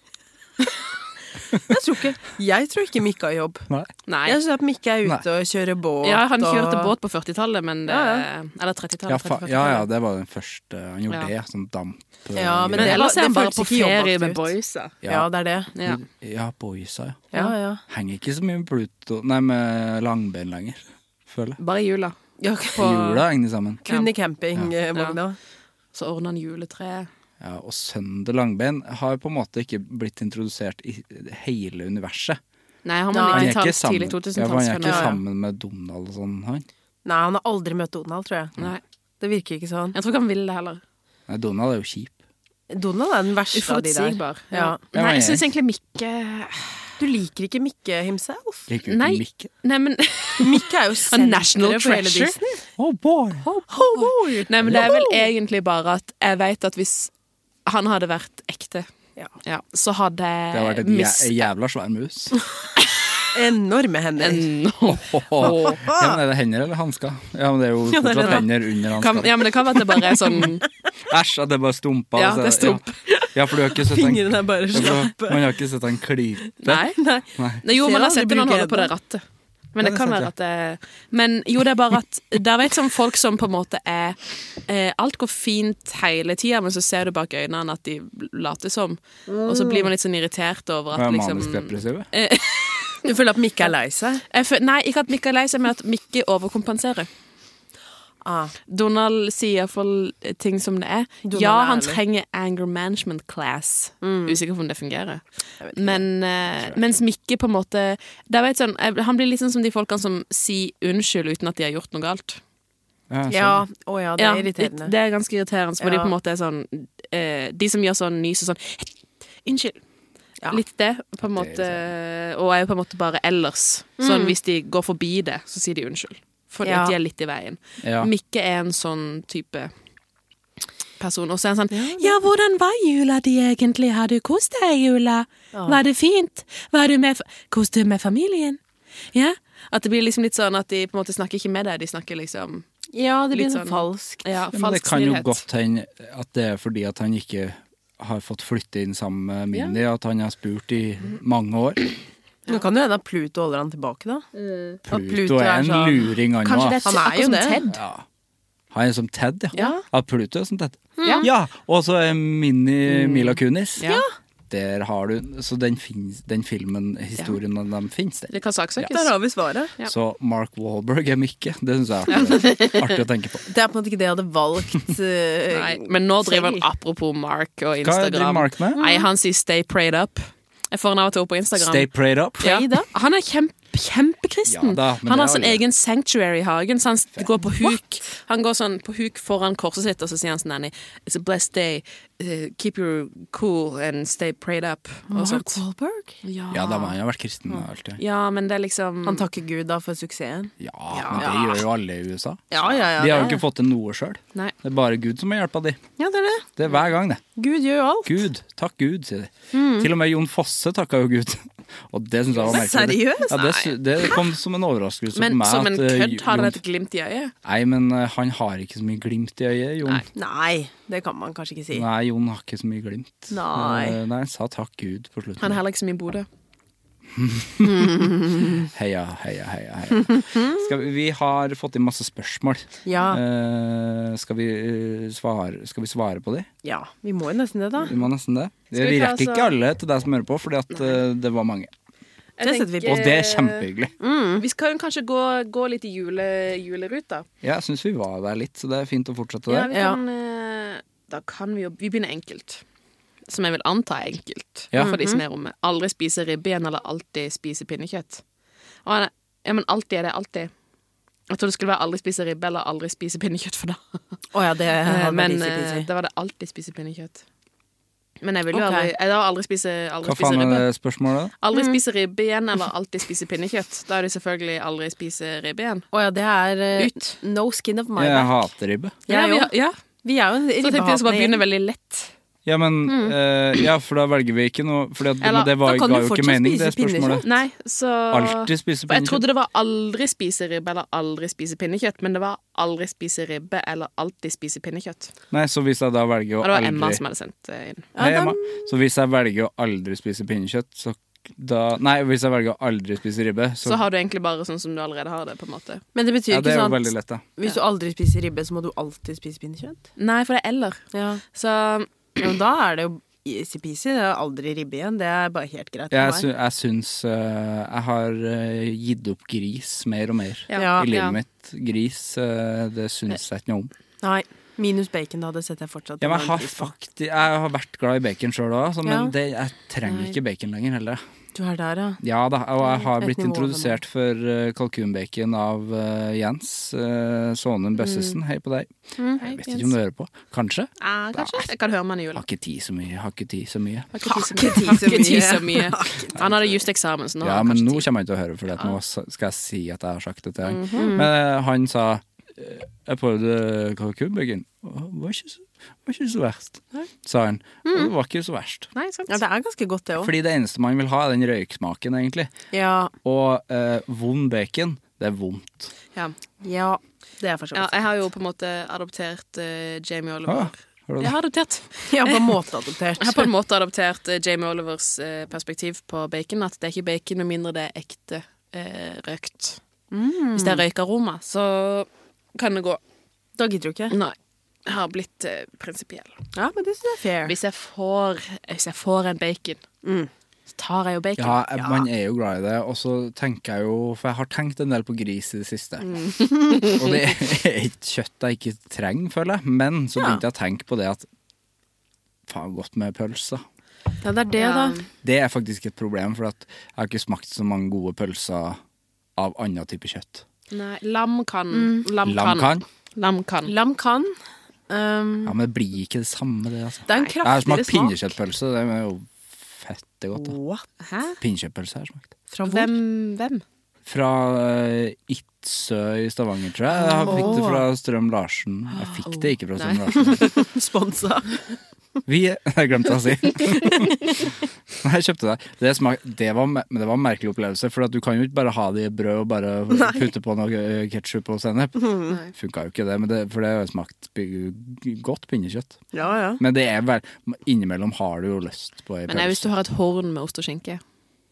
Speaker 3: Jeg tror ikke, jeg tror ikke Mikke har jobb.
Speaker 1: Nei.
Speaker 4: Nei.
Speaker 3: Jeg tror at Mikke er ute og kjører båt.
Speaker 4: Ja, han
Speaker 3: og-
Speaker 4: kjørte båt på 40-tallet, men det,
Speaker 3: Ja,
Speaker 4: Eller 30-tallet.
Speaker 1: Ja, fa
Speaker 4: 30-40-tallet.
Speaker 1: ja, ja, det var den første han gjorde
Speaker 4: Ja.
Speaker 1: det, sånn damp.
Speaker 3: Ja, men
Speaker 4: Men
Speaker 3: det-
Speaker 4: ellers er han bare
Speaker 3: føles
Speaker 4: på
Speaker 3: ikke
Speaker 4: ferie
Speaker 3: jobbaktivt.
Speaker 4: med boysa.
Speaker 3: Ja, det er det.
Speaker 4: Ja.
Speaker 1: Ja, boysa, ja.
Speaker 3: Ja, ja.
Speaker 1: Henger ikke så mye med Pluto Nei, med langben lenger, føler jeg.
Speaker 4: Bare i jula.
Speaker 3: ja
Speaker 4: På,
Speaker 1: Jula henger de sammen.
Speaker 3: kun i campingvogna.
Speaker 4: Så ordna han juletre.
Speaker 1: Ja, og Sønder Langben har på en måte ikke blitt introdusert i hele universet.
Speaker 4: Nei, han
Speaker 3: Nei.
Speaker 4: var
Speaker 1: Han er ikke
Speaker 4: 90-talls, tidlig
Speaker 1: sammen, ja, for han er
Speaker 4: 2000-tallsfenomen.
Speaker 1: ikke
Speaker 3: Ja, ja.
Speaker 1: sammen med Donald og sånn, han.
Speaker 3: Nei, han har aldri møtt Donald, tror
Speaker 1: Mm.
Speaker 3: jeg.
Speaker 4: Nei,
Speaker 3: Det virker ikke sånn.
Speaker 4: jeg tror ikke han ville det heller.
Speaker 1: Nei, Donald er jo kjip.
Speaker 3: Donald er den verste av de der.
Speaker 4: Uforutsigbar.
Speaker 3: Ja.
Speaker 1: Ja,
Speaker 4: Nei,
Speaker 1: jeg-
Speaker 4: jeg syns egentlig Mikke
Speaker 3: Du liker ikke Mikke himself?
Speaker 1: Liker jo
Speaker 4: Nei.
Speaker 1: ikke Mikke.
Speaker 4: Nei, [laughs] men,
Speaker 3: Mikke er
Speaker 4: [laughs]
Speaker 3: jo
Speaker 4: national
Speaker 3: senteret for hele
Speaker 4: treasure.
Speaker 3: Disney.
Speaker 1: Oh boy!
Speaker 4: Nei, men det er vel egentlig bare at jeg vet at hvis han hadde vært ekte,
Speaker 3: Ja.
Speaker 4: ja, så hadde
Speaker 1: Det har vært
Speaker 4: jeg
Speaker 1: et jæ
Speaker 4: mist
Speaker 1: jævla svær mus.
Speaker 3: Enorme hender.
Speaker 4: [laughs] Enorm-
Speaker 1: Ja, men Er det hender eller hansker? Ja, men det er jo
Speaker 3: Ja, det er det,
Speaker 1: fortsatt
Speaker 3: da.
Speaker 1: hender under
Speaker 4: Kan,
Speaker 1: hanskene.
Speaker 4: ja, men det kan være at [laughs] det bare er sånn
Speaker 1: Æsj, at det er bare stumpa.
Speaker 4: Ja,
Speaker 1: og så-
Speaker 4: det er stump.
Speaker 1: Ja. ja, for du har ikke sett han
Speaker 3: Fingrene er bare
Speaker 1: Ja, for
Speaker 3: slappe.
Speaker 1: Man har ikke sett han klype.
Speaker 4: Nei. Nei. Jo,
Speaker 3: Ser
Speaker 4: man
Speaker 3: han,
Speaker 4: har
Speaker 3: de
Speaker 4: sett det når han
Speaker 3: bruker
Speaker 4: holder på det
Speaker 3: den.
Speaker 4: rattet. Men det
Speaker 1: det
Speaker 4: kan
Speaker 1: er
Speaker 4: være at det Men jo, det er bare at der vet sånn folk som på en måte er eh, Alt går fint hele tida, men så ser du bak øynene at de later som. Og så blir man litt sånn irritert over at
Speaker 1: Er
Speaker 4: liksom
Speaker 1: Manisk depressive.
Speaker 3: Du føler at Mikke er lei seg?
Speaker 4: jeg føl- Nei, ikke at Mikke er lei seg, men at Mikke overkompenserer.
Speaker 3: Ah.
Speaker 4: Donald sier iallfall ting som det er.
Speaker 3: Donald
Speaker 4: ja,
Speaker 3: er
Speaker 4: han
Speaker 3: ærlig. Mm.
Speaker 4: trenger anger management class. Usikker på om det fungerer. Men, eh, mens Mikke på en måte det er vel et sånn, jeg- Han blir litt sånn som de folkene som sier unnskyld uten at de har gjort noe galt.
Speaker 1: Ja, sånn.
Speaker 3: Ja, å ja, det
Speaker 4: Ja,
Speaker 3: er irriterende.
Speaker 4: Det er ganske irriterende, fordi
Speaker 3: Ja.
Speaker 4: på en måte er sånn eh, De som gjør sånn nys og sånn Unnskyld.
Speaker 3: Ja.
Speaker 4: Litt det, på en
Speaker 1: Det
Speaker 4: måte.
Speaker 1: er
Speaker 4: Og er jo på en måte bare ellers. Sånn hvis de går forbi det, så sier de unnskyld. Fordi
Speaker 3: Mm. Ja.
Speaker 4: at de er litt i veien.
Speaker 1: Ja.
Speaker 4: Mikke er en sånn type person. Og så er han sånn Ja, hvordan var jula di egentlig? Har du kost deg i jula?
Speaker 3: Ah.
Speaker 4: Var det fint? Var du med fa- Koste du med familien? Ja? At det blir liksom litt sånn at de på en måte snakker ikke med deg, de snakker liksom
Speaker 3: Ja, det blir
Speaker 4: Litt
Speaker 3: sånn
Speaker 4: sånn-
Speaker 3: falskt.
Speaker 4: ja,
Speaker 1: Ja, men det
Speaker 4: falsk
Speaker 1: kan jo
Speaker 4: snillhet.
Speaker 1: godt hende at det er fordi at han ikke har fått flytte inn sammen med Mindy, at han har spurt i mange år.
Speaker 3: Nå kan det hende at Pluto holder han tilbake, da.
Speaker 1: Pluto,
Speaker 3: Pluto
Speaker 1: er
Speaker 3: er
Speaker 1: en
Speaker 3: sånn-
Speaker 1: luring, han
Speaker 4: Mm. Kanskje det
Speaker 1: òg.
Speaker 4: er
Speaker 3: Han er
Speaker 4: akkurat
Speaker 3: jo
Speaker 4: som
Speaker 3: det.
Speaker 4: Ted.
Speaker 1: Ja. Han er som Ted, ja.
Speaker 4: Ja.
Speaker 1: ja. Pluto er som Ted.
Speaker 4: Ja.
Speaker 1: Ja, og så er Minni Mila Kunis.
Speaker 4: Ja.
Speaker 1: der har du Så den, finnes, den filmen, historien om dem, fins der.
Speaker 4: Det kan saksøkes.
Speaker 3: Der har vi svaret.
Speaker 4: Ja.
Speaker 1: Så Mark Wahlberg er Mikke. Det syns jeg er artig, artig å tenke på.
Speaker 3: [laughs] Det er på en måte ikke det jeg
Speaker 4: [laughs]
Speaker 3: hadde valgt. eh,
Speaker 4: Nei, men nå driver han apropos Mark og
Speaker 1: Hva
Speaker 4: Instagram.
Speaker 1: driver Mark med?
Speaker 4: Nei, han sier stay prayed up. Jeg får han av og til opp på Instagram.
Speaker 1: Stay prayed up.
Speaker 4: Ja.
Speaker 3: Prayed up?
Speaker 4: Han er kjempe, kjempekristen.
Speaker 1: Ja da, men
Speaker 4: han har
Speaker 1: det er
Speaker 4: sin
Speaker 1: jo-
Speaker 4: egen sanctuary i hagen, så han s- går på huk. Han går sånn på huk foran korset sitt, og så sier han sånn Nanny, it's a blessed day, Uh, keep your cool and stay prayed up. Og
Speaker 3: Mark
Speaker 4: sånt.
Speaker 3: Wahlberg?
Speaker 4: Ja.
Speaker 1: Ja, da må han jo ha vært kristen alltid.
Speaker 4: ja, men det er liksom
Speaker 3: Han takker Gud da for suksessen.
Speaker 1: Ja, men det gjør jo alle i USA.
Speaker 3: Ja, ja, ja.
Speaker 1: De har jo ikke fått til noe sjøl.
Speaker 4: Nei.
Speaker 1: Det er bare Gud som har hjelpa de.
Speaker 3: ja, det er det.
Speaker 1: Det er hver gang, det.
Speaker 3: Gud gjør jo alt.
Speaker 1: Gud, takk Gud, sier de. Til og med Jon Fosse takka jo Gud. [laughs] Og det syns jeg var merkelig.
Speaker 3: Seriøst?
Speaker 1: Ja, det, sy- det kom som en overraskelse
Speaker 4: Men
Speaker 1: på meg.
Speaker 4: som en
Speaker 1: at, eh,
Speaker 4: kødd har
Speaker 1: Jon-
Speaker 4: han et glimt i øyet.
Speaker 1: Nei, men eh, han har ikke så mye glimt i øyet, Jon. Nei,
Speaker 3: Nei, det kan man kanskje ikke si.
Speaker 1: Jon har ikke så mye glimt.
Speaker 3: Nei.
Speaker 1: Eh, Nei, han sa takk Gud på slutten.
Speaker 4: Han er heller ikke så mye i Bodø.
Speaker 1: Heia, heia, heia. heia. Skal vi, vi har fått inn masse spørsmål.
Speaker 3: Ja,
Speaker 1: Eh, skal, vi, eh, svare, skal vi svare på de?
Speaker 3: ja. Vi må jo nesten det, da.
Speaker 1: Vi må nesten det. Vi
Speaker 4: Skal vi ta
Speaker 1: rekker
Speaker 4: oss
Speaker 1: ikke
Speaker 4: av-
Speaker 1: alle til deg som hører på, fordi at eh, det var mange.
Speaker 3: Det setter vi på.
Speaker 1: Og det er kjempehyggelig.
Speaker 4: Vi skal jo kanskje gå, gå litt i jule, juleruta.
Speaker 1: Ja, jeg syns vi var der litt, så det er fint å fortsette
Speaker 4: Ja,
Speaker 1: der.
Speaker 4: vi kan, eh, Da kan vi jo Vi begynner enkelt. Som jeg vil anta er enkelt
Speaker 1: Ja. Mhm.
Speaker 4: for de som er i rommet. Aldri spise ribbe igjen, eller alltid spise pinnekjøtt. Og han er, ja, men alltid er det alltid. Jeg trodde det skulle være aldri spise ribbe eller aldri spise pinnekjøtt for da.
Speaker 3: Å ja, det hadde vært
Speaker 4: men
Speaker 3: easy-peasy.
Speaker 4: eh, da var det alltid spise pinnekjøtt. Men jeg vil jo
Speaker 3: Ok.
Speaker 4: aldri, jeg, da har aldri spise, aldri
Speaker 1: Hva
Speaker 4: spise
Speaker 1: faen er
Speaker 4: ribbe.
Speaker 1: det Mm. spørsmålet?
Speaker 4: Aldri spise ribbe igjen, eller alltid spise pinnekjøtt. Da er det selvfølgelig aldri spise ribbe igjen.
Speaker 3: Å ja, det er eh,
Speaker 4: Ut.
Speaker 3: no skin of my
Speaker 1: da? Jeg
Speaker 3: back.
Speaker 1: hater ribbe.
Speaker 3: Jeg
Speaker 4: vi
Speaker 3: òg.
Speaker 4: har- ja.
Speaker 3: Vi er jo
Speaker 4: Så tenkte jeg skal bare begynne
Speaker 3: ribbehatende.
Speaker 4: veldig lett.
Speaker 1: Ja, men
Speaker 4: Mm.
Speaker 1: eh, Ja, for da velger vi ikke noe For det,
Speaker 4: Eller,
Speaker 1: men det var,
Speaker 3: da kan
Speaker 1: ga jo
Speaker 3: du
Speaker 1: ikke
Speaker 3: fortsatt
Speaker 1: mening, det
Speaker 3: spise
Speaker 1: spørsmålet.
Speaker 4: Nei, så
Speaker 1: Alltid spise
Speaker 4: Jeg
Speaker 1: pinnekjøtt.
Speaker 4: trodde det var aldri spise ribbe eller aldri spise pinnekjøtt, men det var aldri spise ribbe eller alltid spise pinnekjøtt.
Speaker 1: Nei, så hvis jeg da velger å
Speaker 4: Og det var Emma
Speaker 1: aldri
Speaker 4: som hadde sendt det inn.
Speaker 1: Hei, Emma. Så hvis jeg velger å aldri spise pinnekjøtt, så da Nei, hvis jeg velger å aldri spise ribbe, så,
Speaker 4: Så har du egentlig bare sånn som du allerede har det, på en måte.
Speaker 3: Men det betyr
Speaker 1: Ja, det
Speaker 3: ikke
Speaker 1: er jo
Speaker 3: sånn
Speaker 1: veldig
Speaker 3: at
Speaker 1: lett, da.
Speaker 3: hvis du aldri spiser ribbe, så må du alltid spise pinnekjøtt.
Speaker 4: Nei, for det er eller.
Speaker 3: Ja.
Speaker 4: Så
Speaker 3: Ja, men da er det jo easy-peasy. Det er aldri ribbe igjen. Det er bare helt greit.
Speaker 1: Jeg,
Speaker 3: for
Speaker 1: sy
Speaker 3: meg.
Speaker 1: jeg syns eh, Jeg har eh, gitt opp gris mer og mer
Speaker 3: Ja.
Speaker 1: i livet mitt. Gris, eh, det syns jeg ikke noe om.
Speaker 3: Nei. Minus bacon, da. Det setter jeg fortsatt
Speaker 1: Ja, men jeg, har
Speaker 3: pris på.
Speaker 1: fakti, jeg har vært glad i bacon sjøl òg, men
Speaker 3: Ja.
Speaker 1: det, jeg trenger ikke bacon lenger heller.
Speaker 3: Du er der, ja.
Speaker 1: Ja da, og jeg har
Speaker 3: Et
Speaker 1: blitt
Speaker 3: nivå over
Speaker 1: introdusert for eh, kalkunbacon av eh, Jens uh, Sånen
Speaker 3: Mm.
Speaker 1: Bøssesen. Hei på deg. jeg vet ikke om du hører på. Kanskje.
Speaker 4: ah, kanskje. Jeg kan høre med han i
Speaker 1: Jeg
Speaker 4: jula.
Speaker 1: har ikke tid så mye. jeg Har ikke tid så mye.
Speaker 4: Har ikke tid så mye. Har ikke [laughs] tid så mye. Han hadde just eksamen, så nå
Speaker 1: Ja,
Speaker 4: har han
Speaker 1: men nå
Speaker 4: kanskje tid.
Speaker 1: kommer han til å høre, for det at nå s- skal jeg si at jeg har sagt det til han.
Speaker 4: Mhm.
Speaker 1: Men eh, han sa eh, jeg prøvde eh, kalkunbacon, og det var ikke så, var ikke så verst, sa han. Og det var ikke så verst.
Speaker 4: Mm. Nei, sant?
Speaker 3: Ja, det er ganske godt, det òg.
Speaker 1: Fordi det eneste man vil ha, er den røyksmaken, egentlig.
Speaker 3: Ja.
Speaker 1: Og eh, vond bacon, det er vondt.
Speaker 4: Ja.
Speaker 3: ja. Det er for så
Speaker 4: ja,
Speaker 3: vidt.
Speaker 4: jeg har jo på en måte adoptert eh, Jamie Oliver.
Speaker 1: Ah, har du det?
Speaker 4: Jeg har adoptert.
Speaker 3: [laughs] Ja, på en måte adoptert.
Speaker 4: Jeg har på en måte adoptert eh, Jamie Olivers eh, perspektiv på bacon. At det er ikke bacon med mindre det er ekte eh, røykt.
Speaker 3: Mm.
Speaker 4: Hvis det er røykaroma, så kan det gå.
Speaker 3: Da gidder du ikke.
Speaker 4: Nei. Jeg har blitt eh, prinsipiell.
Speaker 3: Ja, men det syns jeg er fair.
Speaker 4: Hvis jeg får, hvis jeg får en bacon, så tar jeg jo bacon.
Speaker 1: Ja, jeg- man er jo glad i det, og så tenker jeg jo For jeg har tenkt en del på gris i det siste. [laughs] og det er et kjøtt jeg ikke trenger, føler jeg. Men så
Speaker 3: Ja.
Speaker 1: begynte jeg å tenke på det at faen, godt med pølser.
Speaker 3: Ja, det er det,
Speaker 4: Ja.
Speaker 3: da.
Speaker 1: Det er faktisk et problem, for at jeg har ikke smakt så mange gode pølser av annen type kjøtt.
Speaker 4: Nei, lam kan. Lam,
Speaker 1: Lam
Speaker 4: kan.
Speaker 1: kan.
Speaker 4: Lam kan.
Speaker 3: Mm. Lam kan. Um,
Speaker 1: Ja, men det blir ikke det samme, det, altså.
Speaker 3: det er en
Speaker 1: Jeg har
Speaker 3: kraftigere
Speaker 1: smakt
Speaker 3: smak.
Speaker 1: pinnekjøttpølse, det er jo fette godt, da.
Speaker 3: What?
Speaker 4: Hæ?
Speaker 1: Pinnekjøttpølse har jeg smakt.
Speaker 3: Fra hvor?
Speaker 4: Hvem? hvem?
Speaker 1: Fra eh, Itzø i Stavanger, tror jeg. Jeg fikk det fra Strøm Larsen. Jeg fikk det ikke fra Strøm Larsen.
Speaker 3: Sponsa.
Speaker 1: Vi [laughs] Jeg glemte å si. Nei, jeg kjøpte det. Det, smak, det, var, me- men det var en merkelig opplevelse, for at du kan jo ikke bare ha det i brød og bare putte på noe ketsjup og sennep. Funka jo ikke det, men det, for det har jo smakt pi- godt pinnekjøtt.
Speaker 3: Ja, ja.
Speaker 1: Men det er vel, innimellom har du jo lyst på ei
Speaker 4: Men nei, hvis du
Speaker 1: pølse.
Speaker 4: har et horn med ost og skinke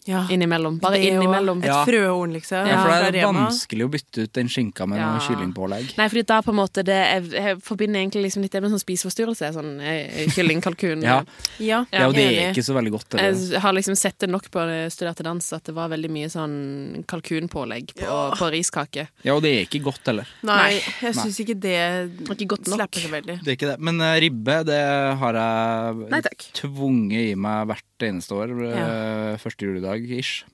Speaker 3: Ah,
Speaker 5: Ja.
Speaker 4: innimellom. Bare
Speaker 5: Det og
Speaker 4: innimellom.
Speaker 5: Et
Speaker 1: Ja.
Speaker 5: frøhorn, liksom.
Speaker 1: Ja, for
Speaker 5: fra
Speaker 1: det er
Speaker 5: Rema.
Speaker 1: vanskelig å bytte ut den skinka med
Speaker 4: Ja.
Speaker 1: noe kyllingpålegg.
Speaker 4: Nei, fordi da på en måte det jeg, jeg forbinder egentlig liksom litt det med sånn spiseforstyrrelse. Sånn eh, kylling,
Speaker 1: [laughs]
Speaker 4: kalkun.
Speaker 1: Ja,
Speaker 5: Ja,
Speaker 1: ja, og det er
Speaker 5: enig.
Speaker 1: ikke så veldig godt. det der.
Speaker 4: Jeg har liksom sett det nok på det studerte dans at det var veldig mye sånn kalkunpålegg på, på riskake.
Speaker 1: Ja, og det er ikke godt heller.
Speaker 5: Nei, jeg
Speaker 1: Nei.
Speaker 5: syns ikke det
Speaker 4: Ikke godt nok.
Speaker 5: slapper så veldig.
Speaker 1: Det er ikke det. Men eh, ribbe, det har jeg
Speaker 5: Nei takk.
Speaker 1: tvunget i meg hvert eneste år. eh,
Speaker 5: Ja.
Speaker 1: Første juledag ish.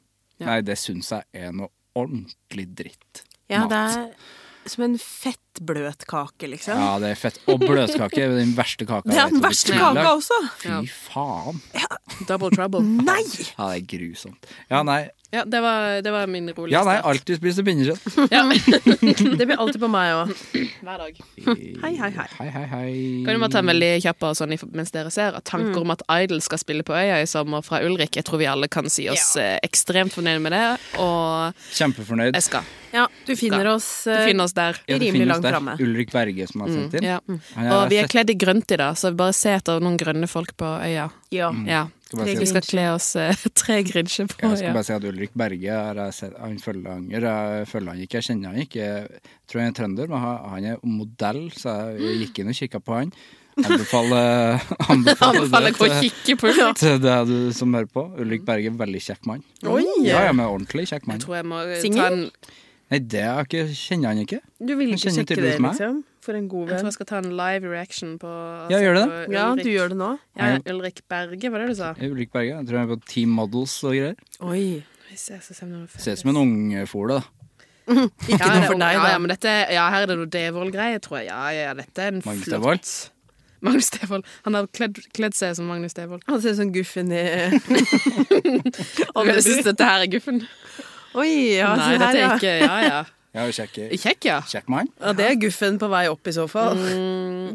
Speaker 1: Nei, det syns jeg er noe ordentlig dritt.
Speaker 5: Ja,
Speaker 1: Mat.
Speaker 5: det er som en fettbløt kake, liksom.
Speaker 1: Ja, det er fett. Og bløtkake er den verste kaka.
Speaker 5: Det
Speaker 1: jeg
Speaker 5: er
Speaker 1: vet
Speaker 5: den
Speaker 1: om
Speaker 5: verste
Speaker 1: i tillegg.
Speaker 5: kaka også!
Speaker 1: Fy faen.
Speaker 4: Double trouble.
Speaker 5: Nei!
Speaker 1: Ja, det er grusomt. Ja, nei.
Speaker 4: Ja, det var, det var min roligste.
Speaker 1: Ja, nei
Speaker 4: [laughs]
Speaker 1: alltid spise pinnekjøtt.
Speaker 3: Det blir alltid på meg òg.
Speaker 4: [clears throat] Hver dag.
Speaker 5: Hei, hei, hei.
Speaker 1: Hei, hei, hei.
Speaker 4: Kan du bare ta en veldig kjapp og sånn i- mens dere ser? At tanker om at Idol skal spille på Øya i sommer fra Ulrik, jeg tror vi alle kan si oss eh, ekstremt fornøyd med det. Og
Speaker 1: Kjempefornøyd.
Speaker 4: jeg skal.
Speaker 3: Ja, du finner oss
Speaker 4: Du
Speaker 3: eh,
Speaker 4: finner oss der.
Speaker 1: Ja,
Speaker 4: Mm.
Speaker 1: det
Speaker 3: rimelig
Speaker 1: finnes
Speaker 3: langt
Speaker 1: der.
Speaker 3: framme.
Speaker 1: Ulrik Berge som har sendt inn.
Speaker 4: Ja.
Speaker 1: Han
Speaker 4: Og vi er
Speaker 1: sett-
Speaker 4: kledd i grønt i dag, så bare se etter noen grønne folk på øya. Ja.
Speaker 3: Ja.
Speaker 1: Mm. skal bare si-
Speaker 4: Vi skal kle oss eh, [laughs] tre grinsjer på
Speaker 1: Jeg skal
Speaker 4: øya.
Speaker 1: bare si at Ulrik Berge er, jeg ser- han følger han, jeg følger han ikke, jeg kjenner han ikke. Jeg tror han er trønder, men han han er modell, så jeg gikk inn og kikka på han.
Speaker 4: [laughs]
Speaker 1: Anbefaler, anbefaler,
Speaker 4: Anbefaler
Speaker 1: det
Speaker 4: å
Speaker 1: til,
Speaker 4: kikke på Ulrik.
Speaker 1: til deg du som hører på. Ulrik Berge, veldig kjekk mann. Ja, ja, men ordentlig kjekk mann.
Speaker 4: Jeg tror jeg må eh,
Speaker 3: Singel?
Speaker 4: ta en
Speaker 1: Nei, det er ikke, kjenner han ikke.
Speaker 3: Du vil
Speaker 1: Jeg
Speaker 3: ikke
Speaker 1: kjenner
Speaker 3: sjekke det,
Speaker 1: tydeligvis meg.
Speaker 3: liksom? For en god
Speaker 4: Jeg tror
Speaker 3: venn.
Speaker 4: jeg skal ta en live reaction på altså,
Speaker 1: Ja, gjør det
Speaker 4: på
Speaker 3: Ja,
Speaker 4: Ulrik.
Speaker 3: du gjør det nå?
Speaker 4: Ja, Ulrik Berge, var det du sa?
Speaker 1: Ulrik Berge, jeg tror han er på Team Models og greier.
Speaker 3: Oi.
Speaker 4: Hvis jeg skal se om det var
Speaker 1: Ser ut som en ungfole, da.
Speaker 4: Ikke ja,
Speaker 3: noe
Speaker 4: det-
Speaker 3: for deg,
Speaker 4: ja,
Speaker 3: da.
Speaker 4: Ja, men dette, ja, her er det noe Devold-greie, tror jeg. Ja, ja, dette er en
Speaker 1: Magnus
Speaker 4: flott-
Speaker 1: Devold?
Speaker 4: Magnus Devold. Han har kledd, kledd seg som Magnus Devold.
Speaker 3: Han ser ut som sånn
Speaker 4: [laughs]
Speaker 3: guffen i
Speaker 4: Jeg syns dette her er guffen.
Speaker 3: Oi, ja,
Speaker 4: Nei,
Speaker 3: se her,
Speaker 4: dette
Speaker 3: ja.
Speaker 4: er ikke Ja, ja.
Speaker 1: Ja, kjekk,
Speaker 4: Kjekk, ja.
Speaker 1: kjekk mann.
Speaker 3: ja. Det er guffen på vei opp, i så fall.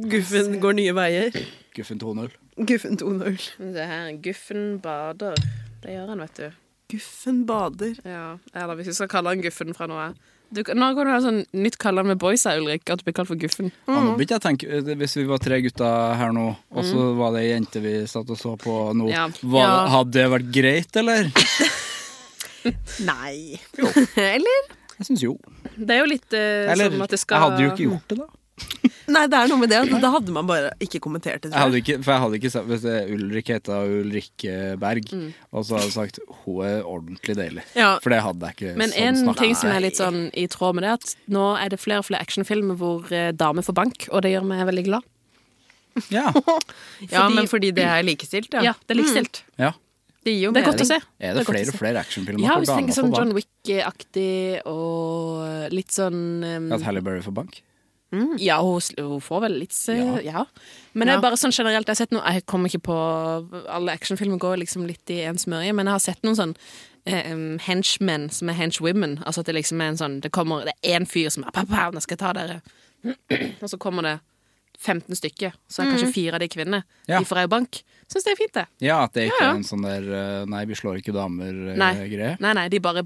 Speaker 3: Guffen går nye veier.
Speaker 1: Guffen 2.0.
Speaker 3: Guffen 2.0.
Speaker 4: Det her er Guffen bader. Det gjør han, vet du.
Speaker 3: Guffen bader.
Speaker 4: Ja, Eller hvis vi skal kalle han Guffen fra nå av. Du, nå kan du ha sånn nytt kallenavn med boysa, Ulrik. At du blir kalt for [laughs] Guffen.
Speaker 1: Ja, nå begynte jeg å tenke eh, Hvis vi var tre gutter her nå, og så var det ei jente vi satt og så på nå,
Speaker 4: Mhm. Ja.
Speaker 1: var,
Speaker 3: Ja.
Speaker 1: hadde det vært greit, eller?
Speaker 3: Nei. Eller?
Speaker 1: Jeg syns jo.
Speaker 4: Det er jo litt eh,
Speaker 1: Eller
Speaker 4: som at det skal
Speaker 1: Jeg hadde jo ikke gjort det, da.
Speaker 3: Nei, det er noe med det. at Da hadde man bare ikke kommentert det.
Speaker 1: Jeg
Speaker 3: Tror jeg.
Speaker 1: hadde ikke, for jeg hadde ikke sagt Hvis det Ulrik heta Ulrikke Berg,
Speaker 4: Mm.
Speaker 1: og så hadde jeg sagt hun er ordentlig deilig.
Speaker 3: Ja.
Speaker 1: For det hadde jeg ikke
Speaker 4: Men
Speaker 1: sånn
Speaker 4: en
Speaker 1: snakket.
Speaker 4: ting som er litt sånn i tråd med det, at nå er det flere og flere actionfilmer hvor eh, damer får bank, og det gjør meg veldig glad.
Speaker 1: Ja.
Speaker 3: Ja,
Speaker 4: fordi-
Speaker 3: men fordi det er likestilt,
Speaker 4: Ja,
Speaker 3: ja.
Speaker 4: det er likestilt. [laughs]
Speaker 1: ja.
Speaker 3: Det gir jo
Speaker 4: Det er godt å
Speaker 3: mening.
Speaker 4: se.
Speaker 1: Er det
Speaker 4: godt å
Speaker 1: flere
Speaker 4: se.
Speaker 1: og flere actionfilmer
Speaker 4: Ja,
Speaker 1: hvor
Speaker 4: hvis du
Speaker 1: damer
Speaker 4: tenker
Speaker 1: får
Speaker 4: sånn John
Speaker 1: bank?
Speaker 4: Wick-aktig og litt sånn eh,
Speaker 1: At Halle Berry får bank?
Speaker 4: Ja, hun, sl- hun får vel litt eh,
Speaker 1: Mm. Ja.
Speaker 4: Ja. Men det er bare sånn generelt, jeg har sett noe Jeg kommer ikke på Alle actionfilmer går liksom litt i en smørje, men jeg har sett noen sånn eh, em, henchmen som er henchwomen. Altså at det liksom er en sånn Det kommer Det er én fyr som er, «Pow, pow, Nå skal jeg ta dere. [clears throat] Og så kommer det 15 stykker, så er kanskje fire av de kvinner.
Speaker 1: Mm. Ja.
Speaker 4: De får ei bank. Syns det er fint, det.
Speaker 1: Ja, at det ikke
Speaker 4: Ja, ja.
Speaker 1: er en sånn der eh, Nei, vi slår ikke eh,
Speaker 4: Nei.
Speaker 1: damer-greie.
Speaker 4: Nei, nei, de bare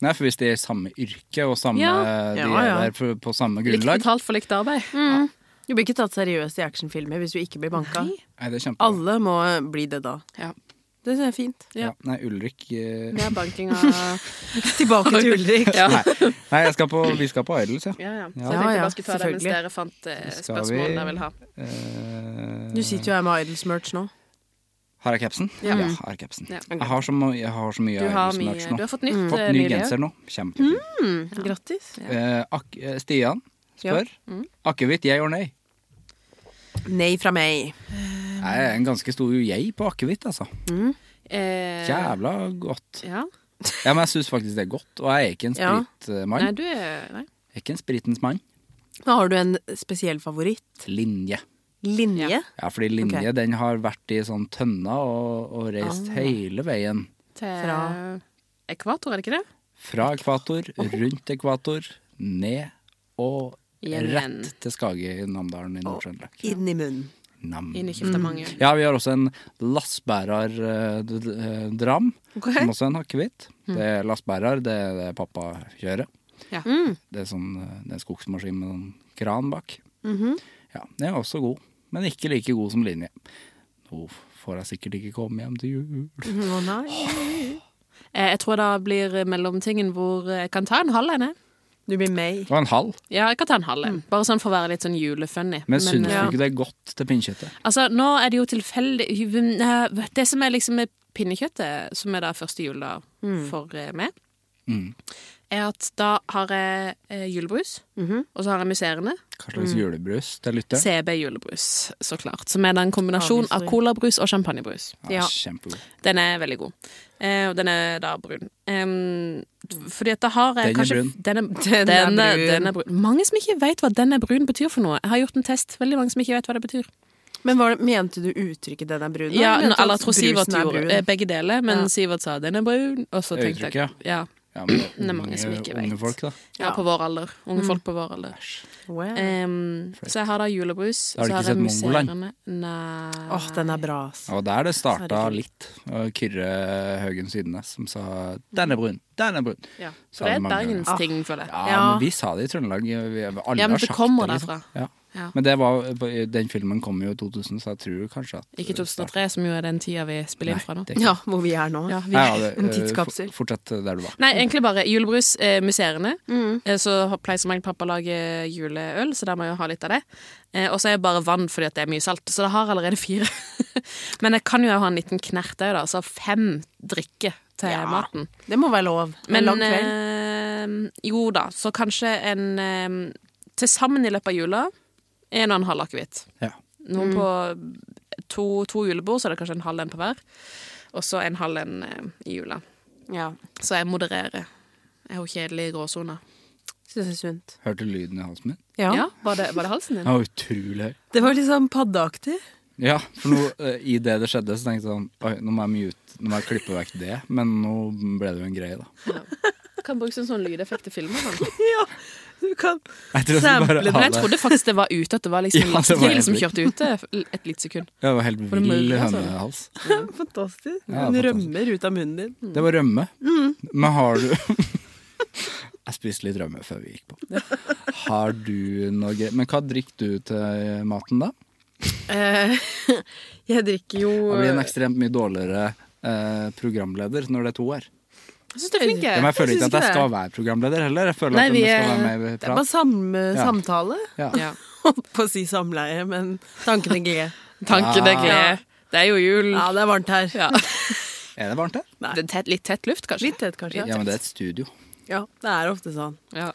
Speaker 1: Nei, for hvis de er i samme yrke og samme,
Speaker 4: Ja.
Speaker 1: de
Speaker 3: Ja, ja.
Speaker 1: er der på, på samme
Speaker 4: likt
Speaker 1: grunnlag Mm.
Speaker 4: betalt for likt arbeid.
Speaker 3: Mm. Du blir ikke tatt seriøst i actionfilmer hvis du ikke blir banka.
Speaker 1: Nei, det er kjempe...
Speaker 3: Alle må eh, bli det da.
Speaker 4: Ja.
Speaker 3: Det synes jeg er fint.
Speaker 1: ja. Nei, Ulrik eh,
Speaker 4: Det er banking av
Speaker 3: Tilbake [laughs] til Ulrik.
Speaker 4: Ja,
Speaker 1: [laughs] Nei, nei jeg skal på, vi skal på Idols, ja.
Speaker 4: ja.
Speaker 1: Ja,
Speaker 4: ja. Så jeg tenkte jeg
Speaker 3: ja,
Speaker 4: bare skulle ta det mens
Speaker 3: selvfølgelig.
Speaker 4: dere fant
Speaker 1: Skal
Speaker 4: eh,
Speaker 1: vi-
Speaker 4: spørsmålene dere vil ha.
Speaker 1: Eh,
Speaker 3: Du sitter jo her med Idols-merch nå.
Speaker 1: Har jeg capsen? Ja. jeg har capsen.
Speaker 4: Ja.
Speaker 1: Jeg, har så, ma- jeg har så mye
Speaker 4: Du har,
Speaker 1: Idols-merch
Speaker 4: mye, du
Speaker 1: nå.
Speaker 4: har fått nytt mm.
Speaker 1: Fått ny genser nå. Kjempefin.
Speaker 3: Grattis.
Speaker 1: Eh, ak eh, Stian spør
Speaker 4: Mm.
Speaker 1: akevitt, jeg or nei?
Speaker 3: Nei fra meg.
Speaker 1: Jeg er en ganske stor jeg på akevitt, altså.
Speaker 4: Eh,
Speaker 1: Jævla godt.
Speaker 4: ja.
Speaker 1: Ja, Men jeg syns faktisk det er godt, og jeg er ikke en
Speaker 3: Ja.
Speaker 1: spritmann.
Speaker 4: Nei, du er nei.
Speaker 1: Jeg er ikke en spritens mann.
Speaker 3: Men har du en spesiell favoritt?
Speaker 1: Linje.
Speaker 3: Linje?
Speaker 1: Ja, fordi linje
Speaker 3: Ok.
Speaker 1: den har vært i sånn tønna og, og reist
Speaker 3: Ah.
Speaker 1: hele veien.
Speaker 4: til
Speaker 3: Fra-
Speaker 4: ekvator, er det ikke det?
Speaker 1: Fra ekvator, rundt ekvator, ned og
Speaker 4: Hjem igjen.
Speaker 1: rett til Skage i Namdalen i Nord-Trøndelag.
Speaker 3: Inn i munnen.
Speaker 1: Nam.
Speaker 4: I Nykjeftemanget.
Speaker 1: Mm. Ja, vi har også en lastbærer eh, d- d- eh, dram, som også er en hakkevitt. Det er lastbærer, det er det pappa kjører.
Speaker 4: Ja.
Speaker 1: Det er sånn, eh, det er en skogsmaskin med en kran bak.
Speaker 4: Mm-hmm.
Speaker 1: Ja, den er også god, men ikke like god som linje. Nå får jeg sikkert ikke komme hjem til jul.
Speaker 3: Å nei.
Speaker 4: Eh, Jeg tror det blir mellomtingen hvor eh, jeg kan ta en halv en. jeg.
Speaker 3: Du blir med.
Speaker 1: Det var en halv.
Speaker 4: Ja, jeg kan ta en halv en.
Speaker 1: Mm.
Speaker 4: Bare sånn for å være litt sånn julefunny.
Speaker 1: Men syns du
Speaker 4: eh,
Speaker 1: ikke det er godt til pinnkjøttet?
Speaker 4: Altså, nå er det jo tilfeldig Nei, Det som er liksom med pinnekjøttet, som er da første jul da for eh, meg,
Speaker 1: Mm.
Speaker 4: er at da har jeg eh, julebrus,
Speaker 1: Mhm.
Speaker 4: og så har jeg musserende.
Speaker 1: Hva
Speaker 4: Mm.
Speaker 1: slags julebrus til lytteren?
Speaker 4: CB julebrus, så klart. Som er da en kombinasjon av colabrus og champagnebrus.
Speaker 1: Ja, kjempegod.
Speaker 4: Den er veldig god. Eh, og den er da brun. Em, fordi at da har jeg
Speaker 1: Den er
Speaker 4: kanskje
Speaker 1: brun.
Speaker 4: Den er, [laughs] den, er,
Speaker 3: brun.
Speaker 4: den er brun. Mange som ikke vet hva 'den er brun' betyr for noe. Jeg har gjort en test. Veldig mange som ikke vet hva det betyr.
Speaker 3: Men var det, mente du uttrykket 'den er brun'?
Speaker 4: Ja,
Speaker 3: eller mente du
Speaker 4: eller
Speaker 3: at
Speaker 4: jeg tror Sivert
Speaker 3: brusen er
Speaker 4: gjorde
Speaker 3: brun?
Speaker 4: eh, begge deler, men
Speaker 3: Ja.
Speaker 4: Sivert sa 'den er brun', og så
Speaker 1: Det er
Speaker 4: tenkte jeg
Speaker 1: uttrykket,
Speaker 4: ja,
Speaker 1: Ja, men det
Speaker 4: [clears throat] Det er mange som ikke vet.
Speaker 1: Unge folk, da.
Speaker 4: ja, på vår alder.
Speaker 3: Mm.
Speaker 4: Unge folk på vår alder.
Speaker 3: Wow.
Speaker 4: eh, Em, så jeg har da julebrus.
Speaker 1: Da har du
Speaker 4: så
Speaker 1: ikke
Speaker 4: jeg
Speaker 1: sett Mongoland?
Speaker 4: musserende- Nei
Speaker 3: Åh, den er bra, ass.
Speaker 1: Og der det starta
Speaker 3: Herregud.
Speaker 1: litt. Og Kyrre Haugen Sydnes som sa 'den er brun', 'den er brun'.
Speaker 4: ja.
Speaker 1: Så
Speaker 4: For det
Speaker 1: er
Speaker 4: er
Speaker 1: det mange ganger.
Speaker 4: bergensting, føler jeg.
Speaker 1: Ja,
Speaker 3: Ja.
Speaker 1: men vi sa det i Trøndelag. Vi- vi- Alle
Speaker 4: Ja, men
Speaker 1: har
Speaker 4: det
Speaker 1: sagt
Speaker 4: kommer
Speaker 1: liksom.
Speaker 4: derfra.
Speaker 1: Ja.
Speaker 4: Ja.
Speaker 1: Men det var, den filmen kom jo i 2000, så jeg tror kanskje at eh,
Speaker 4: Ikke 2003, som jo er den tida vi spiller inn fra nå.
Speaker 1: det er ikke-
Speaker 3: Ja, hvor vi er nå.
Speaker 4: Ja, vi,
Speaker 1: Ja,
Speaker 4: [laughs]
Speaker 1: det-
Speaker 3: En
Speaker 1: eh,
Speaker 3: tidskapsel.
Speaker 1: for- Fortsett der du var.
Speaker 4: Nei, egentlig bare julebrus, eh, musserende.
Speaker 3: Mm.
Speaker 4: Eh, så har- pleier som regel pappa å lage juleøl, så da må jeg jo ha litt av det. Eh, og så er jeg bare vann fordi at det er mye salt, så det har jeg allerede fire. [laughs] Men jeg kan jo ha en liten knert òg, da. Så fem drikker til maten.
Speaker 3: Det må være lov.
Speaker 4: Men
Speaker 3: Men lang kveld.
Speaker 4: eh, jo da, så kanskje en eh, Til sammen i løpet av jula en og en halv akevitt.
Speaker 1: Ja.
Speaker 4: Noe
Speaker 3: Mm.
Speaker 4: på to, to julebord, så er det kanskje en halv en på hver. Og så en halv en eh, i jula.
Speaker 3: Ja.
Speaker 4: Så jeg modererer. Jeg har jo kjedelig i gråsona.
Speaker 3: Syns det er sunt.
Speaker 1: Hørte du lyden i halsen min?
Speaker 3: Ja.
Speaker 4: Ja. var, det, var det halsen din?
Speaker 1: Den var utrolig høy.
Speaker 3: Det var liksom paddeaktig.
Speaker 1: Ja, for
Speaker 4: [laughs]
Speaker 1: nå, eh, i det det skjedde, så tenkte jeg sånn Oi, nå må jeg mute, nå må jeg klippe vekk det. Men nå ble det jo en greie, da.
Speaker 4: Kan brukes som sånn lydeffekt til filmer. sånn.
Speaker 3: Du kan
Speaker 1: Jeg tror jeg skal
Speaker 3: Sample
Speaker 1: bare
Speaker 4: Men jeg
Speaker 1: ha det.
Speaker 4: trodde faktisk det var ute, at det var liksom
Speaker 1: [laughs]
Speaker 4: en
Speaker 1: Ja, det var
Speaker 4: lastebil
Speaker 1: helt
Speaker 4: som
Speaker 1: vilt.
Speaker 4: kjørte ute et lite sekund.
Speaker 1: Jeg var helt
Speaker 4: det
Speaker 1: vill
Speaker 4: mulig, altså?
Speaker 1: hønehals.
Speaker 3: [laughs] Fantastisk.
Speaker 1: Ja,
Speaker 3: Den
Speaker 1: fantastisk. Mm.
Speaker 3: rømmer ut av munnen din. Mm.
Speaker 1: Det var rømme. Men har du
Speaker 3: [laughs]
Speaker 1: Jeg spiste litt rømme før vi gikk på. Har du noe gre- Men hva drikker du til maten, da?
Speaker 3: Jeg drikker jo
Speaker 1: Jeg blir en ekstremt mye dårligere eh, programleder når det er to her.
Speaker 3: eh,
Speaker 4: Jeg syns du er flink.
Speaker 1: Ja, men jeg føler
Speaker 3: jeg
Speaker 1: ikke
Speaker 3: syns
Speaker 1: at jeg
Speaker 3: ikke det.
Speaker 1: skal være programleder heller. Jeg føler
Speaker 4: Nei,
Speaker 1: at
Speaker 4: vi
Speaker 1: vi skal
Speaker 4: er-
Speaker 1: være med i
Speaker 3: Det er bare
Speaker 1: prat.
Speaker 3: samme
Speaker 1: Ja.
Speaker 3: samtale.
Speaker 1: Ja.
Speaker 4: Ja.
Speaker 3: Holdt på å si samleie, men [laughs] tankene gled.
Speaker 1: Ah.
Speaker 4: Tanken er glede. Det er jo jul.
Speaker 3: Ja, det er varmt her.
Speaker 4: Ja.
Speaker 1: Er det varmt her?
Speaker 4: Det er tett, litt tett luft, kanskje.
Speaker 3: Litt tett, kanskje.
Speaker 1: Ja, men det er et studio.
Speaker 3: Ja, det er ofte sånn.
Speaker 4: Ja.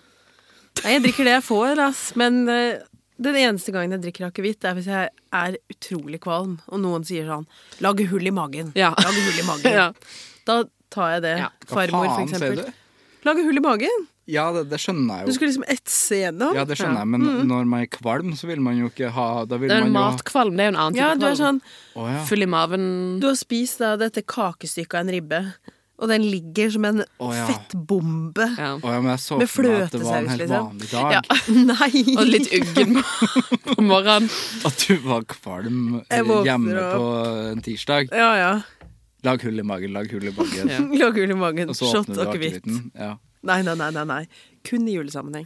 Speaker 3: Nei, jeg drikker det jeg får, ass. Men eh, den eneste gangen jeg drikker akevitt, det er hvis jeg er utrolig kvalm, og noen sier sånn 'lag hull i magen'.
Speaker 4: Ja.
Speaker 3: Lag hull i
Speaker 4: [laughs]
Speaker 3: magen.
Speaker 4: Ja.
Speaker 3: Da tar jeg det.
Speaker 4: Ja.
Speaker 1: Hva
Speaker 3: Farmor, for
Speaker 1: faen, sier
Speaker 3: eksempel.
Speaker 1: du?
Speaker 3: Lage hull i magen.
Speaker 1: Ja, det, det skjønner
Speaker 3: Du
Speaker 1: jeg jo.
Speaker 3: skulle Mm. liksom etse gjennom.
Speaker 1: Ja, det skjønner jeg, men når man er kvalm, så vil man jo ikke ha Da vil
Speaker 4: Det er jo
Speaker 1: man jo
Speaker 4: en
Speaker 1: ha
Speaker 4: matkvalm. Det er jo en annen
Speaker 3: Ja,
Speaker 4: type
Speaker 3: du er
Speaker 4: kvalm.
Speaker 3: sånn
Speaker 1: Å, ja.
Speaker 4: Full i maven.
Speaker 3: Du har spist da dette kakestykket av en ribbe, og den ligger som en
Speaker 1: Å, ja.
Speaker 3: fettbombe.
Speaker 4: Ja.
Speaker 1: Å, ja, men jeg så
Speaker 3: Med
Speaker 1: for meg at det var en
Speaker 3: fløtesaus,
Speaker 1: helt
Speaker 3: liksom.
Speaker 1: vanlig dag.
Speaker 4: Ja.
Speaker 3: Nei!
Speaker 4: Og litt uggen på på morgenen.
Speaker 1: [laughs] At du var kvalm eh,
Speaker 3: Jeg våkner
Speaker 1: hjemme
Speaker 3: opp.
Speaker 1: på en tirsdag.
Speaker 3: Ja, ja.
Speaker 1: Lag hull i magen, lag hull i magen.
Speaker 4: Ja.
Speaker 3: Lage hull i magen.
Speaker 1: Og så
Speaker 3: Shot
Speaker 1: åpner du
Speaker 3: og akevitt.
Speaker 1: akevitten. Ja.
Speaker 3: Nei, nei, nei, nei, nei. Kun i julesammenheng. Mm.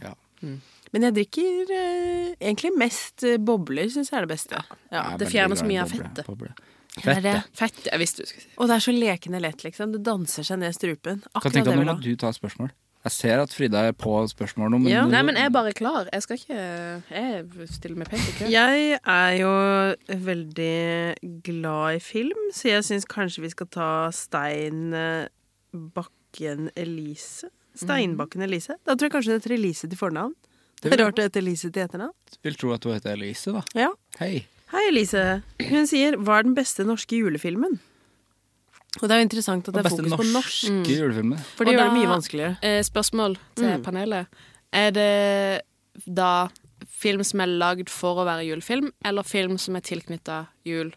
Speaker 1: Ja.
Speaker 3: Men jeg drikker eh, egentlig mest eh, bobler, syns jeg er det beste. Ja.
Speaker 1: Jeg er
Speaker 4: det
Speaker 1: veldig
Speaker 4: fjerner så
Speaker 1: glad i
Speaker 4: mye av
Speaker 1: boble,
Speaker 4: fettet.
Speaker 1: boble.
Speaker 4: Er
Speaker 1: Fettet.
Speaker 4: det Fett. Jeg visste du skulle si
Speaker 3: Og det er så lekende lett, liksom. Det danser seg ned strupen.
Speaker 1: Kan
Speaker 3: Akkurat det
Speaker 1: tenke at nå
Speaker 3: jeg vil
Speaker 1: må
Speaker 3: ha.
Speaker 1: du ta spørsmål. Jeg ser at Frida er på spørsmål nå, men,
Speaker 3: Ja.
Speaker 4: Nei, men jeg er bare klar. Jeg skal ikke Jeg stiller meg pent i kø.
Speaker 3: Jeg er jo veldig glad i film, så jeg syns kanskje vi skal ta Stein eh, Bakken Elise. Steinbakken Elise. Da tror jeg kanskje hun heter Elise til fornavn. Det er
Speaker 1: vil-
Speaker 3: rart det heter Elise til etternavn.
Speaker 1: vil tro at hun heter Elise, da.
Speaker 3: Ja.
Speaker 1: Hei.
Speaker 3: Hei, Elise. Hun sier 'Hva er den beste norske julefilmen?' Og det er jo interessant at det
Speaker 1: Den
Speaker 3: er
Speaker 1: beste
Speaker 3: fokus
Speaker 1: norske
Speaker 3: på norsk. Mm.
Speaker 1: julefilmen.
Speaker 3: For det
Speaker 4: Og
Speaker 3: gjør det
Speaker 4: da-
Speaker 3: mye vanskeligere.
Speaker 4: Eh, spørsmål til panelet. Er det da film som er lagd for å være julefilm, eller film som er tilknytta jul?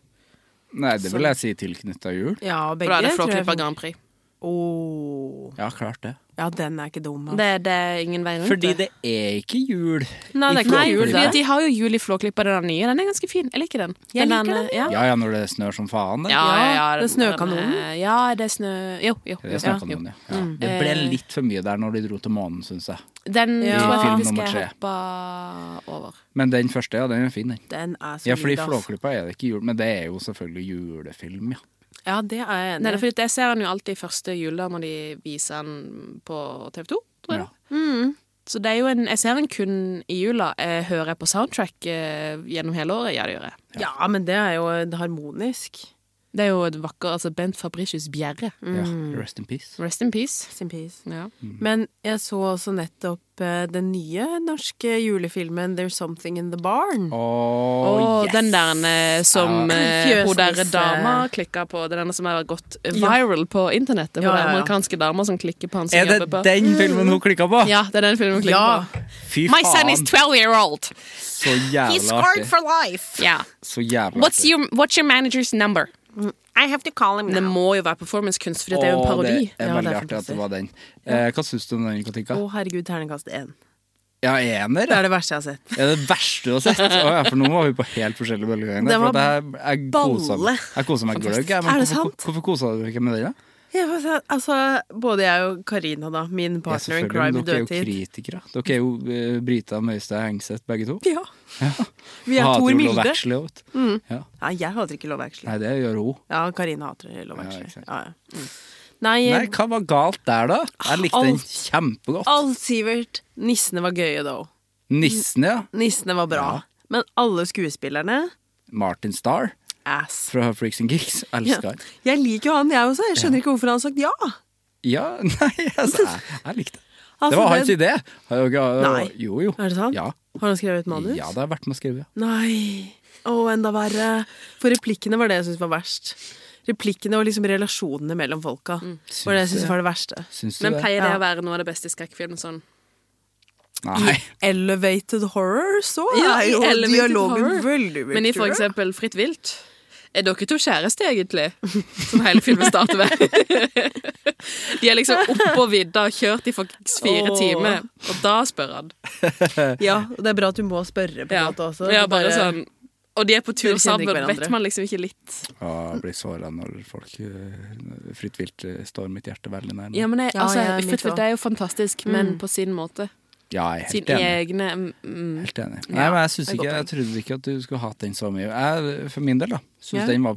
Speaker 1: Nei, det vil jeg si tilknytta jul.
Speaker 3: Ja, begge.
Speaker 4: For da er det
Speaker 3: tror jeg-
Speaker 4: Flåklypa Grand Prix.
Speaker 3: Åh.
Speaker 1: Ja, klart det.
Speaker 3: Ja, den er ikke dum. altså. ass.
Speaker 4: Det, det er ingen vei rundt
Speaker 1: Fordi
Speaker 4: det.
Speaker 1: det er ikke jul.
Speaker 3: Nei, det er ikke
Speaker 4: Nei,
Speaker 3: jul,
Speaker 4: fordi
Speaker 3: det.
Speaker 4: at de har jo jul i Flåklypa, den er nye. Den er ganske fin. Jeg liker den.
Speaker 3: Jeg
Speaker 4: den
Speaker 3: liker
Speaker 4: den. Ja.
Speaker 1: Ja ja, når det snør som faen. Det.
Speaker 4: Ja, ja, ja,
Speaker 3: Ja, det er snøkanonen.
Speaker 4: den er- Ja, det er snø... Jo, jo.
Speaker 1: Det,
Speaker 4: jo,
Speaker 1: snakket
Speaker 4: jo.
Speaker 1: noen, ja. Ja. det ble
Speaker 4: Eh.
Speaker 1: litt for mye der når de dro til månen, syns jeg.
Speaker 4: Den
Speaker 3: Ja.
Speaker 4: tror jeg
Speaker 1: Film
Speaker 4: faktisk
Speaker 1: nummer
Speaker 4: jeg
Speaker 1: tre.
Speaker 4: hoppa over.
Speaker 1: Men den første, ja, den er fin, den.
Speaker 3: Den er solid,
Speaker 1: Ja, fordi
Speaker 3: ass.
Speaker 1: Flåklypa er det ikke jul, men det er jo selvfølgelig julefilm, ja.
Speaker 3: altså.
Speaker 5: Ja, det er jeg
Speaker 4: Nei,
Speaker 5: enig i.
Speaker 4: for jeg ser den jo alltid første juledag når de viser den på TV 2, tror jeg.
Speaker 1: Ja.
Speaker 4: Så det er jo en, jeg ser den kun i jula. Jeg hører jeg på soundtrack eh, gjennom hele året? Ja, det gjør jeg.
Speaker 3: Ja, men det er jo harmonisk.
Speaker 4: Det er jo et vakker altså Bent Fabricius Bjerre.
Speaker 1: Ja,
Speaker 4: Mm.
Speaker 1: rest in peace.
Speaker 4: Rest in peace.
Speaker 3: Sin peace.
Speaker 4: Ja.
Speaker 1: Mm.
Speaker 3: Men jeg så også nettopp eh, den nye norske julefilmen 'There's Something In The Barn'.
Speaker 1: Å,
Speaker 4: Og
Speaker 1: yes!
Speaker 4: Mm. den der eh, som eh, hun der
Speaker 3: Fjøsnisse.
Speaker 4: dama klikka på. Det er den som har gått viral på internettet. Hun
Speaker 3: Ja,
Speaker 4: der
Speaker 3: ja, ja.
Speaker 4: amerikanske dama som klikker på han som
Speaker 1: Er det
Speaker 4: jobber på.
Speaker 1: den filmen hun klikka på?
Speaker 4: [laughs] Ja, det er den filmen hun klikker
Speaker 3: Ja.
Speaker 4: på.
Speaker 1: Fy
Speaker 4: My son is
Speaker 1: faen,
Speaker 4: 12 year old.
Speaker 1: så jævla artig.
Speaker 4: Ja.
Speaker 1: Så jævla
Speaker 4: What's
Speaker 1: artig.
Speaker 4: your, what's your manager's number?
Speaker 5: I have to call him
Speaker 4: Det må jo være performancekunst, for det er jo
Speaker 1: Å,
Speaker 4: en parodi.
Speaker 1: Det er
Speaker 3: Ja, det
Speaker 1: veldig
Speaker 3: er
Speaker 1: artig at det
Speaker 3: fantastisk.
Speaker 1: var den. Eh, hva syns du om den, Katinka?
Speaker 3: Å, herregud, terningkast én.
Speaker 1: Ja, ener?
Speaker 3: Det
Speaker 1: Er
Speaker 3: er det verste jeg har sett.
Speaker 1: det er det verste du har sett? Å, ja, for nå var vi på helt forskjellige bølgeganger.
Speaker 3: Det var
Speaker 1: for det her- jeg kosa meg- Jeg kosa meg gløgg. jeg, men
Speaker 3: Er det
Speaker 1: hvorfor-
Speaker 3: sant?
Speaker 1: Hvorfor kosa du deg ikke med den? da?
Speaker 3: Ja, for så- altså, både jeg og Karina, da, min
Speaker 1: Ja,
Speaker 3: partner in
Speaker 1: selvfølgelig,
Speaker 3: crime i
Speaker 1: men dere er jo
Speaker 3: dødtid
Speaker 1: kritikere. Dere er jo eh, Brita Møystad Hengseth, begge to.
Speaker 3: [laughs] Ja. Vi er
Speaker 1: Hater
Speaker 3: Tor
Speaker 1: jo Love
Speaker 3: Milde. Mm.
Speaker 1: Actually, vet du. Ja.
Speaker 3: Nei, jeg hater ikke Love Actually.
Speaker 1: Nei, det gjør hun.
Speaker 3: Ja, Karina hater Love
Speaker 1: Ja,
Speaker 3: Actually.
Speaker 1: ikke sant.
Speaker 3: Ja, ja. Mm. Nei, eh,
Speaker 1: Nei, hva var galt der, da? Jeg likte den
Speaker 3: Alt.
Speaker 1: kjempegodt.
Speaker 3: alt, Sivert. Nissene var gøye, though.
Speaker 1: Nissen, ja.
Speaker 3: Nissene var bra.
Speaker 1: Ja.
Speaker 3: Men alle skuespillerne
Speaker 1: Martin Starr
Speaker 3: ass.
Speaker 1: fra Freaks and Geeks. Elsker han.
Speaker 3: Jeg liker jo han, jeg også. Jeg skjønner ikke hvorfor han har sagt ja.
Speaker 1: Ja, [laughs] nei, altså, jeg, jeg likte det.
Speaker 3: Altså,
Speaker 1: Det var hans
Speaker 3: den-
Speaker 1: idé. Har jo ikke-
Speaker 3: Nei.
Speaker 1: Jo, jo.
Speaker 3: Er det sant?
Speaker 1: Ja.
Speaker 3: Har han skrevet manus?
Speaker 1: Ja, det har vært med å skrive. ja.
Speaker 3: Nei. Å, enda verre. For replikkene var det jeg syntes var verst. Replikkene og liksom relasjonene mellom folka var det Mm. jeg
Speaker 1: Syns
Speaker 3: syntes var det verste.
Speaker 1: Syns du
Speaker 4: Men
Speaker 1: det?
Speaker 4: pleier det å
Speaker 3: Ja.
Speaker 4: være noe av det beste i skrekkfilm? Sånn.
Speaker 1: Nei.
Speaker 3: Elevated horror, så
Speaker 4: Ja,
Speaker 3: er
Speaker 4: i
Speaker 3: jo
Speaker 4: elevated
Speaker 3: dialogen
Speaker 4: horror.
Speaker 3: veldig
Speaker 4: Men i for
Speaker 3: kul.
Speaker 4: eksempel Fritt vilt. Er dere to kjærester, egentlig? [laughs] Som hele filmen starter med. [laughs] De er liksom oppå vidda og kjørt i faktisk fire
Speaker 3: Åh.
Speaker 4: timer, og da spør han.
Speaker 3: Ja, og det er bra at du må spørre på en
Speaker 4: Ja.
Speaker 3: måte også.
Speaker 4: ja,
Speaker 3: Det
Speaker 4: bare sånn Og de er på tur
Speaker 3: Dere kjenner
Speaker 4: sammen,
Speaker 3: ikke hverandre.
Speaker 4: vet man liksom ikke litt.
Speaker 1: Å, jeg blir såra når folk eh, fritt vilt eh, står mitt hjerte veldig nærme.
Speaker 4: Ja, men jeg,
Speaker 3: Ja,
Speaker 4: altså,
Speaker 3: ja,
Speaker 4: Fritt
Speaker 3: mitt
Speaker 4: vilt er Mm. jo fantastisk, men på sin måte.
Speaker 1: Ja, jeg er helt
Speaker 4: Sine
Speaker 1: enig.
Speaker 4: egne mm,
Speaker 1: Helt enig. Nei, men jeg, synes
Speaker 4: det er
Speaker 1: ikke,
Speaker 4: godt
Speaker 1: jeg trodde ikke at du skulle hatt den så mye. Jeg, for min del, da, syns
Speaker 3: Ja.
Speaker 1: den var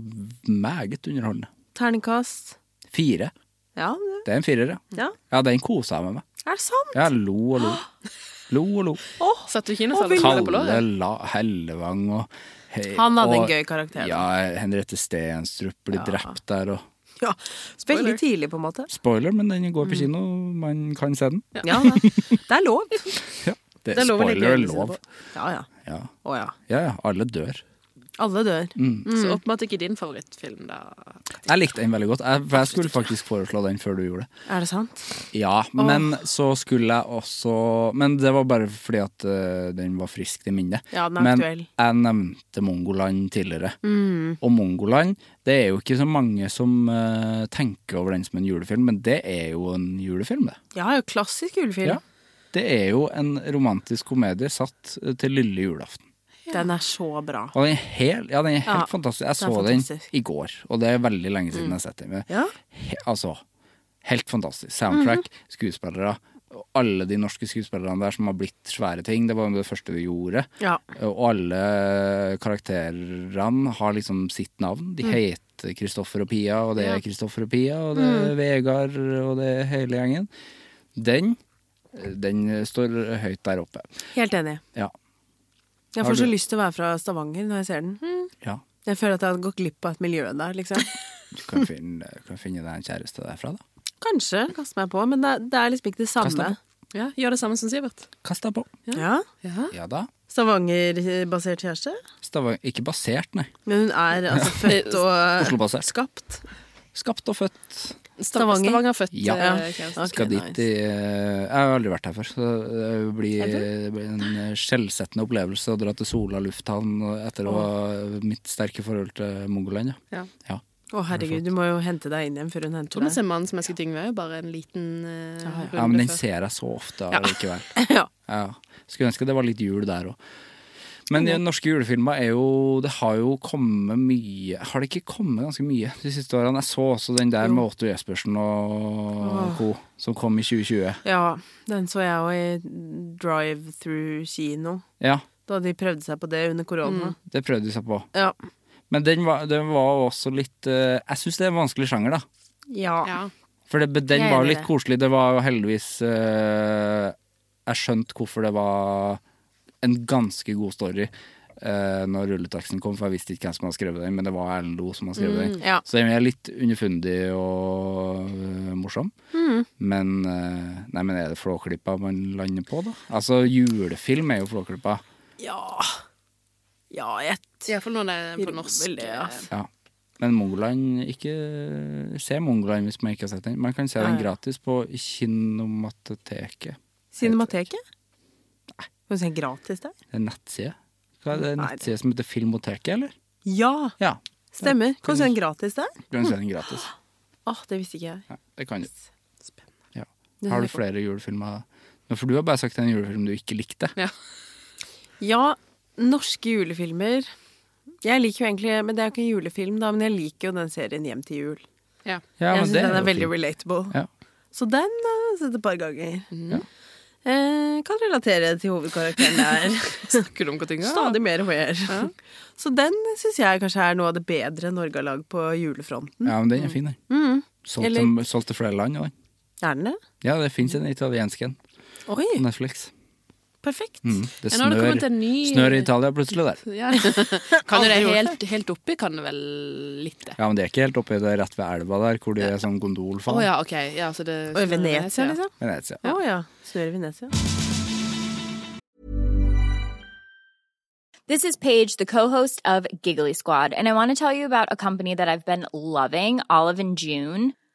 Speaker 1: meget underholdende.
Speaker 3: Terningkast.
Speaker 1: Fire.
Speaker 3: Ja, det-
Speaker 1: Det er en firer, ja.
Speaker 3: ja.
Speaker 1: Ja, den kosa jeg meg med.
Speaker 3: Er det sant?
Speaker 1: Jeg lo og lo. Lo og lo.
Speaker 4: Satt du ikke inne og sa det på
Speaker 1: Kalle
Speaker 4: låret?
Speaker 1: La Hellevang og he-
Speaker 3: Han hadde en
Speaker 1: og-
Speaker 3: gøy karakter.
Speaker 1: Ja, Henriette Stenstrup blir drept der og
Speaker 3: Ja. Veldig tidlig, på en måte.
Speaker 1: Spoiler, men den går på kino. Man kan se den.
Speaker 3: Ja, det, [laughs] det er lov.
Speaker 1: Ja. Det,
Speaker 3: Det er lov å legge
Speaker 1: spoiler er
Speaker 3: øynene sine
Speaker 1: lov.
Speaker 3: på. Ja, ja.
Speaker 1: Ja.
Speaker 3: Å ja.
Speaker 1: ja, ja. Alle dør.
Speaker 3: Alle dør.
Speaker 4: Så opp med at ikke din favorittfilm, da.
Speaker 1: Jeg likte den veldig godt. Jeg, for jeg skulle faktisk foreslå den før du gjorde det.
Speaker 3: Er det sant?
Speaker 1: Ja, men så skulle jeg også Men det var bare fordi at eh, den var frisk i minnet.
Speaker 3: Ja, den er
Speaker 1: men
Speaker 3: aktuell.
Speaker 1: jeg nevnte Mongoland tidligere. Og Mongoland, det er jo ikke så mange som eh, tenker over den som en julefilm, men det er jo en julefilm, det.
Speaker 3: Ja, jo, klassisk julefilm.
Speaker 1: Ja. Det er jo en romantisk komedie satt eh, til lille julaften.
Speaker 3: Den er så bra.
Speaker 1: Og den er helt, ja, den er helt
Speaker 3: Ja,
Speaker 1: fantastisk. Mm. Jeg
Speaker 3: den er
Speaker 1: så
Speaker 3: fantastisk.
Speaker 1: den i går, og det er veldig lenge siden jeg har sett den. Men
Speaker 3: Ja.
Speaker 1: he, altså, helt fantastisk. Soundtrack, skuespillere, og alle de norske skuespillerne der som har blitt svære ting. Det var jo det første vi gjorde.
Speaker 3: Ja.
Speaker 1: Og alle karakterene har liksom sitt navn. De heter Kristoffer og Pia, og det er Kristoffer og Pia, og det er Vegard, og det er hele gjengen. Den, den står høyt der oppe.
Speaker 3: Helt enig.
Speaker 1: Ja.
Speaker 3: Jeg
Speaker 1: Har
Speaker 3: får så
Speaker 1: du-
Speaker 3: lyst til å være fra Stavanger når jeg ser den.
Speaker 1: ja.
Speaker 3: Jeg føler at jeg hadde gått glipp av et miljø der, liksom.
Speaker 1: Du [laughs] kan finne, kan finne deg en kjæreste derfra, da.
Speaker 3: [laughs] Kanskje. Kaste meg på. Men det, det er liksom ikke det
Speaker 1: Kast
Speaker 3: samme.
Speaker 1: deg
Speaker 4: Ja, gjør det samme som Sivert.
Speaker 1: Kast deg på.
Speaker 3: Ja.
Speaker 1: Ja da.
Speaker 3: Stavanger-basert kjæreste.
Speaker 1: Stavanger Ikke basert, nei.
Speaker 3: Men hun er
Speaker 1: [laughs]
Speaker 3: altså født og
Speaker 1: Oslo-basert.
Speaker 3: skapt.
Speaker 1: Skapt og født.
Speaker 3: Stavanger.
Speaker 4: Stavanger. Stavanger født.
Speaker 1: Ja.
Speaker 4: eh, kjæreste.
Speaker 3: Ok,
Speaker 1: Skal dit
Speaker 3: nice.
Speaker 1: i eh, Jeg har aldri vært her før, så det blir, det blir en eh, skjellsettende opplevelse å dra til Sola lufthavn etter å ha mitt sterke forhold til Mongoland. Ja.
Speaker 4: Ja.
Speaker 1: Ja.
Speaker 3: Å, herregud, du må jo hente deg inn igjen før hun henter
Speaker 1: Sånn
Speaker 4: Tror man
Speaker 3: deg.
Speaker 4: ser mannen som elsker Yngve, er jo bare en liten eh, runde
Speaker 1: ja, men den
Speaker 4: før.
Speaker 1: ser jeg så ofte
Speaker 4: Ja.
Speaker 1: allikevel.
Speaker 3: [laughs] Ja.
Speaker 1: Ja. Skulle ønske det var litt jul der òg. Men eh, norske julefilmer er jo Det har jo kommet mye Har det ikke kommet ganske mye de siste årene? Jeg så også den der med Otto Jespersen og co. som kom i 2020.
Speaker 3: ja. Den så jeg òg i drive-through kino.
Speaker 1: Ja,
Speaker 3: Da de prøvde seg på det under korona.
Speaker 1: det prøvde de seg på.
Speaker 3: Ja.
Speaker 1: Men den var, den var også litt eh, Jeg syns det er en vanskelig sjanger, da.
Speaker 3: Mm. Ja.
Speaker 4: Ja.
Speaker 1: For det, den
Speaker 3: Jeg er
Speaker 1: var
Speaker 3: enig i
Speaker 1: litt
Speaker 3: det.
Speaker 1: koselig. Det var jo heldigvis eh, Jeg skjønte hvorfor det var en ganske god story eh, når rulleteksten kom, for jeg visste ikke hvem som hadde skrevet den, men det var Erlend Loe som hadde skrevet den.
Speaker 3: ja.
Speaker 1: Så den er litt underfundig og eh, morsom.
Speaker 3: Mm.
Speaker 1: Men, eh, nei, men er det Flåklypa man lander på, da? Altså, julefilm er jo Flåklypa.
Speaker 3: Ja, ja jeg
Speaker 4: Iallfall når det er på norsk.
Speaker 3: Vel,
Speaker 4: [laughs]
Speaker 3: ja.
Speaker 1: Ja. Men Mongoland ikke Se Mongoland hvis man ikke har sett den. Man kan se den gratis på Kinomatoteket.
Speaker 3: Cinemateket? Kan du se gratis der?
Speaker 1: Det er en nettside. Hva er det en
Speaker 3: Nei, det-
Speaker 1: nettside som heter Filmoteket, eller?
Speaker 3: Ja,
Speaker 1: Ja.
Speaker 3: stemmer. Kan du se den gratis der?
Speaker 1: Du kan se den gratis.
Speaker 3: Åh, det visste ikke jeg.
Speaker 1: Ja, det kan du. Ja. Har du flere julefilmer? Nå, For du har bare sagt en julefilm du ikke likte.
Speaker 3: Ja, norske julefilmer. Jeg liker jo egentlig, men Det er jo ikke en julefilm, da, men jeg liker jo den serien Hjem til jul.
Speaker 4: Ja.
Speaker 1: Ja,
Speaker 3: jeg
Speaker 1: men
Speaker 3: syns
Speaker 1: det
Speaker 3: den er,
Speaker 1: jo
Speaker 3: veldig
Speaker 1: fint.
Speaker 3: relatable.
Speaker 1: Ja. Mm.
Speaker 3: Så den har jeg sett et par ganger.
Speaker 1: Ja.
Speaker 3: Eh, kan relatere til hovedkarakteren der.
Speaker 1: [laughs]
Speaker 3: [laughs]
Speaker 4: Snakker du om Katinga?
Speaker 3: Stadig mer wear. Så den syns jeg kanskje er noe av det bedre Norge har lagd på julefronten.
Speaker 1: ja, men den er fin, den. Solgt,
Speaker 3: Eller-
Speaker 1: til- solgt til flere land. og den.
Speaker 3: Er den det?
Speaker 1: Ja, det fins en italiensk en
Speaker 3: Oi,
Speaker 1: på Netflix.
Speaker 3: perfekt.
Speaker 1: Mm. Det
Speaker 4: Ja, nå har det kommet
Speaker 1: snør,
Speaker 4: en ny
Speaker 1: snør i Italia plutselig der.
Speaker 4: Ja. [laughs] Kan du det helt, helt oppi? Kan du vel litt det?
Speaker 1: Ja, men det er ikke helt oppe, det er rett ved elva der, hvor det er sånn gondolfall.
Speaker 4: Å ja, OK. Ja, så det,
Speaker 3: Og i Venezia, liksom?
Speaker 1: Men jeg vet ikke.
Speaker 3: Å ja. Snør i Venezia.
Speaker 6: This is Paige, the co-host of Giggly Squad, and I want to tell you about a company that I've been loving, Olive and June.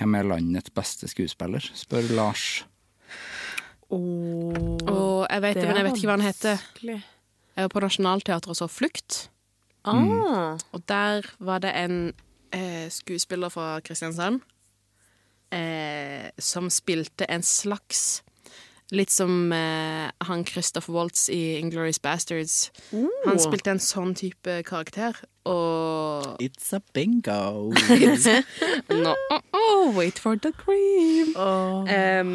Speaker 1: Hvem er landets beste skuespiller? spør Lars.
Speaker 4: Og jeg vet det, men jeg vet ikke hva han heter.
Speaker 3: Vanskelig.
Speaker 4: Jeg var på Nationaltheatret og så Flukt. Mm.
Speaker 3: Ah.
Speaker 4: Og der var det en eh, skuespiller fra Kristiansand eh, som spilte en slags Litt som eh, han Christopher Waltz i Inglorious Bastards. Han spilte en sånn type karakter, og
Speaker 1: [laughs] It's a bingo.
Speaker 4: No, oh, oh, wait for the cream. Em,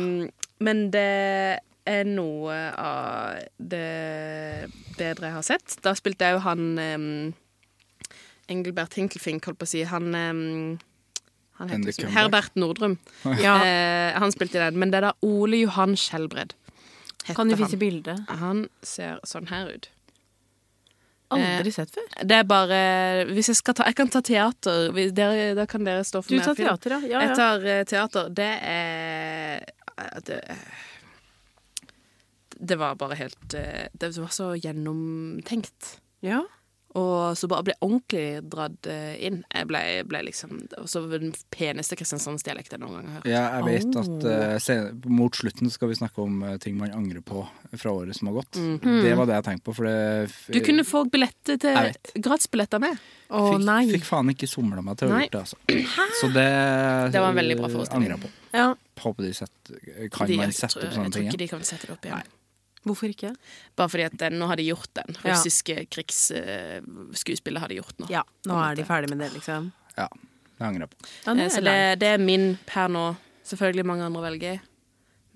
Speaker 4: men det er noe av det bedre jeg har sett. Da spilte jeg jo han um, Engelbert Hinkelfink, holdt på å si. Han, em, han heter
Speaker 1: Bendik
Speaker 4: ikke-
Speaker 1: Cumberbatch.
Speaker 4: Herbert Nordrum. Eh, han spilte den. Men det er da Ole Johan Skjelbred. heter
Speaker 3: Kan du vise
Speaker 4: han.
Speaker 3: bildet?
Speaker 4: Han ser sånn her ut.
Speaker 3: Aldri sett før.
Speaker 4: Det er bare Hvis jeg skal ta Jeg kan ta teater. Vi- Dere, da kan dere stå for
Speaker 3: Du
Speaker 4: mer
Speaker 3: tar
Speaker 4: film.
Speaker 3: teater, ja. ja, ja.
Speaker 4: Jeg tar eh, teater. Det er eh, det, det var bare helt eh, Det var så gjennomtenkt.
Speaker 3: ja.
Speaker 4: Og så bare ble jeg ordentlig dratt eh, inn. Jeg ble, ble liksom Også den peneste kristiansandsdialekten jeg noen gang har hørt.
Speaker 1: Ja, jeg vet at eh, sen- mot slutten skal vi snakke om eh, ting man angrer på fra året som har gått. Det var det jeg tenkte på, for det
Speaker 4: Mhm. Du kunne få
Speaker 1: Jeg
Speaker 4: billetter til gratisbilletter med.
Speaker 3: Å
Speaker 1: fikk,
Speaker 3: nei.
Speaker 1: fikk faen ikke somla meg til å ha
Speaker 4: Nei.
Speaker 1: gjort det, altså. Så det
Speaker 4: Det var en veldig bra forestilling.
Speaker 1: Angrer jeg på.
Speaker 3: Ja.
Speaker 1: Håper de setter Kan
Speaker 4: De-
Speaker 1: man sette
Speaker 4: jeg
Speaker 1: opp
Speaker 4: tror,
Speaker 1: sånne
Speaker 4: jeg tror
Speaker 1: ting
Speaker 4: ikke
Speaker 1: igjen?
Speaker 4: de kan sette det opp igjen.
Speaker 3: Hvorfor ikke?
Speaker 4: Bare fordi at den, nå har de gjort den.
Speaker 3: Ja.
Speaker 4: Russiske krigsskuespillet har de gjort nå.
Speaker 3: Ja, nå er de ferdig med det, liksom.
Speaker 1: Ja, det angrer jeg på.
Speaker 3: Ja,
Speaker 4: Eh,
Speaker 3: det
Speaker 4: Så
Speaker 3: er
Speaker 4: det,
Speaker 3: leit.
Speaker 4: det er min per nå. Selvfølgelig mange andre velger.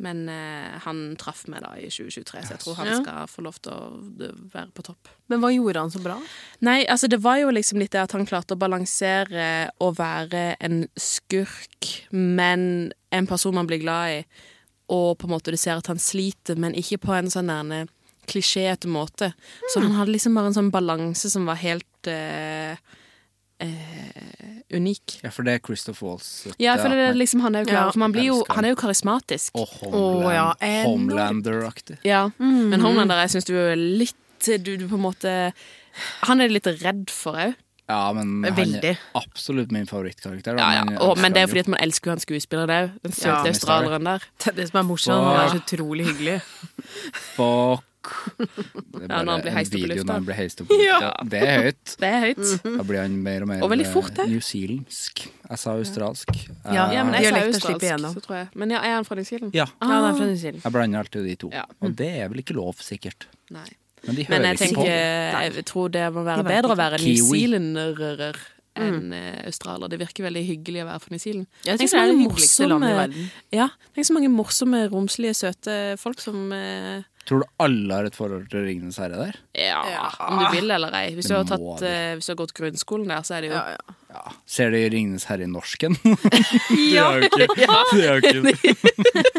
Speaker 4: Men eh, han traff meg da i 2023, så jeg tror han
Speaker 3: Ja.
Speaker 4: skal få lov til å eh, være på topp.
Speaker 3: Men hva gjorde han så bra?
Speaker 4: Nei, altså det var jo liksom litt det at han klarte å balansere å være en skurk, men en person man blir glad i, og på en måte du ser at han sliter, men ikke på en sånn nærme klisjéete måte. Så han hadde liksom bare en sånn balanse som var helt eh, eh, unik.
Speaker 1: Ja, for det er Christoph Waltz.
Speaker 4: Ja, jeg føler det er liksom han er jo klar,
Speaker 3: Ja.
Speaker 4: for man blir jo,
Speaker 1: Elsker han.
Speaker 4: han er jo karismatisk.
Speaker 1: Og Homeland,
Speaker 3: Å, ja, enormt.
Speaker 1: Homelander-aktig.
Speaker 4: Ja, men Homelander, jeg syns du er litt du, du på en måte Han er litt redd for òg.
Speaker 1: Ja, men han
Speaker 3: Veldig.
Speaker 1: er absolutt min favorittkarakter. da,
Speaker 4: Ja, ja.
Speaker 1: men jeg
Speaker 4: Og,
Speaker 1: elsker
Speaker 4: men det er
Speaker 1: han
Speaker 4: jo fordi at man elsker jo han skuespilleren òg. Den søte
Speaker 1: Tony Stark.
Speaker 4: australieren der.
Speaker 3: [laughs] Det er det som er morsomt. Han er så utrolig hyggelig.
Speaker 1: [laughs]
Speaker 4: [laughs]
Speaker 1: Fuck! Det er
Speaker 4: Ja, når han
Speaker 1: bare
Speaker 4: blir
Speaker 1: en
Speaker 4: heist opp i
Speaker 1: video
Speaker 4: lufta.
Speaker 1: når han blir heist opp i lufta.
Speaker 4: Ja.
Speaker 1: Det er høyt.
Speaker 4: Det er høyt.
Speaker 1: Da blir han mer og mer
Speaker 4: Og veldig fort, det.
Speaker 1: newzealandsk. Jeg sa australsk.
Speaker 3: Ja,
Speaker 4: Ja, men
Speaker 1: jeg,
Speaker 4: jeg sa
Speaker 3: Dialekten
Speaker 4: australsk,
Speaker 3: slipper igjennom.
Speaker 4: så tror jeg. Men ja, er han fra New Zealand?
Speaker 1: ja,
Speaker 3: Ja, han er fra New Zealand.
Speaker 1: jeg blander alltid de to.
Speaker 4: Ja.
Speaker 1: Og det er vel ikke lov, sikkert.
Speaker 4: Nei.
Speaker 1: Men de
Speaker 4: Men
Speaker 1: hører
Speaker 4: jeg
Speaker 1: ikke
Speaker 4: tenker eh,
Speaker 1: på.
Speaker 4: Jeg tror det må være
Speaker 3: De vet
Speaker 4: bedre å være
Speaker 1: ikke.
Speaker 4: New
Speaker 1: Kiwi.
Speaker 4: Zealanderer enn eh, australier. Det virker veldig hyggelig å være fra New Zealand.
Speaker 3: Jeg
Speaker 4: Tenk
Speaker 3: synes
Speaker 4: så
Speaker 3: det er det
Speaker 4: mange
Speaker 3: hyggeligste landet i
Speaker 4: morsomme-
Speaker 3: verden.
Speaker 4: Ja, tenk så mange morsomme, romslige, søte folk som eh,
Speaker 1: Tror du alle har et forhold til Ringenes herre der?
Speaker 4: ja, om du vil eller ei. Hvis du,
Speaker 1: Det
Speaker 4: har
Speaker 1: må
Speaker 4: tatt,
Speaker 1: de.
Speaker 4: eh, hvis du har gått grunnskolen der, så er det jo [laughs]
Speaker 3: Ja, ja.
Speaker 1: Ser de Ringenes herre i norsken? ja! Det er jo
Speaker 4: [laughs]
Speaker 1: ikke, det er jo ikke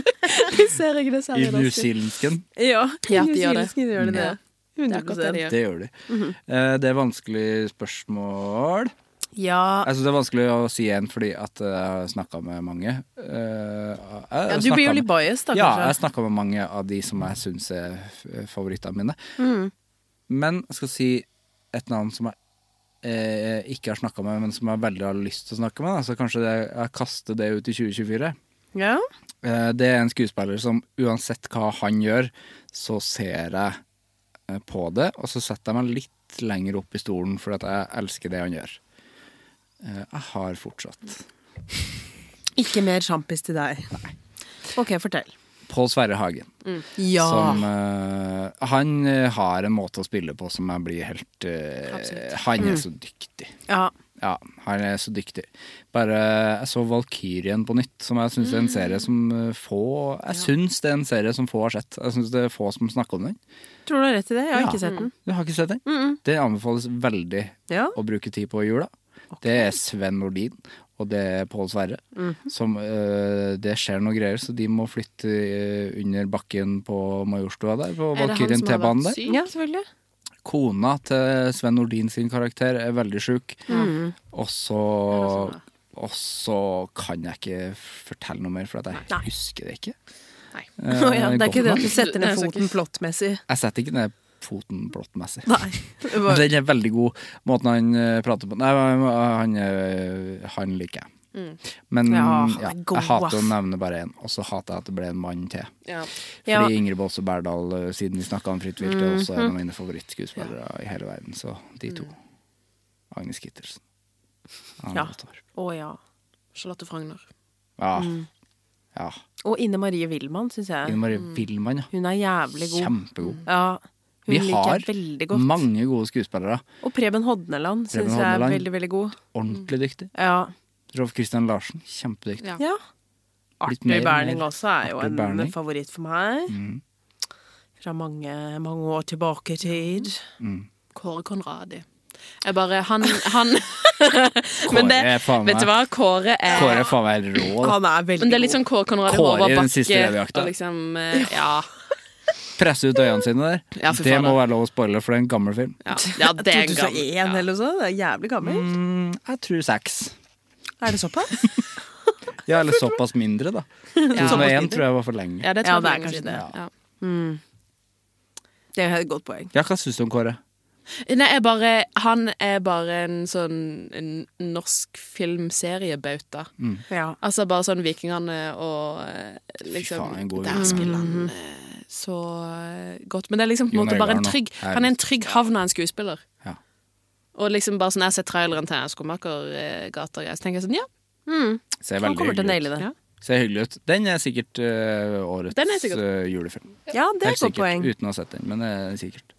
Speaker 4: Ser jeg [laughs] det
Speaker 1: I
Speaker 4: særlig
Speaker 1: New Zealandken.
Speaker 3: ja.
Speaker 4: Ja, de gjør det.
Speaker 3: New Zealand gjør de det.
Speaker 4: Det er akkurat det de gjør.
Speaker 1: Det gjør de.
Speaker 4: Mhm.
Speaker 1: Eh, Det er vanskelig spørsmål.
Speaker 3: Ja.
Speaker 1: Jeg synes det er vanskelig å si igjen fordi at eh, jeg har snakka med mange. Eh, jeg har
Speaker 3: ja, du blir
Speaker 1: snakket
Speaker 3: jo
Speaker 1: med-
Speaker 3: litt biased, da,
Speaker 1: Ja, jeg
Speaker 3: kanskje.
Speaker 1: snakka med mange av de som jeg syns er f- favorittene mine.
Speaker 3: Mm.
Speaker 1: Men jeg skal si et navn som jeg eh, ikke har snakka med, men som jeg veldig har lyst til å snakke med. Da. Så kanskje det, jeg kaster det ut i 2024.
Speaker 3: Ja.
Speaker 1: Eh, det er en skuespiller som uansett hva han gjør, så ser jeg eh, på det, og så setter jeg meg litt lenger opp i stolen fordi at jeg elsker det han gjør. Eh, jeg har fortsatt.
Speaker 3: Ikke mer sjampis til deg. OK, fortell.
Speaker 1: Pål Sverre Hagen.
Speaker 3: Ja.
Speaker 1: Som, eh, han eh, har en måte å spille på som jeg blir helt eh, Han er så dyktig.
Speaker 3: ja.
Speaker 1: Ja, han er så dyktig. Bare Jeg så Valkyrien på nytt, som jeg syns er en serie som eh, få Jeg syns det er en serie som få har sett. Jeg syns det er få som snakker om den.
Speaker 3: Tror du har rett i det? Jeg har
Speaker 1: Ja.
Speaker 3: ikke sett den.
Speaker 1: Du har ikke sett den? Det anbefales veldig
Speaker 3: Ja.
Speaker 1: å bruke tid på i jula. Det er Sven Nordin, og det er Pål Sverre.
Speaker 3: Mhm.
Speaker 1: som, øh, det skjer noe greier, så de må flytte øh, under bakken på Majorstua der. På
Speaker 4: Er det han
Speaker 1: Valkyrien
Speaker 4: som har
Speaker 1: T-banen
Speaker 4: vært
Speaker 1: der.
Speaker 4: syk?
Speaker 3: Ja, selvfølgelig.
Speaker 1: Kona til Sven Nordin sin karakter er veldig sjuk.
Speaker 3: Mhm.
Speaker 1: Og så
Speaker 3: sånn,
Speaker 1: og så kan jeg ikke fortelle noe mer, for at jeg husker det ikke.
Speaker 4: Nei.
Speaker 1: Eh,
Speaker 3: [laughs] Å ja, det er ikke det at du setter
Speaker 4: Nei, jeg
Speaker 3: ned
Speaker 4: skal
Speaker 3: foten plottmessig.
Speaker 1: Jeg setter ikke ned foten plottmessig.
Speaker 3: Nei. Det
Speaker 1: Men
Speaker 3: var-
Speaker 1: Den er veldig god, måten han eh, prater på. Nei, men han, eh, han liker jeg. Men ja,
Speaker 3: Mm. Ja, han er god,
Speaker 1: jeg hater å
Speaker 3: ass.
Speaker 1: nevne bare én, og så hater jeg at det ble en mann til.
Speaker 4: Ja.
Speaker 3: Ja. Mm,
Speaker 1: Fordi Ingrid Baase Berdal, eh, siden vi snakka om Fritt vilt, er også en av mine favorittskuespillere i hele verden. Så de to. Agnes Kittelsen. Anne
Speaker 3: Ja.
Speaker 1: Bastard.
Speaker 3: Å ja.
Speaker 4: Charlotte Frogner.
Speaker 1: Ja.
Speaker 3: Mm.
Speaker 1: ja.
Speaker 3: Og Ine Marie Wilman, syns jeg.
Speaker 1: Ine Marie Wilman, ja.
Speaker 3: Hun er Mm. jævlig god.
Speaker 1: Kjempegod.
Speaker 3: Ja, hun
Speaker 1: Vi
Speaker 3: liker
Speaker 1: har
Speaker 3: jeg veldig godt.
Speaker 1: mange gode skuespillere.
Speaker 3: Og Preben Hodneland
Speaker 1: Preben
Speaker 3: syns jeg er
Speaker 1: Hodneland.
Speaker 3: veldig, veldig god.
Speaker 1: Ordentlig
Speaker 3: Mm.
Speaker 1: dyktig.
Speaker 3: Ja.
Speaker 1: Rolf Christian Larsen, kjempedyktig.
Speaker 4: Ja.
Speaker 3: ja.
Speaker 1: Litt
Speaker 3: Arthur
Speaker 1: mer-
Speaker 3: Berning
Speaker 1: mer
Speaker 3: også er jo
Speaker 1: Arthur
Speaker 3: en
Speaker 1: Berning. Mm.
Speaker 3: favoritt for meg. Fra mange, mange år tilbake i tid.
Speaker 4: Kåre Konradi. Jeg bare Han,
Speaker 1: [laughs]
Speaker 4: han Men
Speaker 1: Kåre
Speaker 4: det,
Speaker 1: er faen meg
Speaker 4: Vet du hva? Kåre er
Speaker 1: Kåre er faen meg rå. da.
Speaker 3: Han er veldig
Speaker 4: Men det er litt sånn Kåre Konradi
Speaker 1: Kåre
Speaker 4: Håvard
Speaker 1: i Den
Speaker 4: Bakke.
Speaker 1: siste revyjakta.
Speaker 4: og liksom, eh, ja.
Speaker 1: Presse ut øynene sine der.
Speaker 4: Ja, fy
Speaker 1: det
Speaker 4: faen,
Speaker 1: må
Speaker 4: da.
Speaker 1: være lov å spoile, for det er en gammel film.
Speaker 4: Ja, ja det er en
Speaker 3: 2001
Speaker 4: gammel ja.
Speaker 3: eller noe sånt. Det er jævlig gammel.
Speaker 1: Mm, jeg tror seks.
Speaker 3: Er det såpass?
Speaker 1: Ja, eller såpass mindre, da.
Speaker 4: Ja.
Speaker 1: 2001 tror jeg var for lenge.
Speaker 4: Ja, det tror
Speaker 3: Ja,
Speaker 4: jeg
Speaker 3: det er
Speaker 4: er kanskje
Speaker 3: kanskje
Speaker 1: det.
Speaker 4: det. Ja.
Speaker 3: Det er et godt poeng.
Speaker 1: Ja, hva syns du om Kåre?
Speaker 4: Nei, jeg bare, han er bare en sånn en norsk filmseriebauta.
Speaker 3: Ja.
Speaker 4: Altså bare sånn Vikingene og eh, liksom
Speaker 1: faen, en god
Speaker 4: Der
Speaker 1: Viking.
Speaker 4: spiller han
Speaker 3: Mm.
Speaker 4: eh, så eh, godt. Men det er liksom på en
Speaker 1: Jon
Speaker 4: måte bare en
Speaker 1: Øivind, da.
Speaker 4: trygg
Speaker 1: Her.
Speaker 4: Han er en trygg havn av en skuespiller.
Speaker 1: Ja.
Speaker 4: Og liksom bare sånn jeg har sett traileren til Skomakergata, og så tenker jeg sånn ja,
Speaker 1: Ser
Speaker 3: Han
Speaker 1: veldig
Speaker 3: kommer til å
Speaker 1: hyggelig
Speaker 3: naile
Speaker 1: ut.
Speaker 3: det.
Speaker 4: Ja.
Speaker 1: Ser hyggelig ut. Den er sikkert eh, årets
Speaker 4: Den er sikkert.
Speaker 1: eh, julefilm.
Speaker 3: Ja, det
Speaker 1: Helt
Speaker 3: er et godt
Speaker 1: sikkert,
Speaker 3: poeng.
Speaker 1: uten å ha sett den, men det er sikkert.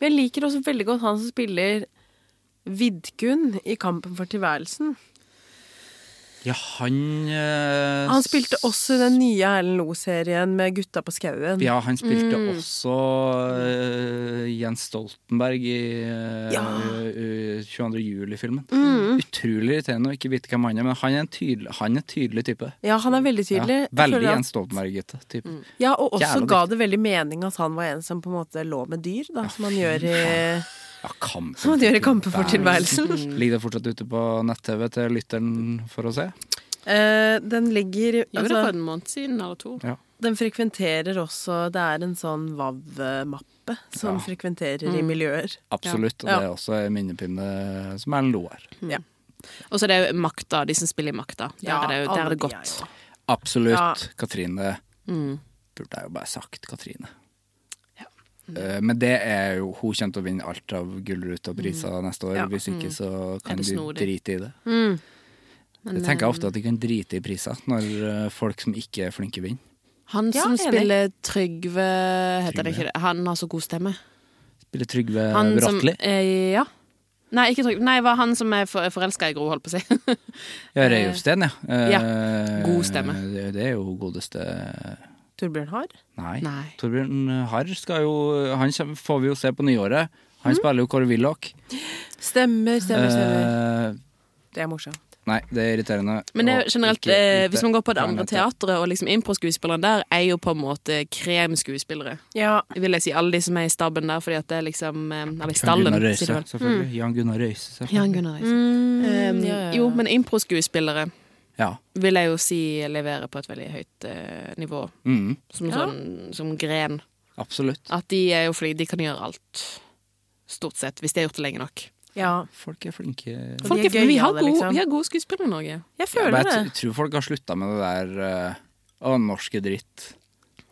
Speaker 3: Men jeg liker også veldig godt han som spiller Vidkun i Kampen for tilværelsen.
Speaker 1: Ja, han eh,
Speaker 3: Han spilte også i den nye Erlend Loe-serien med Gutta på skauen.
Speaker 1: Ja, han spilte
Speaker 3: Mm.
Speaker 1: også eh, Jens Stoltenberg i eh, eh, 22. juli-filmen.
Speaker 3: Mm.
Speaker 1: Utrolig irriterende å ikke vite hvem han er, men han er en tydelig, han er en tydelig type.
Speaker 3: Ja, han er veldig tydelig.
Speaker 1: Ja,
Speaker 3: Jeg
Speaker 1: veldig
Speaker 3: føler at- Mm.
Speaker 1: Jens Stoltenberg-gutte. type.
Speaker 3: Ja, og også
Speaker 1: Jævla
Speaker 3: ga det veldig mening at han var en som på en måte lå med dyr, da, som han gjør i
Speaker 1: Ja, kampen
Speaker 3: Som han gjør i Kampen for
Speaker 1: Ligger det fortsatt ute på nett-TV til lytteren for å se?
Speaker 3: Eh, Den ligger
Speaker 4: gjorde det for
Speaker 3: altså,
Speaker 4: en måned siden eller to.
Speaker 3: Den frekventerer også Det er en sånn VAV-mappe som
Speaker 1: Ja.
Speaker 3: frekventerer
Speaker 4: Mm.
Speaker 3: i miljøer.
Speaker 1: Absolutt. Og
Speaker 3: Ja.
Speaker 1: det er også en minnepinne som Erlend Loe er.
Speaker 4: Og så er det jo makta, de som spiller i makta. Der
Speaker 3: Ja,
Speaker 4: er det, jo- der
Speaker 3: alle
Speaker 4: er det
Speaker 3: de
Speaker 4: godt. Mm.
Speaker 3: er jo-
Speaker 1: Absolutt.
Speaker 3: Ja.
Speaker 1: Katrine Burde jeg jo bare sagt Katrine. Eh, Men det er jo Hun kommer til å vinne alt av Gullruta og priser
Speaker 4: Mm.
Speaker 1: neste år. Hvis ikke så kan
Speaker 4: det
Speaker 1: de
Speaker 4: snodig? eh,
Speaker 1: drite i det.
Speaker 3: Mm.
Speaker 1: jeg tenker ofte at de kan drite i priser når eh, folk som ikke er flinke, vinner.
Speaker 4: Han
Speaker 3: Ja,
Speaker 4: som
Speaker 3: enig.
Speaker 4: spiller Trygve, heter det
Speaker 1: Trygve.
Speaker 4: ikke det? Han har så god stemme.
Speaker 1: Spiller Trygve
Speaker 4: Han som
Speaker 1: Bratteli.
Speaker 4: eh, Ja. Nei, ikke Trygve. Nei, det var han som er for, forelska i Gro, holdt på å si.
Speaker 1: Ja, Reiulfsten, ja. Eh,
Speaker 4: God stemme.
Speaker 1: Det, det er jo godeste
Speaker 3: Torbjørn Haar.
Speaker 1: Nei.
Speaker 4: Nei.
Speaker 1: Torbjørn Harr skal jo Han kjem- får vi jo se på nyåret.
Speaker 4: Mm.
Speaker 1: Han spiller jo Kåre Willoch.
Speaker 3: Stemmer, stemmer, stemmer.
Speaker 1: Eh,
Speaker 3: Det er morsomt.
Speaker 1: Nei, det er irriterende.
Speaker 4: [laughs] Men det er
Speaker 1: å
Speaker 4: jo generelt,
Speaker 1: ikke
Speaker 4: eh,
Speaker 1: vite
Speaker 4: hvis man går på det
Speaker 1: hva han
Speaker 4: andre
Speaker 1: heter.
Speaker 4: teatret, og liksom impro-skuespillerne der er jo på en måte kremskuespillere.
Speaker 3: Ja.
Speaker 4: Vil jeg si alle de som er i staben der, fordi at det er liksom eh, Eller i
Speaker 1: Jan
Speaker 4: stallen,
Speaker 1: Gunnar
Speaker 4: sier
Speaker 1: Røise,
Speaker 4: du vel.
Speaker 1: selvfølgelig.
Speaker 3: Mm.
Speaker 1: Jan Gunnar Røise, selvfølgelig.
Speaker 4: Jan Gunnar Reise. Eh, Jo, men impro-skuespillere
Speaker 1: Ja.
Speaker 4: vil jeg jo si leverer på et veldig høyt eh, nivå,
Speaker 1: Mm,
Speaker 4: som, sånn, som gren.
Speaker 1: absolutt.
Speaker 4: At de er jo fordi de kan gjøre alt, stort sett, hvis de har gjort det lenge nok.
Speaker 3: ja.
Speaker 1: Folk er flinke.
Speaker 3: de
Speaker 4: Folk
Speaker 3: er
Speaker 4: er, men vi, har
Speaker 3: gøyale,
Speaker 4: gode,
Speaker 3: liksom.
Speaker 4: vi har gode skuespillere i Norge.
Speaker 3: Jeg
Speaker 1: Ja,
Speaker 3: føler
Speaker 1: men
Speaker 3: det.
Speaker 1: jeg t- tror folk har slutta med det der eh, Å, norske dritt.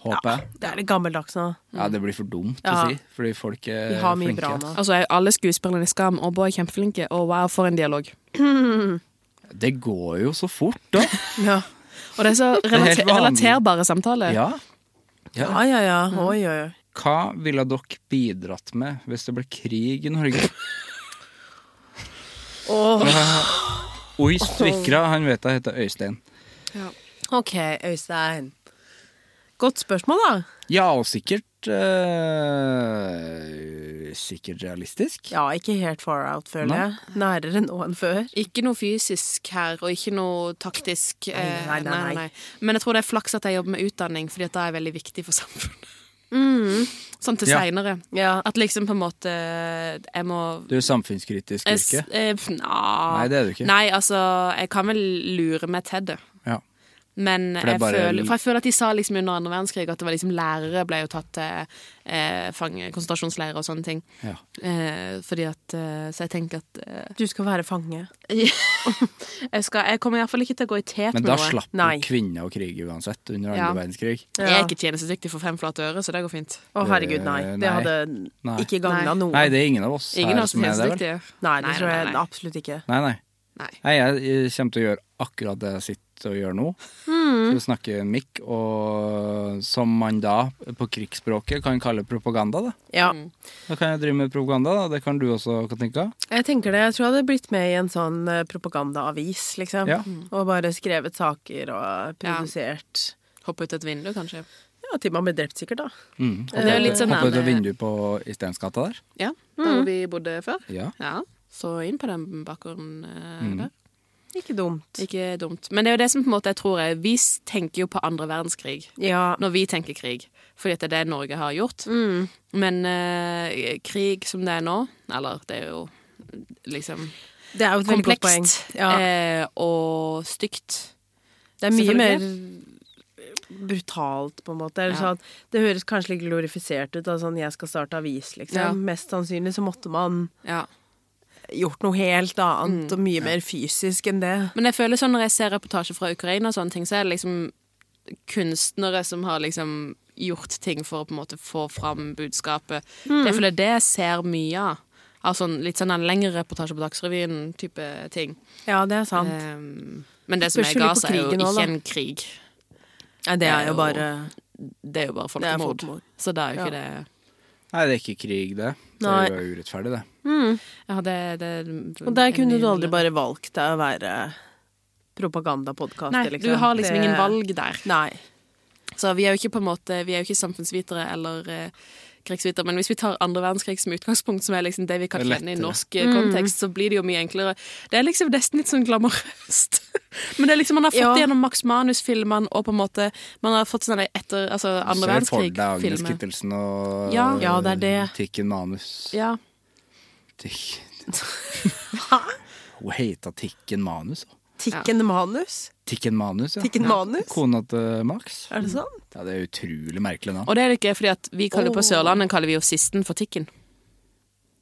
Speaker 1: Håper jeg.
Speaker 3: Det er litt gammeldags nå.
Speaker 1: Ja, det blir for dumt
Speaker 3: Ja.
Speaker 1: å si, fordi folk er
Speaker 3: Vi har mye
Speaker 1: flinke.
Speaker 3: bra nå.
Speaker 4: [laughs] Altså, er Alle skuespillerne i Skam og Boy er kjempeflinke, og wow, for en dialog.
Speaker 1: Det går jo så fort,
Speaker 3: [laughs]
Speaker 1: da.
Speaker 3: Ja,
Speaker 4: Og det er så
Speaker 1: helt
Speaker 4: relater
Speaker 1: vanlig.
Speaker 4: relaterbare samtaler.
Speaker 1: ja.
Speaker 3: ja, ja. ja. Oi, oi, oi.
Speaker 1: Hva ville dere bidratt med hvis det ble krig i Norge? [laughs] Oi, spikra. Han vet jeg heter Øystein.
Speaker 3: OK, Øystein. Godt spørsmål, da.
Speaker 1: Ja, og sikkert eh, Sikkert realistisk.
Speaker 3: Ja, ikke helt far out, føler
Speaker 1: Nei.
Speaker 3: jeg. Nærere nå enn før.
Speaker 4: Ikke noe fysisk her, og ikke noe taktisk. eh,
Speaker 3: Nei, nei, nei, nei.
Speaker 4: Men jeg tror det er flaks at jeg jobber med utdanning, Fordi at det er veldig viktig for samfunnet. Sånn til
Speaker 1: Ja.
Speaker 4: seinere.
Speaker 3: Mm. Ja.
Speaker 4: At liksom på en måte eh, Jeg må
Speaker 1: Du er samfunnskritisk
Speaker 4: jeg s-
Speaker 1: yrke.
Speaker 4: eh, pff, nja.
Speaker 1: Nei, det er du ikke.
Speaker 4: Nei, altså, jeg kan vel lure meg til det.
Speaker 1: Ja.
Speaker 4: Men
Speaker 1: For det er
Speaker 4: jeg
Speaker 1: bare-
Speaker 4: føler, for jeg føler at de sa liksom under andre verdenskrig at det var liksom lærere ble jo tatt til eh, fange, konsentrasjonsleirer og sånne ting.
Speaker 1: Ja.
Speaker 4: Eh, fordi at eh, Så jeg tenker at eh,
Speaker 3: Du skal være fange.
Speaker 4: [laughs] jeg, skal, jeg kommer iallfall ikke til å gå i tet
Speaker 1: Men
Speaker 4: med
Speaker 1: da
Speaker 4: noe.
Speaker 1: slapp
Speaker 3: Nei.
Speaker 1: jo kvinner å krige uansett under andre
Speaker 4: Ja.
Speaker 1: verdenskrig.
Speaker 4: Jeg er ikke tjenestedyktig for fem flate øre, så det går fint.
Speaker 3: Å, herregud, nei.
Speaker 1: Eh,
Speaker 3: Det
Speaker 1: nei.
Speaker 3: hadde
Speaker 1: Nei.
Speaker 3: ikke gagna
Speaker 4: Nei.
Speaker 3: noen.
Speaker 1: Nei, det er ingen av oss
Speaker 4: Ingen
Speaker 1: her
Speaker 4: av oss
Speaker 1: som
Speaker 4: er
Speaker 1: er det, vel?
Speaker 4: tjenestedyktige.
Speaker 3: Nei, det tror jeg
Speaker 4: nei, nei.
Speaker 3: absolutt ikke.
Speaker 1: Nei, nei.
Speaker 4: Nei.
Speaker 1: Nei, jeg eh, kommer til å gjøre akkurat det jeg sitter og gjør nå.
Speaker 4: Hmm.
Speaker 1: Skal snakke i en mikk, og som man da på krigsspråket kan kalle propaganda, da.
Speaker 3: Ja.
Speaker 4: Mm.
Speaker 1: Da kan jeg drive med propaganda, da. Det kan du også, Katinka.
Speaker 3: Jeg tenker det, jeg tror jeg hadde blitt med i en sånn eh, propagandaavis, liksom.
Speaker 1: Ja.
Speaker 3: Og bare skrevet saker og produsert.
Speaker 4: Hoppe ut et vindu, kanskje.
Speaker 3: Ja, til man ble drept sikkert, da.
Speaker 1: Mm.
Speaker 4: Det er jo litt sånn
Speaker 1: Hoppe ut av
Speaker 4: nærme-
Speaker 1: vinduet på Isteinsgata der.
Speaker 4: Ja, mm. der hvor vi bodde før.
Speaker 1: Ja.
Speaker 4: Ja, Så inn på den bakgården eh,
Speaker 1: Mm.
Speaker 4: der.
Speaker 3: Ikke dumt.
Speaker 4: Ikke dumt. Men det er jo det som på en måte jeg tror er Vi s- tenker jo på andre verdenskrig
Speaker 3: Ja.
Speaker 4: når vi tenker krig, fordi at det er det Norge har gjort.
Speaker 3: Mm.
Speaker 4: Men eh, krig som det er nå, eller det er jo liksom
Speaker 3: Det er jo et veldig godt poeng.
Speaker 4: komplekst
Speaker 3: Ja.
Speaker 4: eh, og stygt.
Speaker 3: Det er mye mer
Speaker 4: Selvfølgelig.
Speaker 3: brutalt, på en måte. Eller sånn, det høres kanskje litt glorifisert ut, da, sånn 'jeg skal starte avis', liksom.
Speaker 4: Ja.
Speaker 3: Mest sannsynlig så måtte man
Speaker 4: Ja.
Speaker 3: gjort noe helt annet, og mye mer fysisk enn det.
Speaker 4: Men jeg føler sånn når jeg ser reportasjer fra Ukraina, og sånne ting, så er det liksom kunstnere som har liksom gjort ting for å på en måte få fram budskapet.
Speaker 3: Mm.
Speaker 4: Det er fordi det jeg ser mye av. Av sånn litt sånn en lengre reportasje på Dagsrevyen-type ting.
Speaker 3: Ja, det er sant.
Speaker 4: Ehm, men det som
Speaker 3: Spørs
Speaker 4: er
Speaker 3: jo litt på
Speaker 4: Gaza, er jo
Speaker 3: krigen
Speaker 4: ikke
Speaker 3: også, da.
Speaker 4: en krig.
Speaker 3: Nei, det er jo bare
Speaker 4: Det er jo bare
Speaker 3: Det er
Speaker 4: folkemord.
Speaker 3: folkemord.
Speaker 4: Så det er jo ikke det
Speaker 1: Nei, det er ikke krig, det. Det
Speaker 3: Nei.
Speaker 1: er jo urettferdig, det.
Speaker 4: Ja, det, det
Speaker 3: Og der kunne du aldri bare valgt deg å være
Speaker 4: Nei,
Speaker 3: propagandapodkaster, liksom.
Speaker 4: du har liksom
Speaker 3: Det-
Speaker 4: ingen valg der.
Speaker 3: Nei.
Speaker 4: Så vi er jo ikke på en måte Vi er jo ikke samfunnsvitere eller eh, krigsvitere, men hvis vi tar andre verdenskrig som utgangspunkt, som er liksom det vi kan
Speaker 1: Det er
Speaker 4: kjenne i
Speaker 1: lettere.
Speaker 4: norsk eh, kontekst, så blir det jo mye enklere. Det er liksom nesten litt sånn glamorøst. [laughs] Men det er liksom, man har fått
Speaker 3: Ja.
Speaker 4: det gjennom Max Manus-filmene, og på en måte Man har fått sånne etter altså,
Speaker 1: Se
Speaker 4: andre
Speaker 1: for deg Agnes
Speaker 4: verdenskrig-filmer.
Speaker 1: Kittelsen og eh,
Speaker 4: Ja. Ja,
Speaker 3: det er det.
Speaker 1: Tikken Manus.
Speaker 4: Ja.
Speaker 1: Tikk. Hun heter Tikken Manus.
Speaker 3: Tikken Manus?
Speaker 1: Tikken Manus, ja.
Speaker 3: Tikken Manus?
Speaker 1: Kona til Max.
Speaker 3: Er det sant?
Speaker 1: Ja, det er utrolig merkelig navn.
Speaker 4: Og det er det ikke, fordi at vi kaller på Sørlandet kaller vi jo Sisten for Tikken.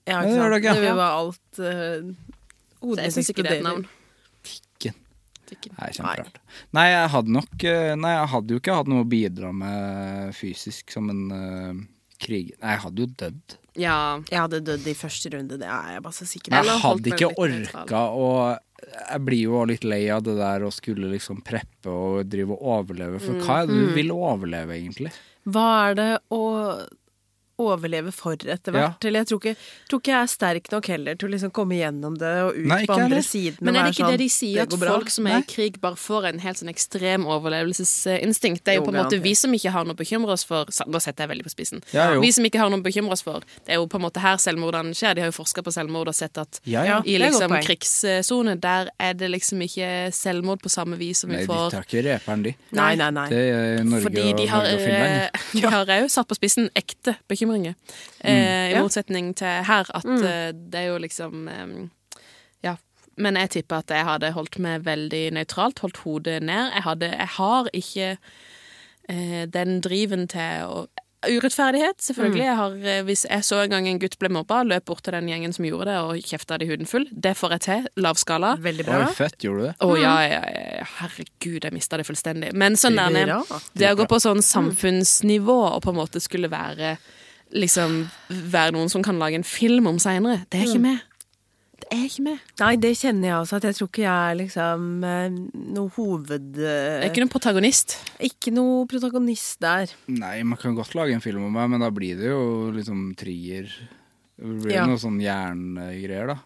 Speaker 3: Ja,
Speaker 1: det gjør det ikke.
Speaker 3: Det var alt eh,
Speaker 4: Så
Speaker 3: hodet
Speaker 4: jeg syns ikke det er et navn.
Speaker 1: Tikken.
Speaker 4: Tikken.
Speaker 1: Nei, kjemperart. Nei, jeg hadde nok eh, Nei, jeg hadde jo ikke hatt noe å bidra med fysisk som en eh, krig... Nei, jeg hadde jo dødd.
Speaker 4: Ja.
Speaker 3: Jeg hadde dødd i første runde, det er jeg bare så sikker
Speaker 1: Men
Speaker 3: på.
Speaker 4: Eller
Speaker 1: jeg
Speaker 4: holdt
Speaker 1: hadde
Speaker 4: meg
Speaker 1: ikke
Speaker 4: litt nøytral.
Speaker 1: orka å Jeg blir jo litt lei av det der å skulle liksom preppe og drive og overleve, for
Speaker 3: Mm,
Speaker 1: hva er det du vil overleve, egentlig?
Speaker 3: Hva er det å overleve for etter hvert? Eller jeg tror ikke, tror ikke jeg er sterk nok heller til å liksom komme gjennom det og ut
Speaker 1: Nei, ikke
Speaker 3: på andre
Speaker 1: heller.
Speaker 3: siden.
Speaker 4: Men er
Speaker 3: og være
Speaker 4: det ikke
Speaker 3: sånn,
Speaker 4: det de sier, at
Speaker 3: går bra?
Speaker 4: folk som er i krig, bare får en helt sånn ekstrem overlevelsesinstinkt? Det er jo
Speaker 3: Jo,
Speaker 4: på en måte
Speaker 3: garantert.
Speaker 4: vi som ikke har noe å bekymre oss for Sa- Nå setter jeg veldig på spissen.
Speaker 1: Ja, jo.
Speaker 4: vi som ikke har noe å bekymre oss for, det er jo på en måte her selvmordene skjer. De har jo forska på selvmord og sett at
Speaker 1: Ja, ja.
Speaker 4: i
Speaker 3: det er et godt
Speaker 4: liksom
Speaker 3: poeng.
Speaker 4: krigssone, der er det liksom ikke selvmord på samme vis som
Speaker 1: Nei,
Speaker 4: vi
Speaker 1: de
Speaker 4: får
Speaker 1: tar ikke reperen, de.
Speaker 3: Nei, nei, nei.
Speaker 1: Det er Norge,
Speaker 4: fordi
Speaker 1: og,
Speaker 4: de har,
Speaker 1: Norge og Finland.
Speaker 4: eh, [laughs] de har òg satt på spissen ekte bekymringer.
Speaker 1: Mm.
Speaker 4: Eh, I motsetning til her, at eh, det er jo liksom eh, Ja. Men jeg tipper at jeg hadde holdt meg veldig nøytralt, holdt hodet ned. Jeg, hadde, jeg har ikke eh, den driven til å Urettferdighet, selvfølgelig.
Speaker 1: Mm.
Speaker 4: Jeg har, eh, hvis jeg så en gang en gutt ble mobba, løp bort til den gjengen som gjorde det, og kjefta det i huden full. Det får jeg til. Lav skala.
Speaker 3: Veldig
Speaker 1: Oi,
Speaker 3: bra.
Speaker 1: fett, gjorde du det?
Speaker 4: Å ja, ja, ja, ja, herregud, jeg mista det fullstendig. Men sånn der nede
Speaker 3: Bra.
Speaker 4: Det å gå på sånn samfunnsnivå og på en måte skulle være Liksom være noen som kan lage en film om seinere, det er ikke med. Det er ikke med.
Speaker 3: Nei, det kjenner jeg også, at jeg tror ikke jeg er liksom eh, noe hoved...
Speaker 4: Det er
Speaker 3: eh,
Speaker 4: ikke noen protagonist.
Speaker 3: Ikke noe protagonist der.
Speaker 1: Nei, man kan godt lage en film om meg, men da blir det jo liksom trier. Det blir
Speaker 3: Ja.
Speaker 1: jo noe sånn hjernegreier, da.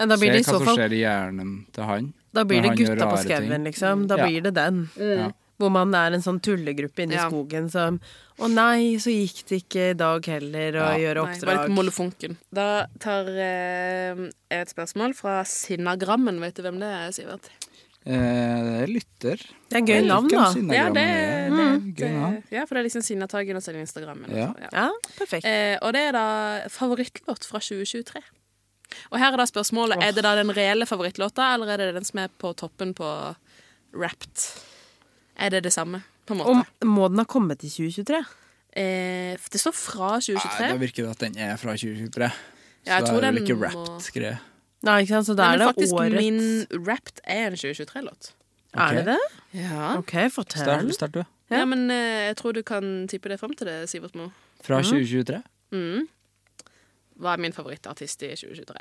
Speaker 3: Ja, da
Speaker 1: Se
Speaker 3: blir det i så
Speaker 1: hva som
Speaker 3: fall
Speaker 1: skjer i hjernen til han.
Speaker 3: Da blir
Speaker 1: når
Speaker 3: det
Speaker 1: han gjør
Speaker 3: gutta på
Speaker 1: rare ting.
Speaker 3: skauen, liksom. Da
Speaker 1: Ja.
Speaker 3: blir det den.
Speaker 1: Ja.
Speaker 3: Hvor man er en sånn tullegruppe inne i
Speaker 4: Ja.
Speaker 3: skogen som Å nei, så gikk det ikke i dag heller å gjøre
Speaker 4: Nei, bare
Speaker 3: oppdrag.
Speaker 4: litt molefonken. Da tar eh, jeg et spørsmål fra Sinnagrammen. Vet du hvem det er, Sivert?
Speaker 1: Eh, det er lytter.
Speaker 3: det er gøy navn, da.
Speaker 4: Ja, det, det,
Speaker 1: Mm, Gøy navn.
Speaker 4: ja, for det er liksom Sinnataggen og så er det Instagrammen.
Speaker 1: Ja.
Speaker 4: Ja.
Speaker 3: Ja, perfekt.
Speaker 4: Eh, og det er da favorittlåt fra 2023. Og her er da spørsmålet Er det da den reelle favorittlåta, eller er det den som er på toppen på Wrapped? Er det det samme, på en måte?
Speaker 3: Og må den ha kommet i 2023?
Speaker 4: Eh, det står fra
Speaker 1: Nei,
Speaker 4: 2023.
Speaker 1: da virker det at den er fra 2023.
Speaker 4: Ja, jeg
Speaker 1: så
Speaker 4: tror
Speaker 1: det er vel
Speaker 4: den
Speaker 1: ikke
Speaker 4: må-
Speaker 1: rapped-greie.
Speaker 3: Nei, ikke sant, så da
Speaker 4: Nei,
Speaker 3: er
Speaker 4: men
Speaker 3: det
Speaker 4: faktisk
Speaker 3: årets
Speaker 4: min Wrapped er en 2023-låt.
Speaker 3: Er det det?
Speaker 4: Ja.
Speaker 3: OK, fortell.
Speaker 1: Start, start du.
Speaker 4: ja, men eh, jeg tror du kan tippe det fram til det, Sivert Moe.
Speaker 1: Fra 2023?
Speaker 4: Mm. Hva er min favorittartist i 2023?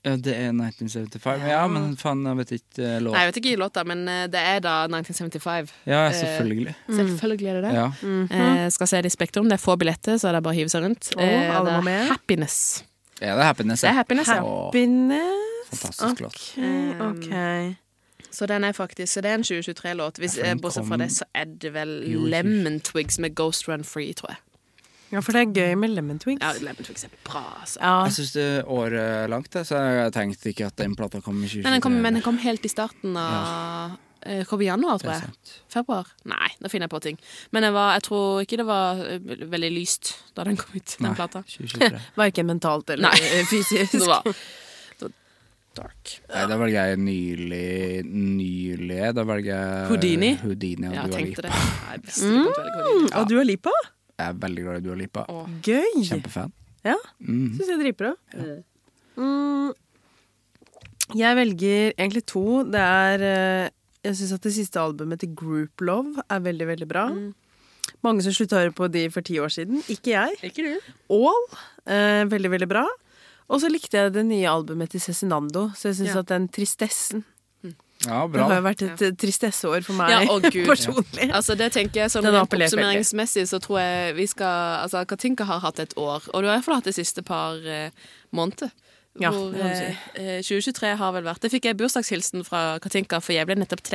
Speaker 1: Ja, det er 1975. Ja, men faen, jeg vet ikke eh, låt.
Speaker 4: Nei, jeg vet ikke i låta, men eh, det er da 1975.
Speaker 1: Ja, selvfølgelig.
Speaker 4: eh, Selvfølgelig er det det.
Speaker 1: Ja.
Speaker 4: Eh, skal se det i Spektrum. Det er få billetter, så det er bare å hive seg rundt.
Speaker 3: Mhm.
Speaker 4: Eh,
Speaker 3: Å, alle
Speaker 4: det
Speaker 3: må med.
Speaker 4: er Happiness.
Speaker 1: Er det Happiness?
Speaker 4: Det er Happiness, ja.
Speaker 1: Å,
Speaker 3: Happiness.
Speaker 1: fantastisk låt.
Speaker 4: Um,
Speaker 3: OK. ok.
Speaker 4: Så den er faktisk Så det er en 2023-låt. Hvis
Speaker 1: Ja, for den
Speaker 4: eh, Bortsett fra
Speaker 1: kom-
Speaker 4: det, så er det vel
Speaker 1: Jo, ikke-
Speaker 4: Lemon Twigs med Ghost Run Free, tror jeg.
Speaker 3: Ja, for det er gøy med lemon twigs.
Speaker 4: Ja, Lemon Twigs er bra, altså.
Speaker 3: Ja.
Speaker 1: Jeg syns det er året langt, jeg, så jeg tenkte ikke at den plata kom i 2023.
Speaker 4: Men den kom, men den kom helt i starten av eh, Kom i januar, tror
Speaker 1: Det er
Speaker 4: jeg.
Speaker 1: sant.
Speaker 4: Februar? Nei, da finner jeg på ting. Men jeg, var, jeg tror ikke det var eh, veldig lyst da den kom ut, den [laughs]
Speaker 1: Nei,
Speaker 4: plata.
Speaker 1: 2023.
Speaker 3: Verken mentalt eller
Speaker 4: [laughs] Nei.
Speaker 3: fysisk.
Speaker 4: Det var, da, Stark.
Speaker 1: Nei, da velger jeg nylig Nylig Da velger jeg
Speaker 4: Houdini?
Speaker 1: Houdini
Speaker 4: Ja,
Speaker 1: ja,
Speaker 4: jeg
Speaker 1: Dua
Speaker 4: tenkte det.
Speaker 1: Lipa.
Speaker 4: Nei, jeg visste ikke at du velger Houdini.
Speaker 7: Og du er Lipa?
Speaker 1: Jeg er veldig glad i Dua Lipa.
Speaker 7: Gøy!
Speaker 1: Kjempefan.
Speaker 7: Ja,
Speaker 1: Mhm.
Speaker 7: syns jeg dritbra.
Speaker 3: Mm. Jeg velger egentlig to. Det er eh, Jeg syns at det siste albumet til Group Love er veldig, veldig bra.
Speaker 4: Mm.
Speaker 3: Mange som slutta å høre på de for ti år siden. Ikke jeg.
Speaker 4: Ikke du?
Speaker 3: All. Eh, veldig, veldig bra. Og så likte jeg det nye albumet til Cezinando, så jeg syns
Speaker 4: Ja.
Speaker 3: at den tristessen
Speaker 1: Ja,
Speaker 3: Det
Speaker 1: bra.
Speaker 3: har jo vært et eh, tristesseår for meg
Speaker 4: Ja,
Speaker 3: [laughs]
Speaker 4: å Gud.
Speaker 3: personlig.
Speaker 4: Altså, det tenker jeg sånn
Speaker 3: Den har
Speaker 4: rent
Speaker 3: appellert veldig.
Speaker 4: Oppsummeringsmessig så tror jeg vi skal Altså, Katinka har hatt et år, og du har iallfall hatt det siste par eh, måneder.
Speaker 3: Ja,
Speaker 4: hvor,
Speaker 3: det kan du si.
Speaker 4: eh, eh, 2023 har vel vært Det fikk jeg bursdagshilsen fra Katinka, for jeg ble nettopp Mhm.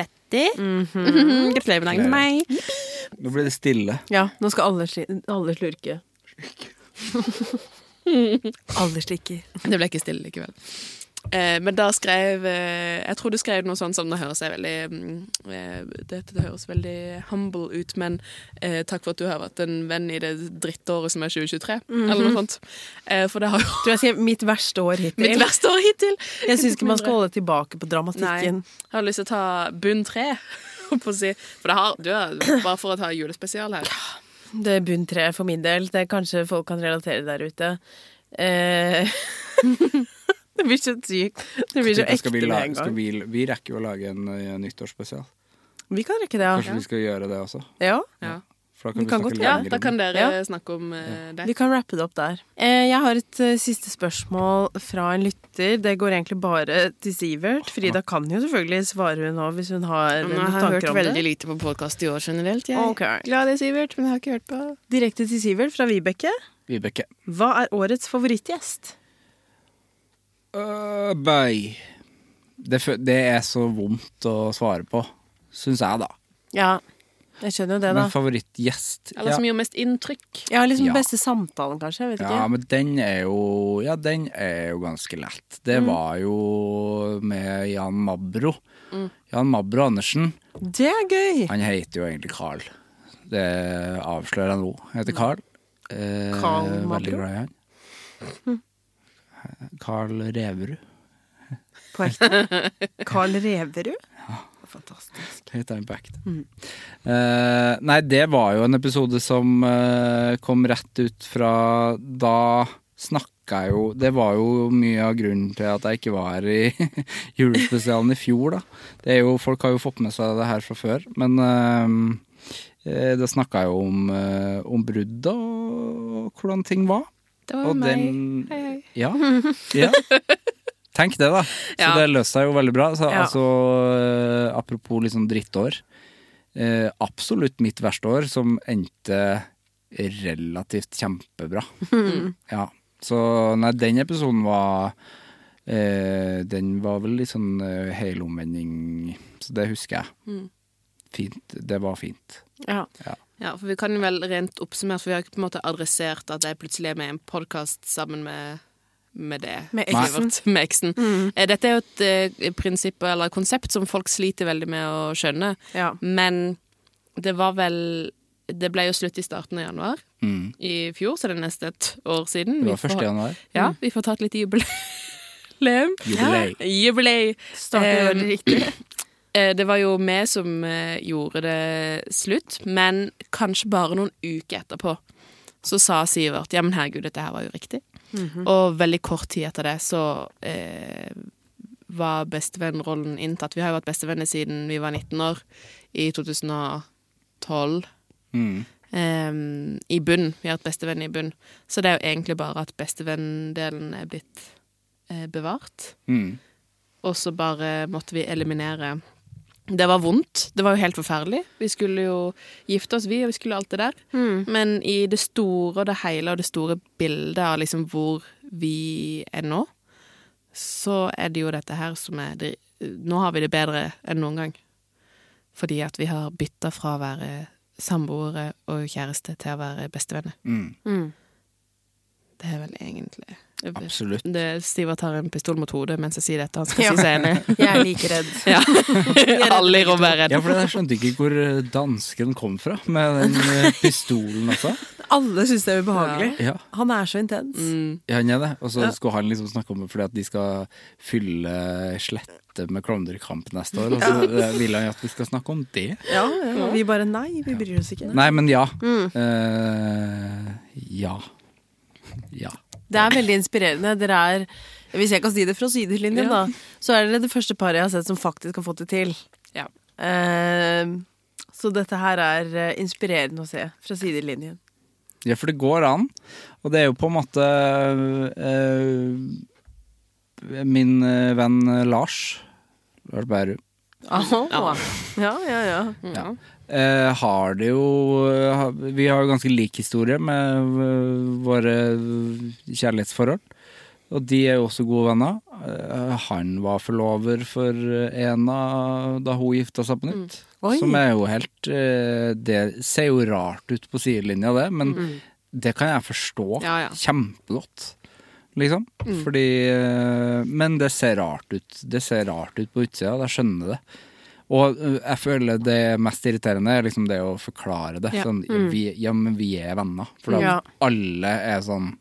Speaker 4: 30.
Speaker 3: Mhm.
Speaker 4: Gratulerer med dagen til meg.
Speaker 1: Nå blir det stille.
Speaker 3: Ja, nå skal alle, sli- alle slurke. [laughs] alle slikker.
Speaker 4: Det ble ikke stille likevel. Eh, men da skrev eh, Jeg tror du skrev noe sånt som Det høres jeg veldig mm, eh, Dette det høres veldig humble ut, men eh, takk for at du har vært en venn i det drittåret som er 2023, eller
Speaker 3: Mhm.
Speaker 4: noe sånt. Eh, for det har jo
Speaker 3: Tror jeg skrev mitt verste år hittil.
Speaker 4: mitt verste år hittil.
Speaker 3: Jeg syns ikke man skal
Speaker 4: Mindre.
Speaker 3: holde tilbake på dramatikken.
Speaker 4: Nei. Jeg har lyst til å ta bunn tre. [laughs] holdt på å si. For det har, du har, bare for å ta julespesial her.
Speaker 3: Det er bunn tre for min del. Det er kanskje folk kan relatere der ute. Eh, [laughs] det blir så sykt. Det blir så ekte
Speaker 1: Skal vi,
Speaker 3: med
Speaker 1: la,
Speaker 3: en
Speaker 1: skal
Speaker 3: gang.
Speaker 1: vi, vi rekker jo å lage en eh, nyttårsspesial.
Speaker 3: Vi kan rekke det,
Speaker 1: Kanskje
Speaker 3: ja.
Speaker 1: vi skal gjøre det også?
Speaker 3: ja.
Speaker 4: Ja,
Speaker 1: For da
Speaker 3: Vi
Speaker 1: kan vi,
Speaker 3: kan godt-
Speaker 1: snakke
Speaker 4: ja
Speaker 1: lenger
Speaker 4: da
Speaker 1: om
Speaker 4: kan
Speaker 1: det.
Speaker 4: dere
Speaker 3: Ja.
Speaker 4: snakke om eh, det.
Speaker 3: Vi kan rappe det opp der. Eh, jeg har et eh, siste spørsmål fra en lytter. Det går egentlig bare til Sivert. Frida kan jo selvfølgelig svare hun òg, hvis hun har noen tanker om det.
Speaker 4: lite på podkast i år generelt,
Speaker 3: Ok.
Speaker 4: Glad i Sivert, men jeg har ikke hørt på.
Speaker 3: Direkte til Sivert fra Vibeke.
Speaker 1: Vibeke.
Speaker 3: Hva er årets favorittgjest?
Speaker 1: Øh, bøy. Det, fø- det er så vondt å svare på, syns jeg, da.
Speaker 3: Ja, jeg skjønner jo det, da.
Speaker 1: Men favorittgjest
Speaker 4: Eller som gjør mest inntrykk.
Speaker 3: Jeg har liksom
Speaker 1: Ja.
Speaker 3: beste samtalen, kanskje. Jeg vet ikke.
Speaker 1: Ja, men den er jo Ja, den er jo ganske lett. Det
Speaker 3: Mm.
Speaker 1: var jo med Jan Mabro.
Speaker 3: Mm.
Speaker 1: Jan Mabro Andersen.
Speaker 3: Det er gøy!
Speaker 1: Han heter jo egentlig Carl. Det avslører jeg nå. Han heter Carl. Eh,
Speaker 3: Carl
Speaker 1: Veldig
Speaker 3: Mabro?
Speaker 1: glad i han. Carl Reverud
Speaker 3: På ekte.
Speaker 1: [laughs]
Speaker 3: Carl Reverud. Fantastisk.
Speaker 1: heter han på ekte. Eh, nei, det var jo en episode som eh, kom rett ut fra Da snakka jeg jo Det var jo mye av grunnen til at jeg ikke var i [laughs] julespesialen i fjor, da. Det er jo, folk har jo fått med seg det her fra før, men eh, eh, da snakka jeg jo om, eh, om brudd og hvordan ting var.
Speaker 4: Det var
Speaker 1: og
Speaker 4: meg.
Speaker 1: den-
Speaker 4: Hei, hei. [laughs]
Speaker 1: Ja. ja. Tenk det, da. Så
Speaker 4: Ja.
Speaker 1: det løste seg jo veldig bra. Så,
Speaker 3: Ja.
Speaker 1: altså, eh, apropos litt sånn drittår. Eh, absolutt mitt verste år, som endte relativt kjempebra.
Speaker 4: [laughs]
Speaker 1: Ja. Så nei, den episoden var eh, Den var vel litt sånn eh, helomvending, så det husker jeg.
Speaker 4: Mm.
Speaker 1: Fint. Det var fint.
Speaker 3: Ja.
Speaker 4: Ja, for vi kan jo vel rent oppsummert, for vi har ikke på en måte adressert at jeg plutselig er med i en podkast sammen med med det.
Speaker 3: Med
Speaker 4: Nei.
Speaker 3: eksen.
Speaker 4: Med eksen.
Speaker 5: Mm.
Speaker 4: Eh, Dette er jo et eh, prinsipp eller konsept som folk sliter veldig med å skjønne,
Speaker 3: Ja.
Speaker 4: men det var vel Det ble jo slutt i starten av januar
Speaker 1: Mm.
Speaker 4: i fjor, så det er nesten et år siden.
Speaker 1: Det
Speaker 4: Vi
Speaker 1: var
Speaker 4: får-
Speaker 1: 1. januar.
Speaker 4: Ja, vi får tatt litt jubileum.
Speaker 1: [laughs] Jubilei.
Speaker 4: Jubilei.
Speaker 3: Starter
Speaker 4: Eh,
Speaker 3: året riktig.
Speaker 4: Eh, Det var jo vi som eh, gjorde det slutt, men kanskje bare noen uker etterpå så sa Sivert ja, men herregud, dette her var jo riktig. Og veldig kort tid etter det så eh, var bestevennrollen inntatt. Vi har jo vært bestevenner siden vi var 19 år, i 2012.
Speaker 1: Mm.
Speaker 4: Ehm, I bunn. Vi har hatt bestevenn i bunn. Så det er jo egentlig bare at bestevenn-delen er blitt eh, bevart.
Speaker 1: Mm.
Speaker 4: Og så bare måtte vi eliminere Det var vondt. Det var jo helt forferdelig. Vi skulle jo gifte oss, vi, og vi skulle alt det der. Men i det store og det hele og det store bildet av liksom hvor vi er nå, så er det jo dette her som er det, Nå har vi det bedre enn noen gang. Fordi at vi har bytta fra å være samboere og kjæreste til å være bestevenner.
Speaker 1: Mm.
Speaker 4: Det er vel egentlig
Speaker 1: Absolutt.
Speaker 4: Det, Stivert har en pistol mot hodet mens jeg sier dette. Han skal si seg enig.
Speaker 3: Jeg er like
Speaker 5: [laughs]
Speaker 3: redd.
Speaker 4: [laughs] Ja. Alle i rommet er
Speaker 1: Ja,
Speaker 4: redde.
Speaker 1: [laughs] for jeg skjønte ikke hvor dansken kom fra med den eh, pistolen også.
Speaker 3: Alle syns det er ubehagelig.
Speaker 1: Ja,
Speaker 3: Han er så intens.
Speaker 5: Mm.
Speaker 1: ja, han er det. Og så skulle han liksom snakke om det fordi at de skal fylle eh, Slette med Klovnerkamp neste år. Og [laughs] så eh, vil han jo at vi skal snakke om det.
Speaker 3: Ja, ja. Vi bare nei, vi bryr oss ikke.
Speaker 1: Nei, men ja. Eh, ja. Ja.
Speaker 5: Det er veldig inspirerende. Dere er, hvis jeg kan si det fra sidelinjen, da, så er dere det første paret jeg har sett som faktisk har fått det til.
Speaker 4: Ja.
Speaker 5: Eh, så dette her er eh, inspirerende å se fra sidelinjen.
Speaker 1: Ja, for det går an. Og det er jo på en måte eh, Min eh, venn Lars Lars Bærum
Speaker 5: Ja. ja, ja, ja.
Speaker 1: eh, har det jo eh, ha- Vi har jo ganske lik historie med eh, våre eh, kjærlighetsforhold. Og de er jo også gode venner. Eh, han var forlover for Ena da hun gifta seg på nytt. Som er jo helt eh, Det ser jo rart ut på sidelinja, det, men det kan jeg forstå
Speaker 4: Ja, Mm. ja.
Speaker 1: kjempegodt. Liksom. Fordi eh, Men det ser rart ut. Det ser rart ut på utsida, og jeg skjønner det. Og eh, jeg føler det mest irriterende er liksom det å forklare det. Sånn,
Speaker 4: Mm.
Speaker 1: vi, ja, men vi er venner. For da
Speaker 5: Ja.
Speaker 1: alle er sånn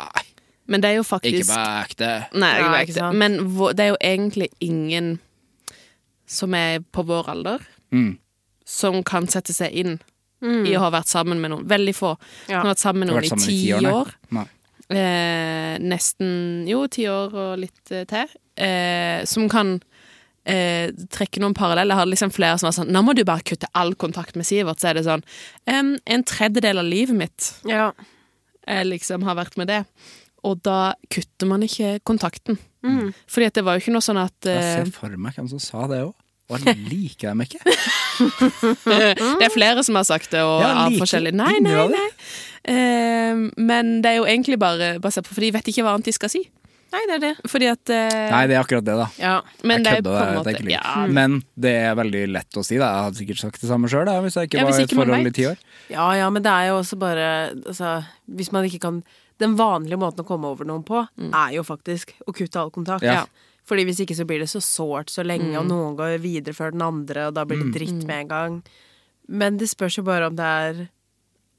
Speaker 1: Nei,
Speaker 4: Men det er jo
Speaker 1: ikke
Speaker 4: faktisk
Speaker 1: vær ekte.
Speaker 4: Nei, jeg
Speaker 5: Nei,
Speaker 4: vet
Speaker 5: ikke
Speaker 4: det.
Speaker 5: sant?
Speaker 4: Men hvor- det er jo egentlig ingen som er på vår alder,
Speaker 1: Mm.
Speaker 4: som kan sette seg inn i å ha vært sammen med noen. Veldig få.
Speaker 5: Mm. Ja.
Speaker 4: Som har vært sammen med
Speaker 1: Har vært
Speaker 4: noen i
Speaker 1: sammen
Speaker 4: ti
Speaker 1: ti
Speaker 4: år.
Speaker 1: nei. Nei.
Speaker 4: eh, nesten Jo, ti år og litt eh, til. Eh, som kan eh, trekke noen paralleller. Jeg hadde liksom flere som var sånn Nå må du bare kutte all kontakt med Sivert. Så er det sånn em, En tredjedel av livet mitt
Speaker 5: ja.
Speaker 4: eh, liksom har vært med det. Og da kutter man ikke kontakten.
Speaker 5: Mm.
Speaker 4: Fordi at det var jo ikke noe sånn at eh,
Speaker 1: Jeg ser for meg hvem som sa det òg. Og jeg liker dem ikke.
Speaker 4: [laughs] Det er flere som har sagt det, og
Speaker 1: Ja,
Speaker 4: av
Speaker 1: like
Speaker 4: forskjellige Nei, nei,
Speaker 1: innhold.
Speaker 4: nei. Eh, men det er jo egentlig bare basert på For de vet ikke hva annet de skal si. Nei, det er det. Fordi at eh,
Speaker 1: Nei, det er akkurat det, da.
Speaker 5: ja.
Speaker 4: Men det er
Speaker 1: jeg
Speaker 4: jo på
Speaker 1: kødda,
Speaker 4: en
Speaker 1: det er
Speaker 4: måte
Speaker 1: ikke lurt.
Speaker 4: ja, Mm.
Speaker 1: Men det er veldig lett å si. Da. Jeg hadde sikkert sagt det samme sjøl hvis jeg ikke
Speaker 4: Ja, hvis
Speaker 1: var i et
Speaker 4: ikke man
Speaker 1: forhold
Speaker 4: vet.
Speaker 1: i ti år.
Speaker 5: Ja, ja, men det er jo også bare altså, Hvis man ikke kan Den vanlige måten å komme over noen på,
Speaker 4: Mm.
Speaker 5: er jo faktisk å kutte all kontakt.
Speaker 1: Ja.
Speaker 5: Fordi hvis ikke så blir det så sårt så lenge,
Speaker 4: Mm.
Speaker 5: og noen går videre før den andre, og da blir det dritt med en gang. Men det spørs jo bare om det er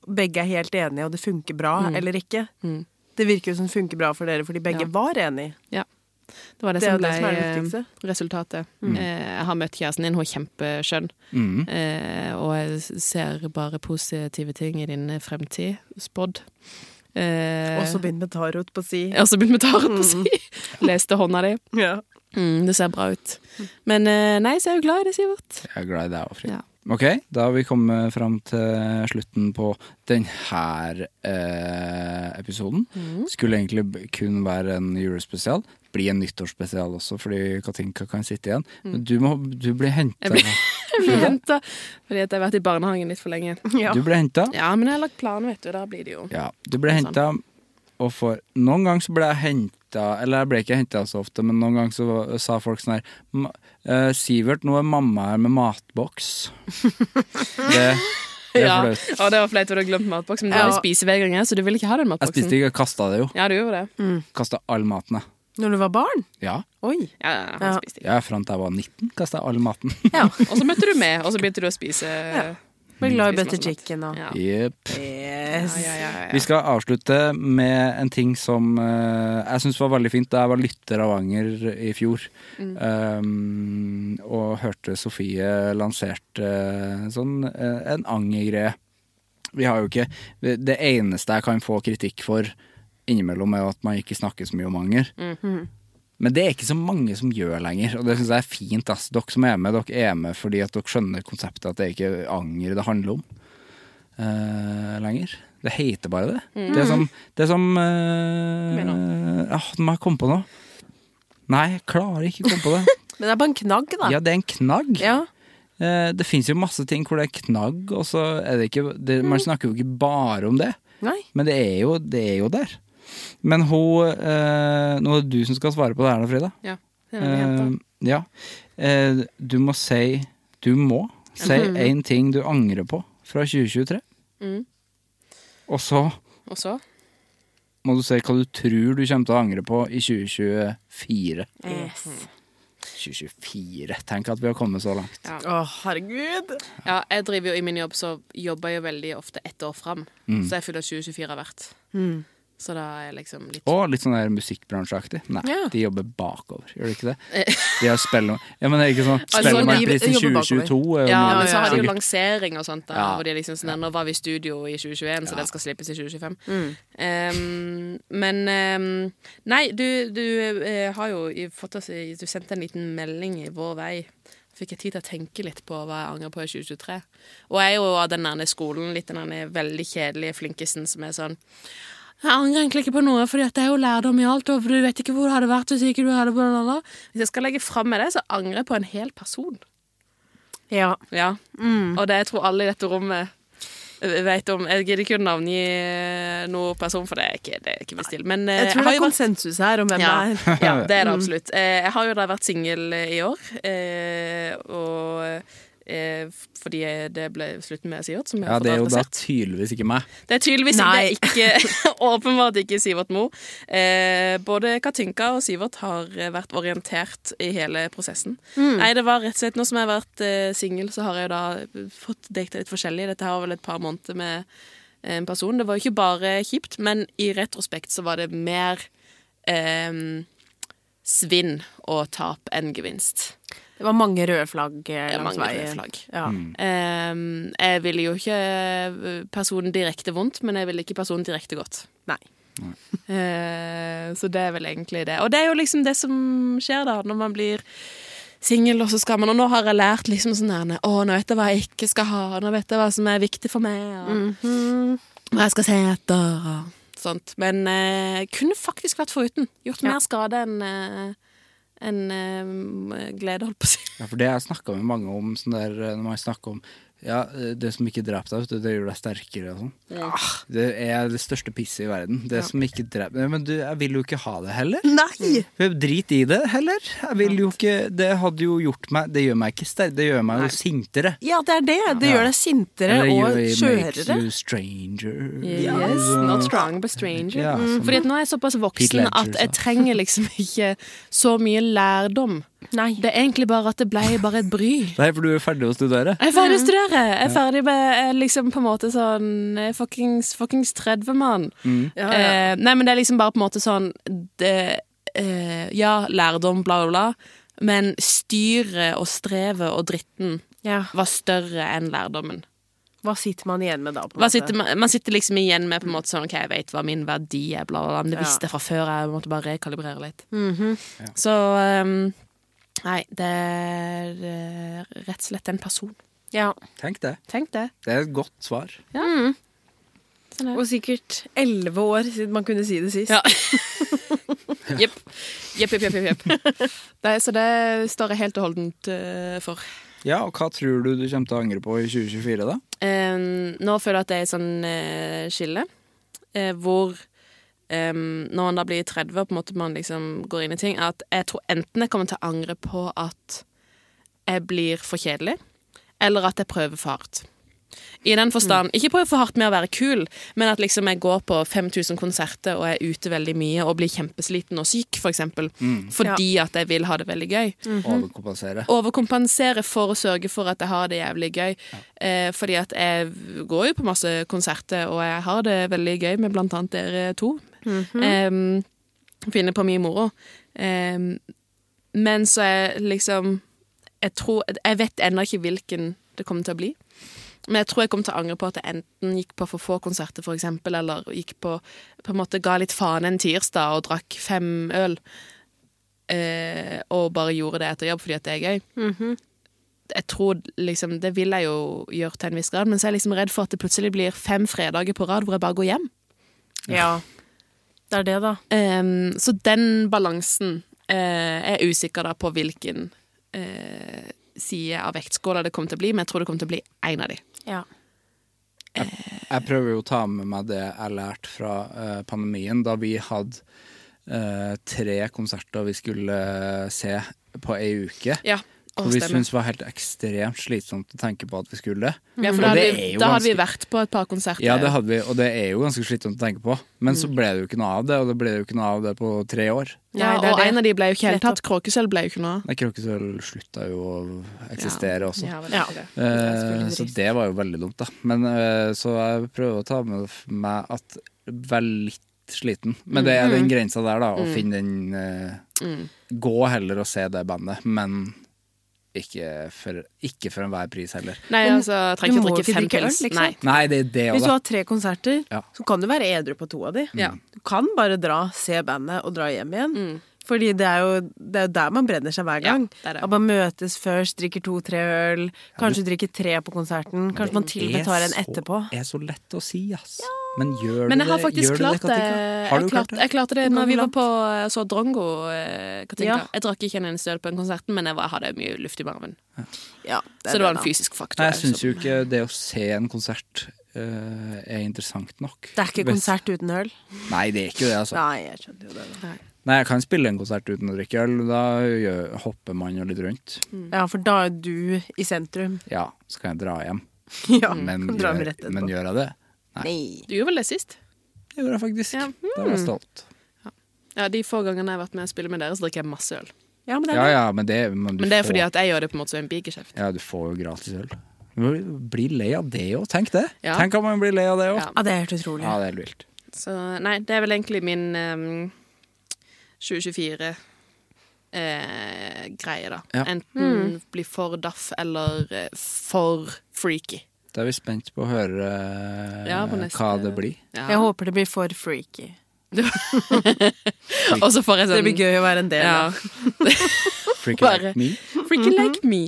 Speaker 5: Begge er helt enige, og det funker bra, eller ikke. Det virker jo som det funker bra for dere, fordi begge
Speaker 4: Mm. Ja.
Speaker 5: var enige.
Speaker 4: Det var det,
Speaker 5: Det er
Speaker 4: som
Speaker 5: jo
Speaker 4: ble
Speaker 5: det som er det
Speaker 4: eh,
Speaker 5: viktigste.
Speaker 4: resultatet.
Speaker 1: Mm.
Speaker 4: Eh, jeg har møtt kjæresten din, hun er kjempeskjønn.
Speaker 1: Mhm.
Speaker 4: Eh, og jeg ser bare positive ting i din fremtid, spådd. Eh,
Speaker 5: Og så begynner med tarot på si.
Speaker 4: jeg har også begynt med tarot på si. [laughs] Leste hånda di.
Speaker 5: Ja.
Speaker 4: Mm, det ser bra ut. Men eh, nei, så er jeg jo glad i det, Sivert.
Speaker 1: Jeg er glad i deg òg, Frida.
Speaker 4: Ja.
Speaker 1: Ok, da har vi kommet fram til slutten på denne eh, episoden.
Speaker 4: Mm.
Speaker 1: Skulle egentlig b- kun være en julespesial. Bli en nyttårsspesial også, fordi Katinka kan sitte igjen. Men du, må, du blir henta.
Speaker 4: Mm.
Speaker 1: [laughs]
Speaker 4: Jeg blir henta fordi at jeg har vært i barnehagen litt for lenge.
Speaker 5: Ja.
Speaker 1: Du blir henta.
Speaker 4: Ja, men jeg har lagt planer, vet du. Da blir det jo
Speaker 1: Ja, du ble henta og for Noen ganger så ble jeg henta Eller jeg ble ikke henta så ofte, men noen ganger så var- sa folk sånn her "Ma- eh, Sivert, nå er mamma her med
Speaker 4: [laughs]
Speaker 1: matboks. Det, det er
Speaker 4: Ja.
Speaker 1: flaut.
Speaker 4: Å, det var flaut, for du har glemt matboksen. Men du
Speaker 5: Ja.
Speaker 4: har jo spisevegring, her, så du vil ikke ha den
Speaker 1: Jeg spiste
Speaker 4: matboksen.
Speaker 1: ikke, jeg kasta det jo.
Speaker 4: Ja, du gjorde det.
Speaker 1: Kasta all maten, jeg.
Speaker 5: Når du var barn?
Speaker 1: Ja.
Speaker 5: Oi.
Speaker 4: Ja, ja, ja, han
Speaker 5: Ja.
Speaker 4: spiste ikke.
Speaker 1: Jeg er fram til jeg var 19, kasta jeg all maten.
Speaker 4: Og så møtte du meg, og så begynte du å spise.
Speaker 5: Ble glad i butter
Speaker 4: Spiste masse mat.
Speaker 5: chicken og
Speaker 4: Ja.
Speaker 1: Jepp.
Speaker 5: Yes.
Speaker 4: Ja, ja, ja,
Speaker 1: Vi skal avslutte med en ting som eh, jeg syns var veldig fint da jeg var lytter av Anger i fjor.
Speaker 4: Mm.
Speaker 1: eh, og hørte Sofie lanserte eh, sånn, eh, en Anger-greie. Vi har jo ikke Det eneste jeg kan få kritikk for innimellom, er jo at man ikke snakker så mye om anger.
Speaker 4: Mm.
Speaker 1: Men det er ikke så mange som gjør lenger, og det syns jeg er fint. Ass. Dere som er med, dere er med fordi at dere skjønner konseptet at det er ikke anger det handler om eh, lenger. Det heter bare det. Det som, det som eh, ah, Nå må jeg komme på noe. Nei, jeg klarer ikke å komme på det.
Speaker 5: Men det er bare en knagg, da.
Speaker 1: Ja, det er en knagg.
Speaker 5: Ja.
Speaker 1: Eh, det fins jo masse ting hvor det er knagg, og så er det ikke det, Man snakker jo ikke bare om det.
Speaker 5: Nei.
Speaker 1: Men det er jo, det er jo der. Men hun eh, Nå er det du som skal svare på det her nå, Frida.
Speaker 4: Ja. Det er en jente.
Speaker 1: Eh, ja. Eh, du må si Du må si én ting du angrer på fra 2023.
Speaker 4: Mhm.
Speaker 1: Og så
Speaker 4: Og så?
Speaker 5: Mm.
Speaker 1: må du si hva du tror du kommer til å angre på i 2024.
Speaker 5: Yes.
Speaker 1: 2024. Tenk at vi har kommet så langt.
Speaker 3: Å, herregud!
Speaker 4: Ja, jeg driver jo i min jobb, så jobber jeg jo veldig ofte ett år fram. Så jeg fyller 2024 hvert.
Speaker 3: Mm.
Speaker 4: Så da er jeg liksom litt
Speaker 1: Og litt sånn der musikkbransjeaktig. Nei,
Speaker 4: Ja. Eh.
Speaker 1: de jobber bakover, gjør de ikke det? De har spille... Ja, men det er ikke sånn
Speaker 4: Altså,
Speaker 1: Spellemannprisen
Speaker 5: de jobber bakover.
Speaker 1: 2022 er jo
Speaker 4: Ja,
Speaker 1: noe-
Speaker 4: men så har de jo
Speaker 1: sikkert-
Speaker 4: lansering og sånt. da
Speaker 1: Ja.
Speaker 4: Hvor de liksom sånn, Nå var vi i studio i 2021, så den skal slippes i 2025. Um, men um, Nei, du, du eh, har jo i- fått oss i- Du sendte en liten melding i vår vei. Fikk jeg tid til å tenke litt på hva jeg angrer på i 2023. Og jeg er jo av den derne skolen, litt den derne veldig kjedelige flinkisen som er sånn jeg angrer egentlig ikke på noe, for det er jo lærdom i alt. Og for du vet ikke hvor det hadde vært Hvis ikke du hadde blablabla. Hvis jeg skal legge fram med det, så angrer jeg på en hel person.
Speaker 5: Ja. Mm.
Speaker 4: Ja. [laughs] Og det jeg tror alle i dette rommet eh, vet om. Jeg gidder ikke å navngi noen person, for det er ikke, det er ikke min stil. Men eh,
Speaker 5: Jeg tror det
Speaker 4: har
Speaker 5: er
Speaker 4: jo vært-
Speaker 5: konsensus her om hvem
Speaker 4: ja,
Speaker 5: det er.
Speaker 4: ja, det er det absolutt. Eh, Jeg har jo da vært singel i år, eh, og eh, fordi det ble slutten med Sivert, som jeg
Speaker 1: Ja,
Speaker 4: har
Speaker 1: det
Speaker 4: fått
Speaker 1: er jo da
Speaker 4: adressert.
Speaker 1: tydeligvis ikke meg.
Speaker 4: Det er tydeligvis
Speaker 5: Nei.
Speaker 4: det er ikke, [laughs] åpenbart ikke Sivert Mo. Eh, både Katinka og Sivert har eh, vært orientert i hele prosessen. Nei, det var rett og slett Nå som jeg har vært eh, singel, så har jeg jo da eh, fått data litt forskjellig. Dette her var vel et par måneder med eh, en person. Det var jo ikke bare kjipt, men i retrospekt så var det mer eh, svinn og tap enn gevinst.
Speaker 5: Det var mange røde flagg eh,
Speaker 4: Det er
Speaker 5: langs
Speaker 4: mange røde
Speaker 5: veien.
Speaker 4: flagg.
Speaker 5: Ja.
Speaker 1: Mm.
Speaker 4: Eh, jeg ville jo ikke eh, personen direkte vondt, men jeg ville ikke personen direkte godt.
Speaker 5: Nei.
Speaker 4: Eh, Så det er vel egentlig det. Og det er jo liksom det som skjer da, når man blir singel, og så skal man Og nå har jeg lært liksom sånn her Å, nå vet jeg hva jeg ikke skal ha, nå vet jeg hva som er viktig for meg, og hva jeg skal se etter, og sånt. Men eh, kunne faktisk vært foruten. Gjort mer skade enn eh, enn, eh, glede, holdt på å si.
Speaker 1: Ja, for det har jeg snakka med mange om, sånn der, eh, når man snakker om ja, eh, det som ikke drepte deg, vet du, det gjør deg sterkere og sånn. Ah, Det er det største pisset i verden. Det som ikke dreper Nei, Men du, jeg vil jo ikke ha det heller.
Speaker 5: Nei!
Speaker 1: Drit i det heller. Jeg vil jo ikke Det hadde jo gjort meg Det gjør meg ikke sterk, det gjør meg jo sintere.
Speaker 5: Ja, det er det. Det gjør deg sintere
Speaker 1: Eller
Speaker 5: og
Speaker 1: you- it makes
Speaker 5: skjørere.
Speaker 1: you stranger.
Speaker 4: Yes, not strong, but stranger. Mm.
Speaker 1: Ja, sånn.
Speaker 4: Fordi at nå er jeg såpass
Speaker 1: Pete
Speaker 4: voksen
Speaker 1: Ledger,
Speaker 4: at jeg
Speaker 1: så.
Speaker 4: trenger liksom ikke så mye lærdom.
Speaker 5: Nei.
Speaker 4: Det er egentlig bare at det ble bare et bry.
Speaker 1: Nei, for du er ferdig å studere.
Speaker 4: Jeg er ferdig å studere! Jeg er ferdig med jeg er liksom på en måte sånn jeg er Fuckings, fuckings 30, mann.
Speaker 5: Mm.
Speaker 4: Eh, nei, men det er liksom bare på en måte sånn det, eh, Ja, lærdom, bla, bla, bla. Men styret og strevet og dritten
Speaker 5: Ja.
Speaker 4: var større enn lærdommen.
Speaker 5: Hva sitter man igjen med da? På en
Speaker 4: Hva
Speaker 5: måte?
Speaker 4: sitter, man, man sitter liksom igjen med på en måte sånn OK, jeg vet hva min verdi er, bla, bla, bla. Men det
Speaker 5: Ja.
Speaker 4: visste jeg fra før, jeg måtte bare rekalibrere litt.
Speaker 5: Mhm.
Speaker 4: Så ehm, Nei, det er eh, rett og slett en person.
Speaker 5: Ja.
Speaker 1: Tenk det.
Speaker 4: Tenk det.
Speaker 1: Det er et godt svar.
Speaker 4: Mm.
Speaker 5: Og sikkert elleve år siden man kunne si det sist.
Speaker 4: Ja. Jepp. Jepp, jepp, jepp. jepp, jepp. [laughs] Det, så det står jeg helt og holdent eh, for.
Speaker 1: Ja, og hva tror du du kommer til å angre på i 2024, da?
Speaker 4: Ehm, nå føler jeg at det er et sånn eh, skille eh, hvor ehm, når man da blir 30 og på en måte man liksom går inn i ting, at jeg tror enten jeg kommer til å angre på at jeg blir for kjedelig, eller at jeg prøver for hardt. I den forstand, ikke prøve for hardt med å være kul, men at liksom jeg går på 5000 konserter og er ute veldig mye og blir kjempesliten og syk, for eksempel, fordi at jeg vil ha det veldig gøy
Speaker 5: Mhm.
Speaker 1: Overkompensere.
Speaker 4: overkompensere for å sørge for at jeg har det jævlig gøy. Eh, fordi at jeg går jo på masse konserter, og jeg har det veldig gøy med blant annet dere to. eh, finner på mye moro. Eh, men så er liksom Jeg tror Jeg vet ennå ikke hvilken det kommer til å bli. Men jeg tror jeg kommer til å angre på at jeg enten gikk på for få konserter, for eksempel, eller gikk på, på en måte ga litt faen en tirsdag og drakk fem øl eh, og bare gjorde det etter jobb fordi at det er gøy.
Speaker 5: Mhm.
Speaker 4: Jeg tror liksom, Det vil jeg jo gjøre til en viss grad, men så er jeg liksom redd for at det plutselig blir fem fredager på rad hvor jeg bare går hjem.
Speaker 5: Ja. Det er det, da.
Speaker 4: Em, Ehm, så den balansen eh, er jeg usikker da på hvilken eh, side av vektskåla det kommer til å bli, men jeg tror det kommer til å bli én av de.
Speaker 5: Ja.
Speaker 1: Jeg prøver jo å ta med meg det jeg lærte fra eh, pandemien, da vi hadde eh, tre konserter vi skulle se eh, på ei uke.
Speaker 4: Ja, Å,
Speaker 1: Og vi
Speaker 4: stemmer.
Speaker 1: syntes det var helt ekstremt slitsomt å tenke på at vi skulle det.
Speaker 4: Ja, for
Speaker 1: Og
Speaker 4: da hadde,
Speaker 1: det
Speaker 4: vi,
Speaker 1: er jo
Speaker 4: da hadde vi
Speaker 1: ganske-
Speaker 4: vært på et par konserter.
Speaker 1: Ja, det hadde vi, og det er jo ganske slitsomt å tenke på. Men
Speaker 4: Mm.
Speaker 1: så ble det jo ikke noe av det, og det ble jo ikke noe av det på tre år.
Speaker 4: Ja,
Speaker 3: Nei, det er
Speaker 4: og
Speaker 3: det.
Speaker 4: en av de ble jo ikke helt tatt. Kråkesølv ble jo ikke noe av.
Speaker 1: Men Kråkesølv slutta jo å eksistere også.
Speaker 4: Ja, vel,
Speaker 3: Ja.
Speaker 4: det.
Speaker 1: Eh, så det var jo veldig dumt, da. Men eh, så jeg prøver å ta med meg at vær litt sliten. Men det er den
Speaker 3: Mm.
Speaker 1: grensa der, da. Å finne den eh,
Speaker 4: Mm.
Speaker 1: Gå heller og se det bandet, men ikke for, ikke for enhver pris heller.
Speaker 4: Nei, altså, jeg
Speaker 3: du
Speaker 4: trenger
Speaker 3: må
Speaker 4: ikke drikke
Speaker 3: ikke
Speaker 4: fem
Speaker 3: drikke øl,
Speaker 4: pils.
Speaker 3: liksom.
Speaker 4: Nei.
Speaker 1: Nei, det er det òg,
Speaker 3: Hvis du
Speaker 1: da.
Speaker 3: har tre konserter,
Speaker 1: Ja.
Speaker 3: så kan du være edru på to av de.
Speaker 4: Ja.
Speaker 3: Du kan bare dra, se bandet og dra hjem igjen. Fordi det er, jo, det er jo der man brenner seg hver
Speaker 4: Mm. Ja,
Speaker 3: gang.
Speaker 4: det er det.
Speaker 3: At man møtes først, drikker to-tre øl, kanskje drikker tre på konserten. Kanskje man til og med tar en etterpå.
Speaker 1: Det er så lett å si, ass. Men gjør
Speaker 4: Men
Speaker 1: du
Speaker 4: jeg har
Speaker 1: det?
Speaker 4: faktisk
Speaker 1: Gjør du
Speaker 4: klart det.
Speaker 1: Katinka?
Speaker 3: eh,
Speaker 1: Har
Speaker 4: Jeg,
Speaker 1: du
Speaker 4: klart, jeg klarte det når
Speaker 3: går
Speaker 4: vi var
Speaker 3: langt.
Speaker 4: på eh, så Drongo. eh, Katinka.
Speaker 3: Ja.
Speaker 4: Jeg drakk ikke en eneste øl på den konserten, men jeg var, hadde mye luft i magen.
Speaker 3: Ja,
Speaker 4: Så det var en fysisk faktor.
Speaker 1: Nei, jeg syns
Speaker 4: som-
Speaker 1: jo
Speaker 3: altså.
Speaker 1: ikke det å se en konsert eh, er interessant nok.
Speaker 3: Det er ikke
Speaker 1: Hvis-
Speaker 3: konsert uten øl.
Speaker 1: Nei, det er ikke det, altså.
Speaker 3: Nei, jeg skjønner jo det. da.
Speaker 1: Nei, jeg kan spille en konsert uten å drikke øl. Da gjør, hopper man jo litt rundt.
Speaker 4: Mm.
Speaker 3: Ja, for da er du i sentrum.
Speaker 1: Ja, så kan jeg dra hjem.
Speaker 3: Ja,
Speaker 1: Men,
Speaker 3: kan dra med rett
Speaker 1: gjør, men
Speaker 3: etterpå.
Speaker 1: gjør jeg det?
Speaker 3: Nei.
Speaker 4: Du gjorde vel det sist?
Speaker 1: Det gjør jeg faktisk.
Speaker 4: Ja.
Speaker 1: Da var jeg stolt.
Speaker 4: Ja, De få gangene jeg har vært med og spille med dere, så drikker jeg masse øl.
Speaker 3: Ja, men det
Speaker 1: Ja
Speaker 3: er det.
Speaker 1: ja, men det, men du
Speaker 4: Men det er
Speaker 1: får,
Speaker 4: fordi at jeg gjør det på en måte som en bigeskjeft.
Speaker 1: Ja, du får jo gratis øl. Du blir lei av det òg, tenk det.
Speaker 4: Ja.
Speaker 1: Tenk om man blir lei av det òg.
Speaker 4: Ja.
Speaker 3: Ja, det er helt utrolig.
Speaker 1: Ja, det er helt vilt.
Speaker 4: Så nei, det er vel egentlig min ehm, 2024 eh, greie, da.
Speaker 1: Ja.
Speaker 4: Enten
Speaker 3: Mm.
Speaker 4: bli for daff eller eh, for freaky.
Speaker 1: Da er vi spent på å høre eh,
Speaker 4: Ja, på neste-
Speaker 1: hva det blir.
Speaker 3: Jeg håper det blir for freaky.
Speaker 4: Og så får jeg sånn
Speaker 3: Det blir gøy å være en del av.
Speaker 4: Ja.
Speaker 1: Freaky
Speaker 4: Bare-
Speaker 1: like me.
Speaker 4: Freaky like me.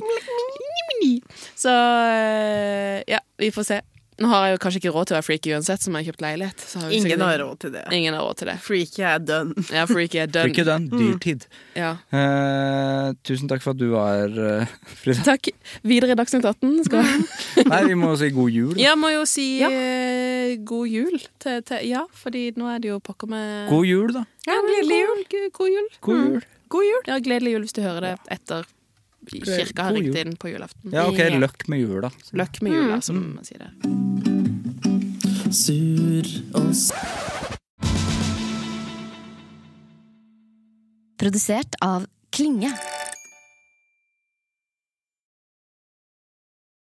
Speaker 4: Så eh, ja, vi får se. Nå har jeg jo kanskje ikke råd til å være freaky uansett, som jeg har kjøpt leilighet. Så har jeg jo
Speaker 3: Ingen
Speaker 4: sikkert-
Speaker 3: har råd til det.
Speaker 4: Ingen har råd til det.
Speaker 3: Freaky er done.
Speaker 4: Ja, freaky er done.
Speaker 1: Freaky done. Dyrtid.
Speaker 4: Ja.
Speaker 1: Eh, tusen takk for at du var her, [laughs]
Speaker 4: [laughs]
Speaker 1: Frida.
Speaker 4: Takk. Videre i Dagsnytt 18 skal vi
Speaker 1: Nei, vi må si god jul. da.
Speaker 4: Mhm. Jeg må jo si eh, god jul til, til Ja, fordi nå er det jo pokker med
Speaker 1: God jul, da.
Speaker 4: ja, gledelig jul. God, god jul.
Speaker 1: God jul.
Speaker 3: God jul!
Speaker 4: Ja, gledelig jul hvis du hører det etter kirka har
Speaker 1: God jul.
Speaker 4: rykt inn på julaften.
Speaker 1: Ja, OK, løkk med jula.
Speaker 4: Løkk med jula, som man sier det.
Speaker 6: Produsert av Klinge.